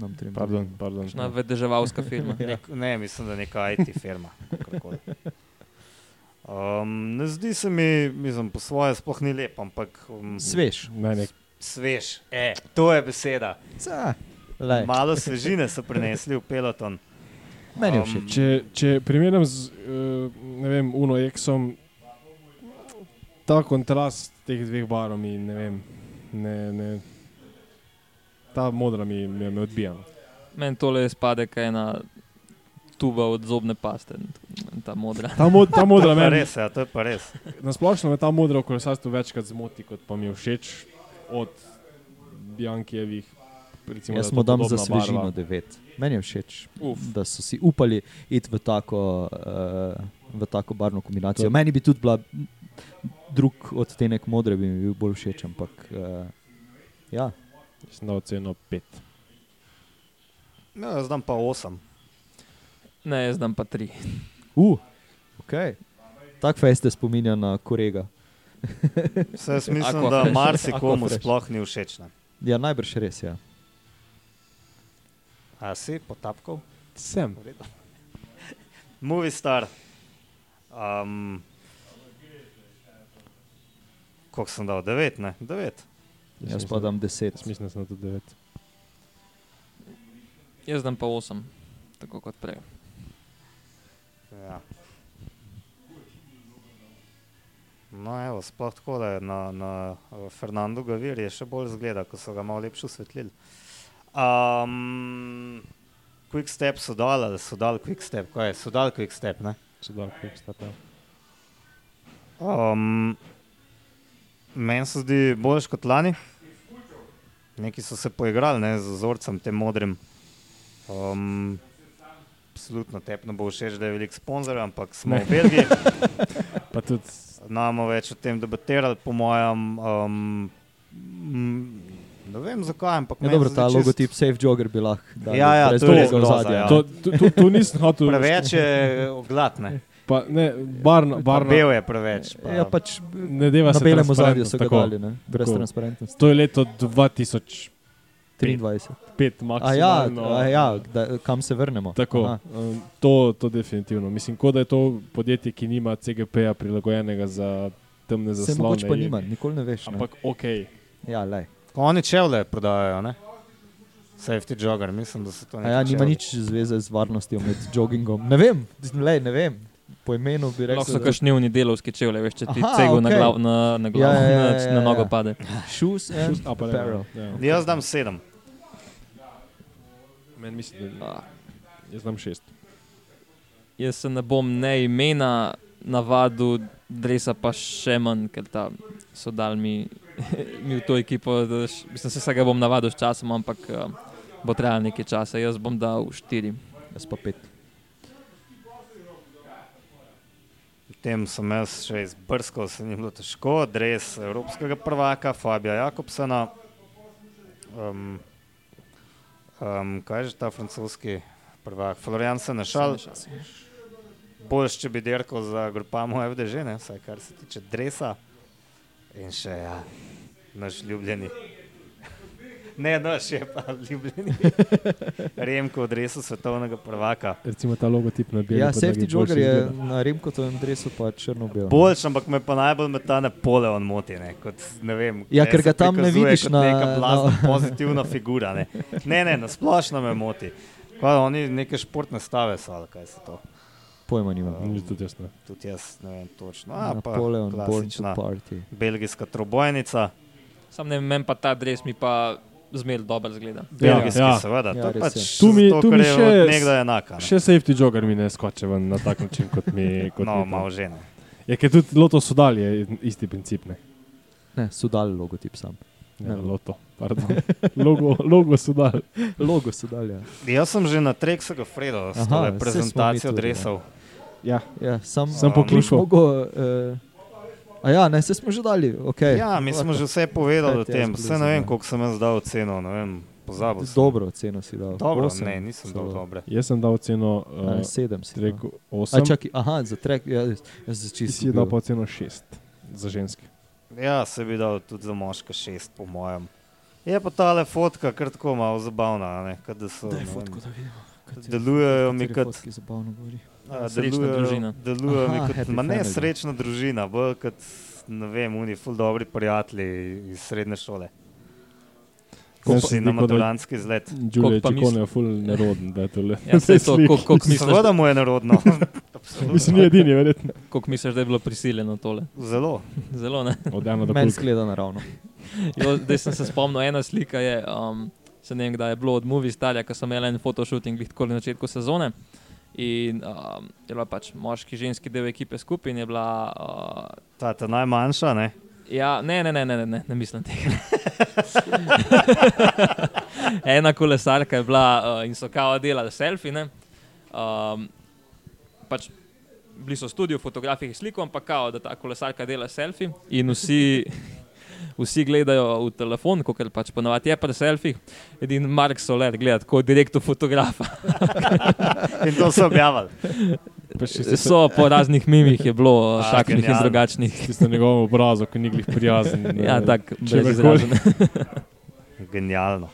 Speaker 1: Nam trem.
Speaker 4: Pardon, pardon.
Speaker 3: Kakšna vedeževalska <laughs> firma.
Speaker 1: Ja.
Speaker 2: nek, ne, mislim, da neka IT firma. kakorkoli. Um, ne zdi se mi, mislim, po svoje sploh ni lep, ampak um,
Speaker 1: Svež.
Speaker 4: Ne, nek,
Speaker 2: svež. E, to je beseda.
Speaker 1: Ca, lej,
Speaker 2: Malo svežine so prinesli v peloton.
Speaker 1: Meni je
Speaker 2: um,
Speaker 1: všeč.
Speaker 4: Mhm. če, če primerjam z eh, ne vem, Uno Exom, ta kontrast teh dveh barov mi ne vem. Ne, ne, ta modra mi, mi, mi odbija. no.
Speaker 3: Meni tole spade, kaj je ena tuba od zobne paste, ta modra.
Speaker 4: Ta, mod, ta
Speaker 2: <laughs>
Speaker 4: modra
Speaker 2: Pa
Speaker 4: meni
Speaker 2: res, ja, to je pa res.
Speaker 4: Na splošno me ta modra v kolesarstvu večkrat zmoti, kot pa mi je všeč od Biankijevih. Recimo, da
Speaker 1: Jaz
Speaker 4: je to
Speaker 1: mu dam za
Speaker 4: podobna
Speaker 1: svežino
Speaker 4: barva.
Speaker 1: devet. Meni je všeč,
Speaker 3: Uf.
Speaker 1: da so si upali iti v tako, uh, v tako barvno kombinacijo. Meni bi tudi bila drug odtenek modre, bi mi bil bolj všeč, ampak uh, ja.
Speaker 4: Jaz Sem dal ceno 5.
Speaker 2: No, jaz dam pa 8.
Speaker 3: Ne, jaz dam pa tri.
Speaker 1: Uh, okay. Tako fejs te spominja na korega.
Speaker 2: Jaz mislim,
Speaker 3: Aqua
Speaker 2: da
Speaker 3: fresh.
Speaker 1: Aqua
Speaker 2: marsikomu
Speaker 1: fresh.
Speaker 2: sploh ni všeč. Ne?
Speaker 1: Ja, najbrž res je. Ja.
Speaker 2: A si potapkal?
Speaker 4: Sem.
Speaker 2: V redu. Movie star. Um, Koliko sem dal? 9, ne? 9.
Speaker 1: Jaz pa dam 10.
Speaker 4: Jaz mislim, da sem tudi 9.
Speaker 3: Jaz dam pa 8, tako kot prej.
Speaker 2: Ja. No, evo, sploh tako je na, na eh, Fernandu Gavir je še bolj zgleda, ko so ga malo lepše osvetlili. Um, quick step so dal ali so dal quick step, kaj je, so dal quick step, ne?
Speaker 4: Če da, kako sta tam.
Speaker 2: Um, Meni se zdi boljš kot lani. Neki so se poigrali ne, z vzorcem, tem modrim. Um, absolutno tepno bo všeč, da je veliko sponzorjev, ampak smo
Speaker 4: Ne.
Speaker 2: v Belgiji.
Speaker 4: Pa tudi
Speaker 2: Namo več o tem debatirali, po mojem. Um, m, ne vem zakaj, ampak
Speaker 1: Ja,
Speaker 2: meni
Speaker 1: dobro,
Speaker 2: se zdi
Speaker 1: ta
Speaker 2: čist-
Speaker 1: logotip Safe Jogger bi lahko. dali
Speaker 2: Ja, ja,
Speaker 1: brez
Speaker 2: to je
Speaker 1: tega
Speaker 2: res groza,
Speaker 1: ozadja.
Speaker 2: ja.
Speaker 4: to, tu, tu, tu nisem hotel.
Speaker 2: Preveč je oglatne,
Speaker 4: Pa, ne, barno, barno.
Speaker 2: bel je preveč. Pa,
Speaker 1: Ja, pač
Speaker 4: Ne deva
Speaker 1: na
Speaker 4: se
Speaker 1: belem ozadju so ga
Speaker 4: transparentnost, tako.
Speaker 1: dali, ne? brez
Speaker 4: Tako.
Speaker 1: transparentnosti.
Speaker 4: To je leto 2005,
Speaker 1: 23. A ja,
Speaker 4: maksimalno.
Speaker 1: a ja da, kam se vrnemo?
Speaker 4: Tako,
Speaker 1: Aha.
Speaker 4: um, to, to definitivno. Mislim, kot da je to podjetje, ki nima CGP-ja prilagojenega za temne
Speaker 1: Se
Speaker 4: zaslone.
Speaker 1: mogoče pa
Speaker 4: in-
Speaker 1: nima, nikoli ne veš. Ne?
Speaker 4: Ampak ok,
Speaker 1: Ja, lej.
Speaker 2: Oni čevlje prodajajo, ne? Safety jogger, mislim, da se to
Speaker 1: A
Speaker 2: ne.
Speaker 1: ja, nima nič zveze z varnostjo med jogingom. Ne vem, lej, ne vem. Po imenu bi rekel,
Speaker 3: Lahko so
Speaker 1: da-
Speaker 3: kašnjevni delovski čevlje, veš, če ti
Speaker 1: Aha,
Speaker 3: cegel na
Speaker 1: okej.
Speaker 3: glavo, na, na, glav,
Speaker 1: Ja, ja, ja,
Speaker 3: na,
Speaker 1: ja,
Speaker 3: na
Speaker 1: ja.
Speaker 3: nogo pade.
Speaker 1: shoes and
Speaker 4: a pa ne.
Speaker 1: apparel.
Speaker 4: Ja.
Speaker 2: Jaz dam sedem.
Speaker 4: Meni mislim,
Speaker 3: Ah.
Speaker 4: da jaz znam šest.
Speaker 3: Jaz se ne bom ne imena navadu, dresa pa še manj, ker ta so dal mi, <laughs> mi v to ekipo. Da, š- mislim, se vsega bom navadil s časom, ampak uh, bo trajalo nekaj časa. Jaz bom dal štiri.
Speaker 1: Jaz pa pet.
Speaker 2: Potem sem jaz še izbrskal, se ni bilo težko, dres evropskega prvaka Fabija Jakobsena. Um, um, kaj je že ta francoski prvak? Florian Senešal, boljš, če bi dirkal za grupamo FDŽ, ne? vsaj kar se tiče dresa. In še ja, naš ljubljeni. <laughs> Ne, naš je pa <laughs> ljubljeni. Remko v dresu svetovnega prvaka.
Speaker 4: Recimo ta logotip na belem.
Speaker 1: Ja, safety jogger je na Remkotovem dresu pa črno-bel.
Speaker 2: Boljš, ampak me pa najbolj me ta Napoleon moti. Ne, kot, ne vem,
Speaker 1: Ja,
Speaker 2: ne,
Speaker 1: ker
Speaker 2: se
Speaker 1: ga tam ne
Speaker 2: prikazuje
Speaker 1: vidiš
Speaker 2: kot
Speaker 1: na- no.
Speaker 2: Neka blazna,
Speaker 1: na-
Speaker 2: pozitivna figura. Ne, ne, ne na splošno me moti. Kaj, oni neke športne stave so, ali kaj se to.
Speaker 1: Pojma nimam.
Speaker 4: Ni tudi jasno.
Speaker 2: Tudi jaz ne vem točno. A,
Speaker 1: Napoleon, Born
Speaker 2: pa
Speaker 1: to
Speaker 2: klasična
Speaker 1: Party.
Speaker 2: belgijska trobojnica,
Speaker 3: Sam ne vem, meni pa ta dres mi pa zmer dobro zgleda.
Speaker 2: belgijski
Speaker 4: ja.
Speaker 2: ja, seveda.
Speaker 1: Ja,
Speaker 2: Ja,
Speaker 1: res je.
Speaker 2: pač
Speaker 4: Tu mi-
Speaker 2: zato,
Speaker 4: tu
Speaker 2: ker
Speaker 4: mi
Speaker 2: je
Speaker 4: še-
Speaker 2: odnegdaj enaka. Ne.
Speaker 4: Še safety jogger mi ne skoče ven na tak način kot
Speaker 2: <laughs>
Speaker 4: mi. Kot
Speaker 2: No,
Speaker 4: mi tam.
Speaker 2: malo že ne.
Speaker 4: Je ker tudi loto sodal je isti princip. Ne?
Speaker 1: Ne, so dali logotip sam.
Speaker 4: Ja,
Speaker 1: Ne.
Speaker 4: loto, pardon. <laughs> logo, logo sodal.
Speaker 1: <laughs> Logo so dali. Ja.
Speaker 2: Jaz sem že na Trexu
Speaker 1: Aha,
Speaker 2: Fredo, s to
Speaker 1: saj smo
Speaker 2: prezentacijo
Speaker 1: mi tudi, ne.
Speaker 2: dresov.
Speaker 4: Ja,
Speaker 1: Ja, sam
Speaker 2: Sem
Speaker 4: poklušal.
Speaker 1: Mogo, uh, a ja, ne, se smo že dali. Okay.
Speaker 2: Ja, mi smo že vse
Speaker 1: <laughs>
Speaker 2: povedali o
Speaker 1: Dajte, jaz
Speaker 2: tem. Vse ne
Speaker 1: blizu,
Speaker 2: vem,
Speaker 1: ja.
Speaker 2: koliko sem jaz dal ceno, ne vem, pozabil sem.
Speaker 1: Dobro, ceno si dal.
Speaker 2: Dobro,
Speaker 1: Osem
Speaker 2: ne, nisem dal
Speaker 1: celo.
Speaker 2: dobre.
Speaker 4: jaz sem dal ceno
Speaker 1: Ali
Speaker 4: uh,
Speaker 1: sedem
Speaker 3: ja.
Speaker 1: si dal.
Speaker 4: rekel
Speaker 1: A,
Speaker 4: 8.
Speaker 1: čaki, aha, za trek, ja, jaz sem
Speaker 4: Ti
Speaker 1: čisto.
Speaker 4: si dal pa ceno 6 za ženske.
Speaker 2: Ja, se bi dal tudi za moška šest, po mojem. Je pa ta le fotka kar tako malo zabavna, a ne, kot da so.
Speaker 1: Daj
Speaker 2: ne vem,
Speaker 1: fotko, da vidimo. kateri-
Speaker 2: Delujejo mi
Speaker 1: kateri
Speaker 2: kot,
Speaker 1: fotki zabavno govori.
Speaker 2: a,
Speaker 3: Srečna družina.
Speaker 2: delujejo, delujejo mi
Speaker 1: Aha,
Speaker 2: kot
Speaker 1: happy
Speaker 2: ma ne
Speaker 1: family.
Speaker 2: srečna družina, bolj kot ne vem, oni ful dobri prijatelji iz srednje šole.
Speaker 4: Ko
Speaker 2: Ko
Speaker 4: pa-
Speaker 2: si na maturantski izlet.
Speaker 4: Julija je
Speaker 3: pa misl-
Speaker 4: čikone, ful neroden, da je to le.
Speaker 3: Ja, saj
Speaker 4: <laughs>
Speaker 3: to, koliko kolik misliš,
Speaker 2: Seveda mu je
Speaker 1: <laughs>
Speaker 2: narodno.
Speaker 4: Mislim, ni edini, verjetno.
Speaker 3: kolik misliš, da je bilo prisiljeno tole?
Speaker 2: Zelo.
Speaker 3: Zelo ne.
Speaker 4: Od ena do
Speaker 1: Meni
Speaker 4: pet.
Speaker 1: zgleda naravno.
Speaker 3: Jo, Zdaj sem se spomnil, ena slika je, um, se ne vem, kdaj je bilo od Movie Starja, ko sem imel en fotoshooting glih tako na začetku sezone. In um, je bila pač moški, ženski del ekipe skupaj in je bila. Uh,
Speaker 2: Ta, ta najmanjša, ne?
Speaker 3: ja, ne, ne, ne, ne, ne, ne, ne mislim tega.
Speaker 2: <laughs>
Speaker 3: Ena kolesarka je bila uh, in so kao delali selfie. Ne? Um, pač bili so v studiu, fotografi jih sliko, ampak kao, da ta kolesarka dela selfie
Speaker 2: <laughs>
Speaker 3: in vsi. Vsi gledajo v telefon, kot pač ponovadi je pri selfih. Edini Mark Soler gleda tako direktno
Speaker 2: <laughs>
Speaker 3: fotografa.
Speaker 2: In to so objavili.
Speaker 3: So po raznih mimih je bilo,
Speaker 2: A,
Speaker 3: takšnih in
Speaker 2: genialno.
Speaker 3: drugačnih.
Speaker 4: Tisti na njegovem obrazu, ki ni glih
Speaker 3: <laughs>
Speaker 4: prijazen.
Speaker 3: Ja,
Speaker 4: eh,
Speaker 3: tako,
Speaker 4: čemerkoli.
Speaker 3: brez izražene.
Speaker 2: Genialno.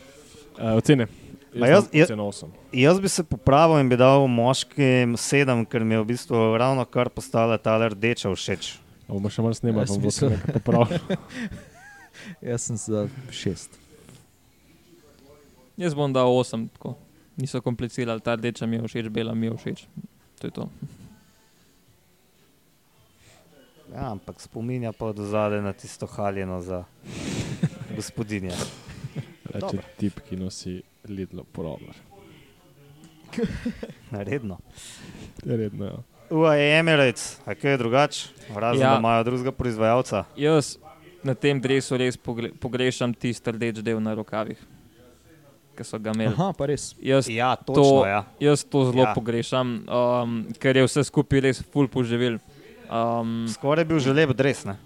Speaker 4: Eh, Ocene.
Speaker 2: Ma jaz- jaz-
Speaker 4: ceno 8.
Speaker 2: Jaz bi se popravil in bi dal moškim sedem, ker mi je v bistvu ravno kar postala ta rdeča všeč.
Speaker 4: Bomo še malo snemali,
Speaker 1: Jaz
Speaker 4: bom
Speaker 1: bi se-
Speaker 4: se nekaj <laughs> popravil.
Speaker 1: Jaz sem za šest.
Speaker 3: Jaz bom dal 8, tako. Niso komplicirali, ta rdeča mi je všeč, bela mi je všeč. To je to.
Speaker 2: Ja, ampak spominja pa od zadaj na tisto haljeno za gospodinje.
Speaker 4: Reče tip, ki nosi Lidlo poravnar.
Speaker 2: Redno.
Speaker 4: Redno, ja.
Speaker 2: UAE Emirates, a kaj je drugače, razen ja.
Speaker 3: Ja.
Speaker 2: da imajo drugega proizvajalca.
Speaker 3: Jaz na tem drevesu res pogle- pogrešam tisti rdeč del na rokavih, ki so ga imeli.
Speaker 1: Aha, pa res.
Speaker 3: Jaz,
Speaker 2: Ja, točno, to... ja.
Speaker 3: jaz to zelo
Speaker 2: Ja.
Speaker 3: ja. pogrešam, um, ker je vse skupaj res full poživil. Um,
Speaker 2: Skoraj je bil že lep dres, ne?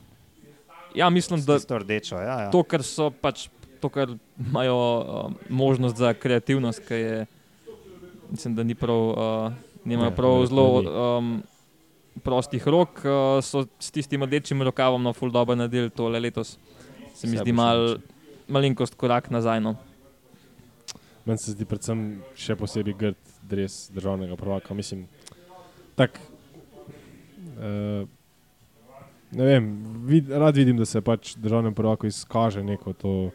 Speaker 3: ja, mislim, da
Speaker 2: Tisto rdečo, ja, ja.
Speaker 3: to, kar so pač, to, kar imajo um, možnost za kreativnost, ki je, mislim, da ni prav, uh, nimajo
Speaker 4: Ne,
Speaker 3: prav
Speaker 4: verjetno
Speaker 3: zelo
Speaker 4: ni.
Speaker 3: um, prostih rok, uh, so s tistim rdečim rokavom na full dobro naredili tole letos. Se mi
Speaker 4: Vse
Speaker 3: zdi
Speaker 4: boš
Speaker 3: mal,
Speaker 4: naredil.
Speaker 3: malinkost korak nazaj. No.
Speaker 4: Meni se zdi predvsem še posebej grd dres državnega prvaka. Mislim, tak, uh, ne vem, vid, rad vidim, da se pač državnemu prvaku izkaže neko to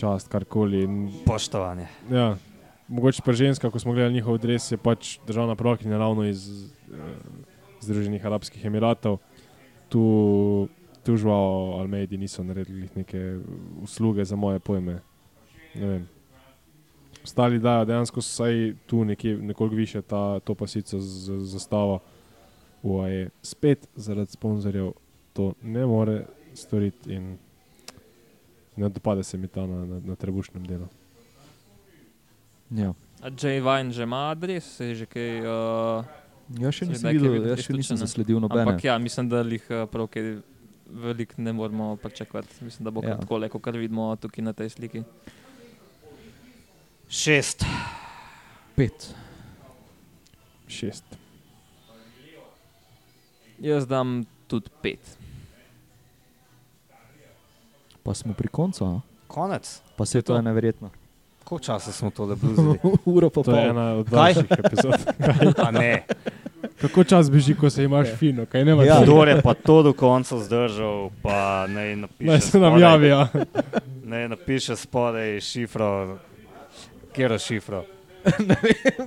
Speaker 4: čast, karkoli. In,
Speaker 2: Poštovanje.
Speaker 4: ja, mogoče pa ženska, ko smo gledali njihov dres, je pač državna prvakinja ravno iz uh, Združenih arabskih emiratov. Tu, tu žval Almeidi niso naredili glih neke usluge za moje pojme. Ne vem. Ostali dajo dejansko vsaj tu nekje, nekoliko više ta, to pasico z z zastavo UAE. Spet zaradi sponzorjev to ne more storiti in ne dopade se mi ta na, na, na trebušnem delu.
Speaker 1: Ja.
Speaker 3: A Jay Vine že ima adres, se je že kaj. Uh,
Speaker 1: Jaz Ja še
Speaker 3: Zdaj,
Speaker 1: nisem
Speaker 3: kje
Speaker 1: videl,
Speaker 3: videl
Speaker 1: jaz še nisem
Speaker 3: izključene?
Speaker 1: zasledil nobene.
Speaker 3: ampak ja, mislim, da jih eh, prav kaj veliko ne moremo pričakovati. Mislim, da bo
Speaker 1: Ja.
Speaker 3: ja. tako, kot vidimo tukaj na tej sliki.
Speaker 2: Šest.
Speaker 1: Pet.
Speaker 4: Šest.
Speaker 3: Jaz dam tudi pet.
Speaker 1: Pa smo pri koncu, a?
Speaker 2: Konec.
Speaker 1: pa se to je neverjetno.
Speaker 2: Koliko časa smo tole bluzili?
Speaker 1: <laughs> Uro pa
Speaker 4: To je
Speaker 1: pol.
Speaker 4: ena od
Speaker 2: Kaj?
Speaker 4: daljših epizod.
Speaker 2: <laughs> A ne.
Speaker 4: <laughs> Kako čas beži, ko se imaš fino, kaj ne
Speaker 1: Ja.
Speaker 4: moreš?
Speaker 2: Kdor je pa to do konca zdržal, pa naj napiše.
Speaker 4: Naj se nam
Speaker 2: spodaj-
Speaker 4: javi. Ja.
Speaker 2: Naj napiše spodaj šifro, kjer je šifro.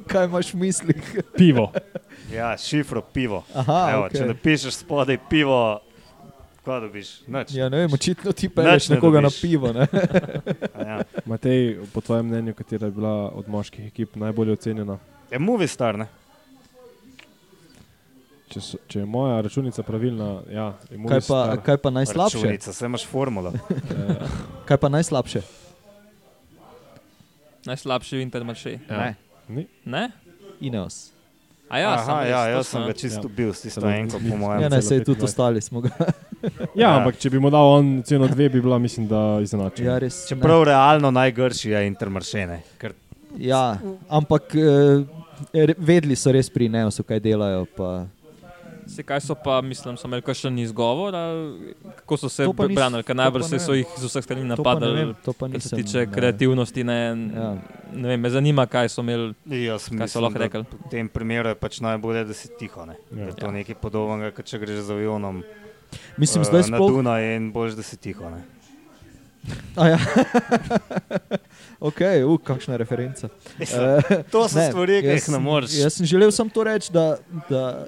Speaker 1: Kaj imaš v mislih?
Speaker 4: <laughs> Pivo.
Speaker 2: Ja, šifro pivo.
Speaker 1: Aha,
Speaker 2: Evo,
Speaker 1: okej.
Speaker 2: Če napišeš spodaj pivo, kaj dobiš? Nič.
Speaker 1: <laughs> Ja, ne vem, očitno ti
Speaker 2: Nič
Speaker 1: peleš
Speaker 2: ne
Speaker 1: nekoga na
Speaker 2: dobiš.
Speaker 1: pivo. <laughs> Ne?
Speaker 2: A Ja.
Speaker 4: Matej, po tvojem mnenju, katera je bila od moških ekip najbolje ocenjena?
Speaker 2: Je movi star, ne?
Speaker 4: Če, so, če je moja računica pravilna, ja,
Speaker 1: Kaj,
Speaker 4: je
Speaker 1: pa,
Speaker 4: Movistar,
Speaker 1: kaj pa najslabše?
Speaker 2: Računica, saj imaš formulo.
Speaker 4: eh,
Speaker 1: Kaj pa najslabše?
Speaker 3: Najslabši Intermarché.
Speaker 4: ja.
Speaker 3: Ne?
Speaker 1: Ineos.
Speaker 3: A ja, samo
Speaker 2: Aha,
Speaker 3: res,
Speaker 2: ja,
Speaker 3: to
Speaker 2: jaz
Speaker 3: sem,
Speaker 2: sem
Speaker 3: a?
Speaker 2: ga čisto
Speaker 4: Ja.
Speaker 2: bil, s tisto
Speaker 4: Samo
Speaker 2: enko,
Speaker 4: ni-
Speaker 2: po mojem.
Speaker 1: Ja, naj se je
Speaker 4: celo
Speaker 1: tudi
Speaker 4: 25.
Speaker 1: ostali smo <laughs> ga.
Speaker 4: ja, ampak če bi mu dal on ceno dve, bi bila, mislim, da izenačena.
Speaker 1: Ja, res. ne.
Speaker 2: Čeprav realno najgrši je intermaršene, ker
Speaker 1: Ja, ampak eh, re- vedeli so res pri Neosu, kaj delajo. Pa.
Speaker 3: Se kaj so pa, mislim, so imeli kakšen izgovor, ali kako so se
Speaker 1: To pa nis-
Speaker 3: branili, ker
Speaker 1: to
Speaker 3: najbrž
Speaker 1: pa
Speaker 3: se
Speaker 1: ne
Speaker 3: so
Speaker 1: vem.
Speaker 3: jih z vseh strani
Speaker 1: To pa ne vem,
Speaker 3: napadali.
Speaker 1: to pa
Speaker 3: Kar se
Speaker 1: nisem,
Speaker 3: tiče
Speaker 1: ne.
Speaker 3: kreativnosti, ne,
Speaker 1: Ja.
Speaker 3: ne vem, me zanima, kaj so imeli.
Speaker 2: jaz mislim,
Speaker 3: so lahko
Speaker 2: da
Speaker 3: rekli?
Speaker 2: V tem primeru je pač najbolje, da si tiho. Ne?
Speaker 4: Ja.
Speaker 2: Ja. Da je to nekaj podobnega, kot če greš z avionom.
Speaker 1: Mislim,
Speaker 2: eh,
Speaker 1: zdaj
Speaker 2: na
Speaker 1: sploh.
Speaker 2: Dunaj in boš, da si tiho. Ne?
Speaker 1: A <laughs> Ja. ok, uh, kakšna referenca. Eh,
Speaker 2: To so
Speaker 1: Ne,
Speaker 2: ne, stvari, ki jih
Speaker 1: jaz-
Speaker 2: ne moreš.
Speaker 1: Jaz sem želel samo to reči, da, da,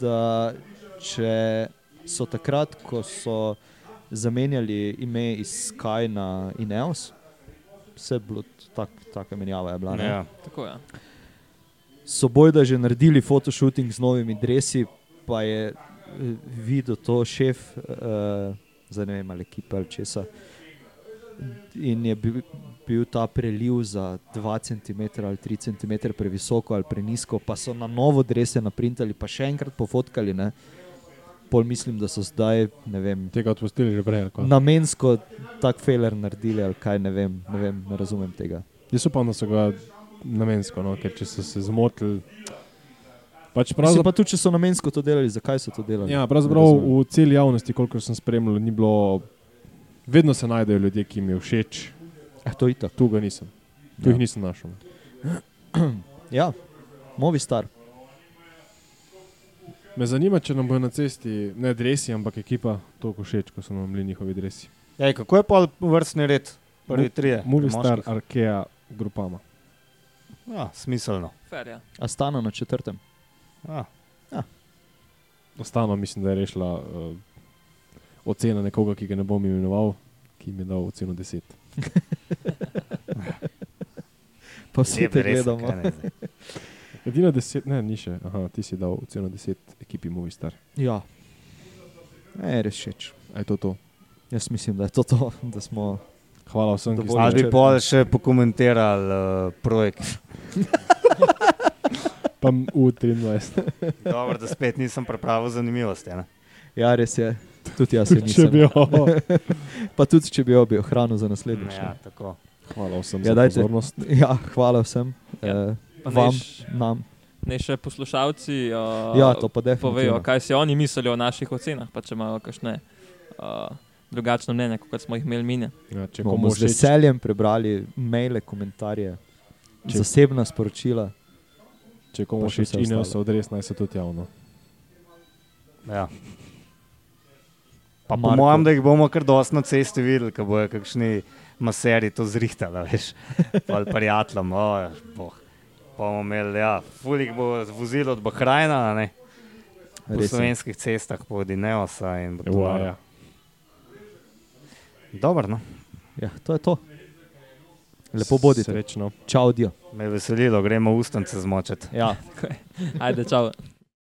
Speaker 1: da če so takrat, ko so zamenjali ime iz Sky na Ineos, vse je bilo tak, taka menjava. Je bila, ne?
Speaker 2: Ja.
Speaker 3: Tako, ja.
Speaker 1: So bojda že naredili fotoshooting z novimi dresi, pa je eh, videl to šef, uh, zdaj ne vem ali ekipa ali česa. In je bil, bil ta preliv za 2 cm ali 3 cm previsoko ali prenisko, pa so na novo drese naprintali, pa še enkrat pofotkali. Ne? Pol mislim, da so zdaj, ne vem,
Speaker 4: Tega odpustili že prej. ali kaj?
Speaker 1: namensko tak feler naredili ali kaj, ne vem, ne, vem, ne razumem tega.
Speaker 4: Jaz upam, da so ga namensko, no, ker če so se zmotili. Pač
Speaker 1: Mislim
Speaker 4: pravzaprav
Speaker 1: pa tudi, če so namensko to delali, zakaj so to delali?
Speaker 4: Ja,
Speaker 1: Ne
Speaker 4: pravzaprav
Speaker 1: razumem.
Speaker 4: v celi javnosti, koliko sem spremljal, ni bilo. Vedno se najdejo ljudje, ki jim je všeč,
Speaker 1: Eh, to je itak.
Speaker 4: tu ga nisem. Tu jih nisem našel.
Speaker 1: Ja, Movistar.
Speaker 4: Me zanima, če nam bo na cesti ne dresi, ampak ekipa toliko všeč, ko so nam bili njihovi dresi.
Speaker 2: Ej, kako je pol vrstni red? Prvi
Speaker 1: Ja,
Speaker 2: trije. pri
Speaker 4: Movistar,
Speaker 2: moških?
Speaker 4: Arkea, Grupama.
Speaker 2: Ja, smiselno.
Speaker 3: Fer, ja.
Speaker 1: Astana na četrtem.
Speaker 2: Ja.
Speaker 4: Ostano mislim, da je rešila uh, ocena nekoga, ki ga ne bom imenoval, ki mi je dal oceno 10.
Speaker 1: Pa vsi te gledamo. <laughs>
Speaker 4: Edina 10, ne, ni še. Aha, ti si dal oceno 10 ekipi Movistar.
Speaker 1: Ja, ne, je res všeč.
Speaker 4: A je to to?
Speaker 1: Jaz mislim, da je to to, da smo.
Speaker 4: Hvala vsem, ki
Speaker 1: Dovolj.
Speaker 4: ste
Speaker 2: Ali bi pol še pokomentirali uh, projekt?
Speaker 4: tam v 23.
Speaker 2: Dobro, da spet nisem pripravil zanimivosti. Ne?
Speaker 1: Ja, res je. Tudi jaz se
Speaker 4: Če
Speaker 1: nisem.
Speaker 4: bi jo.
Speaker 1: Pa tudi, če bi jo bi ohranil za naslednjič.
Speaker 2: Ja,
Speaker 1: ne.
Speaker 2: tako.
Speaker 4: Hvala vsem
Speaker 1: Ja,
Speaker 4: ja, za
Speaker 1: dajte.
Speaker 4: pozornost.
Speaker 1: ja, hvala vsem.
Speaker 3: Ja.
Speaker 1: Ja.
Speaker 3: Pa
Speaker 1: Vam,
Speaker 3: naj š-
Speaker 1: nam.
Speaker 3: Naj še poslušalci uh,
Speaker 1: Ja, to pa definitivno.
Speaker 3: povejo, kaj si oni mislijo o naših ocenah, pa če imajo kakšne uh, drugačne mnenje, kot smo jih imeli mine.
Speaker 4: Ja, če
Speaker 1: Bomo
Speaker 4: komu
Speaker 1: z
Speaker 4: všeč,
Speaker 1: veseljem prebrali maile, komentarje,
Speaker 4: Če-
Speaker 1: če... zasebna sporočila.
Speaker 4: če komu
Speaker 1: Pa še
Speaker 4: všeč
Speaker 1: vse
Speaker 4: Ineos
Speaker 1: ostalo.
Speaker 4: odres, naj se tudi javno.
Speaker 2: Ja. Pa po
Speaker 1: Marko.
Speaker 2: mojem, da jih bomo kar dosti na cesti videli, ko bojo kakšni maseri to zrihtali, <laughs> veš, ali prijateljem, oj, boh. Pa bomo imeli, ja, fulik bo vozil od Bahrajna, a ne, po
Speaker 1: Res je.
Speaker 2: slovenskih cestah, po Dineosa in bo to
Speaker 4: Ua,
Speaker 2: noro.
Speaker 4: ja.
Speaker 2: Dobro, no,
Speaker 1: Ja, to je to. Lepo bodite.
Speaker 4: Srečno.
Speaker 1: Čau, dio.
Speaker 2: me je veselilo, gremo ustance zmočiti.
Speaker 1: Ja.
Speaker 3: Ajde, čau.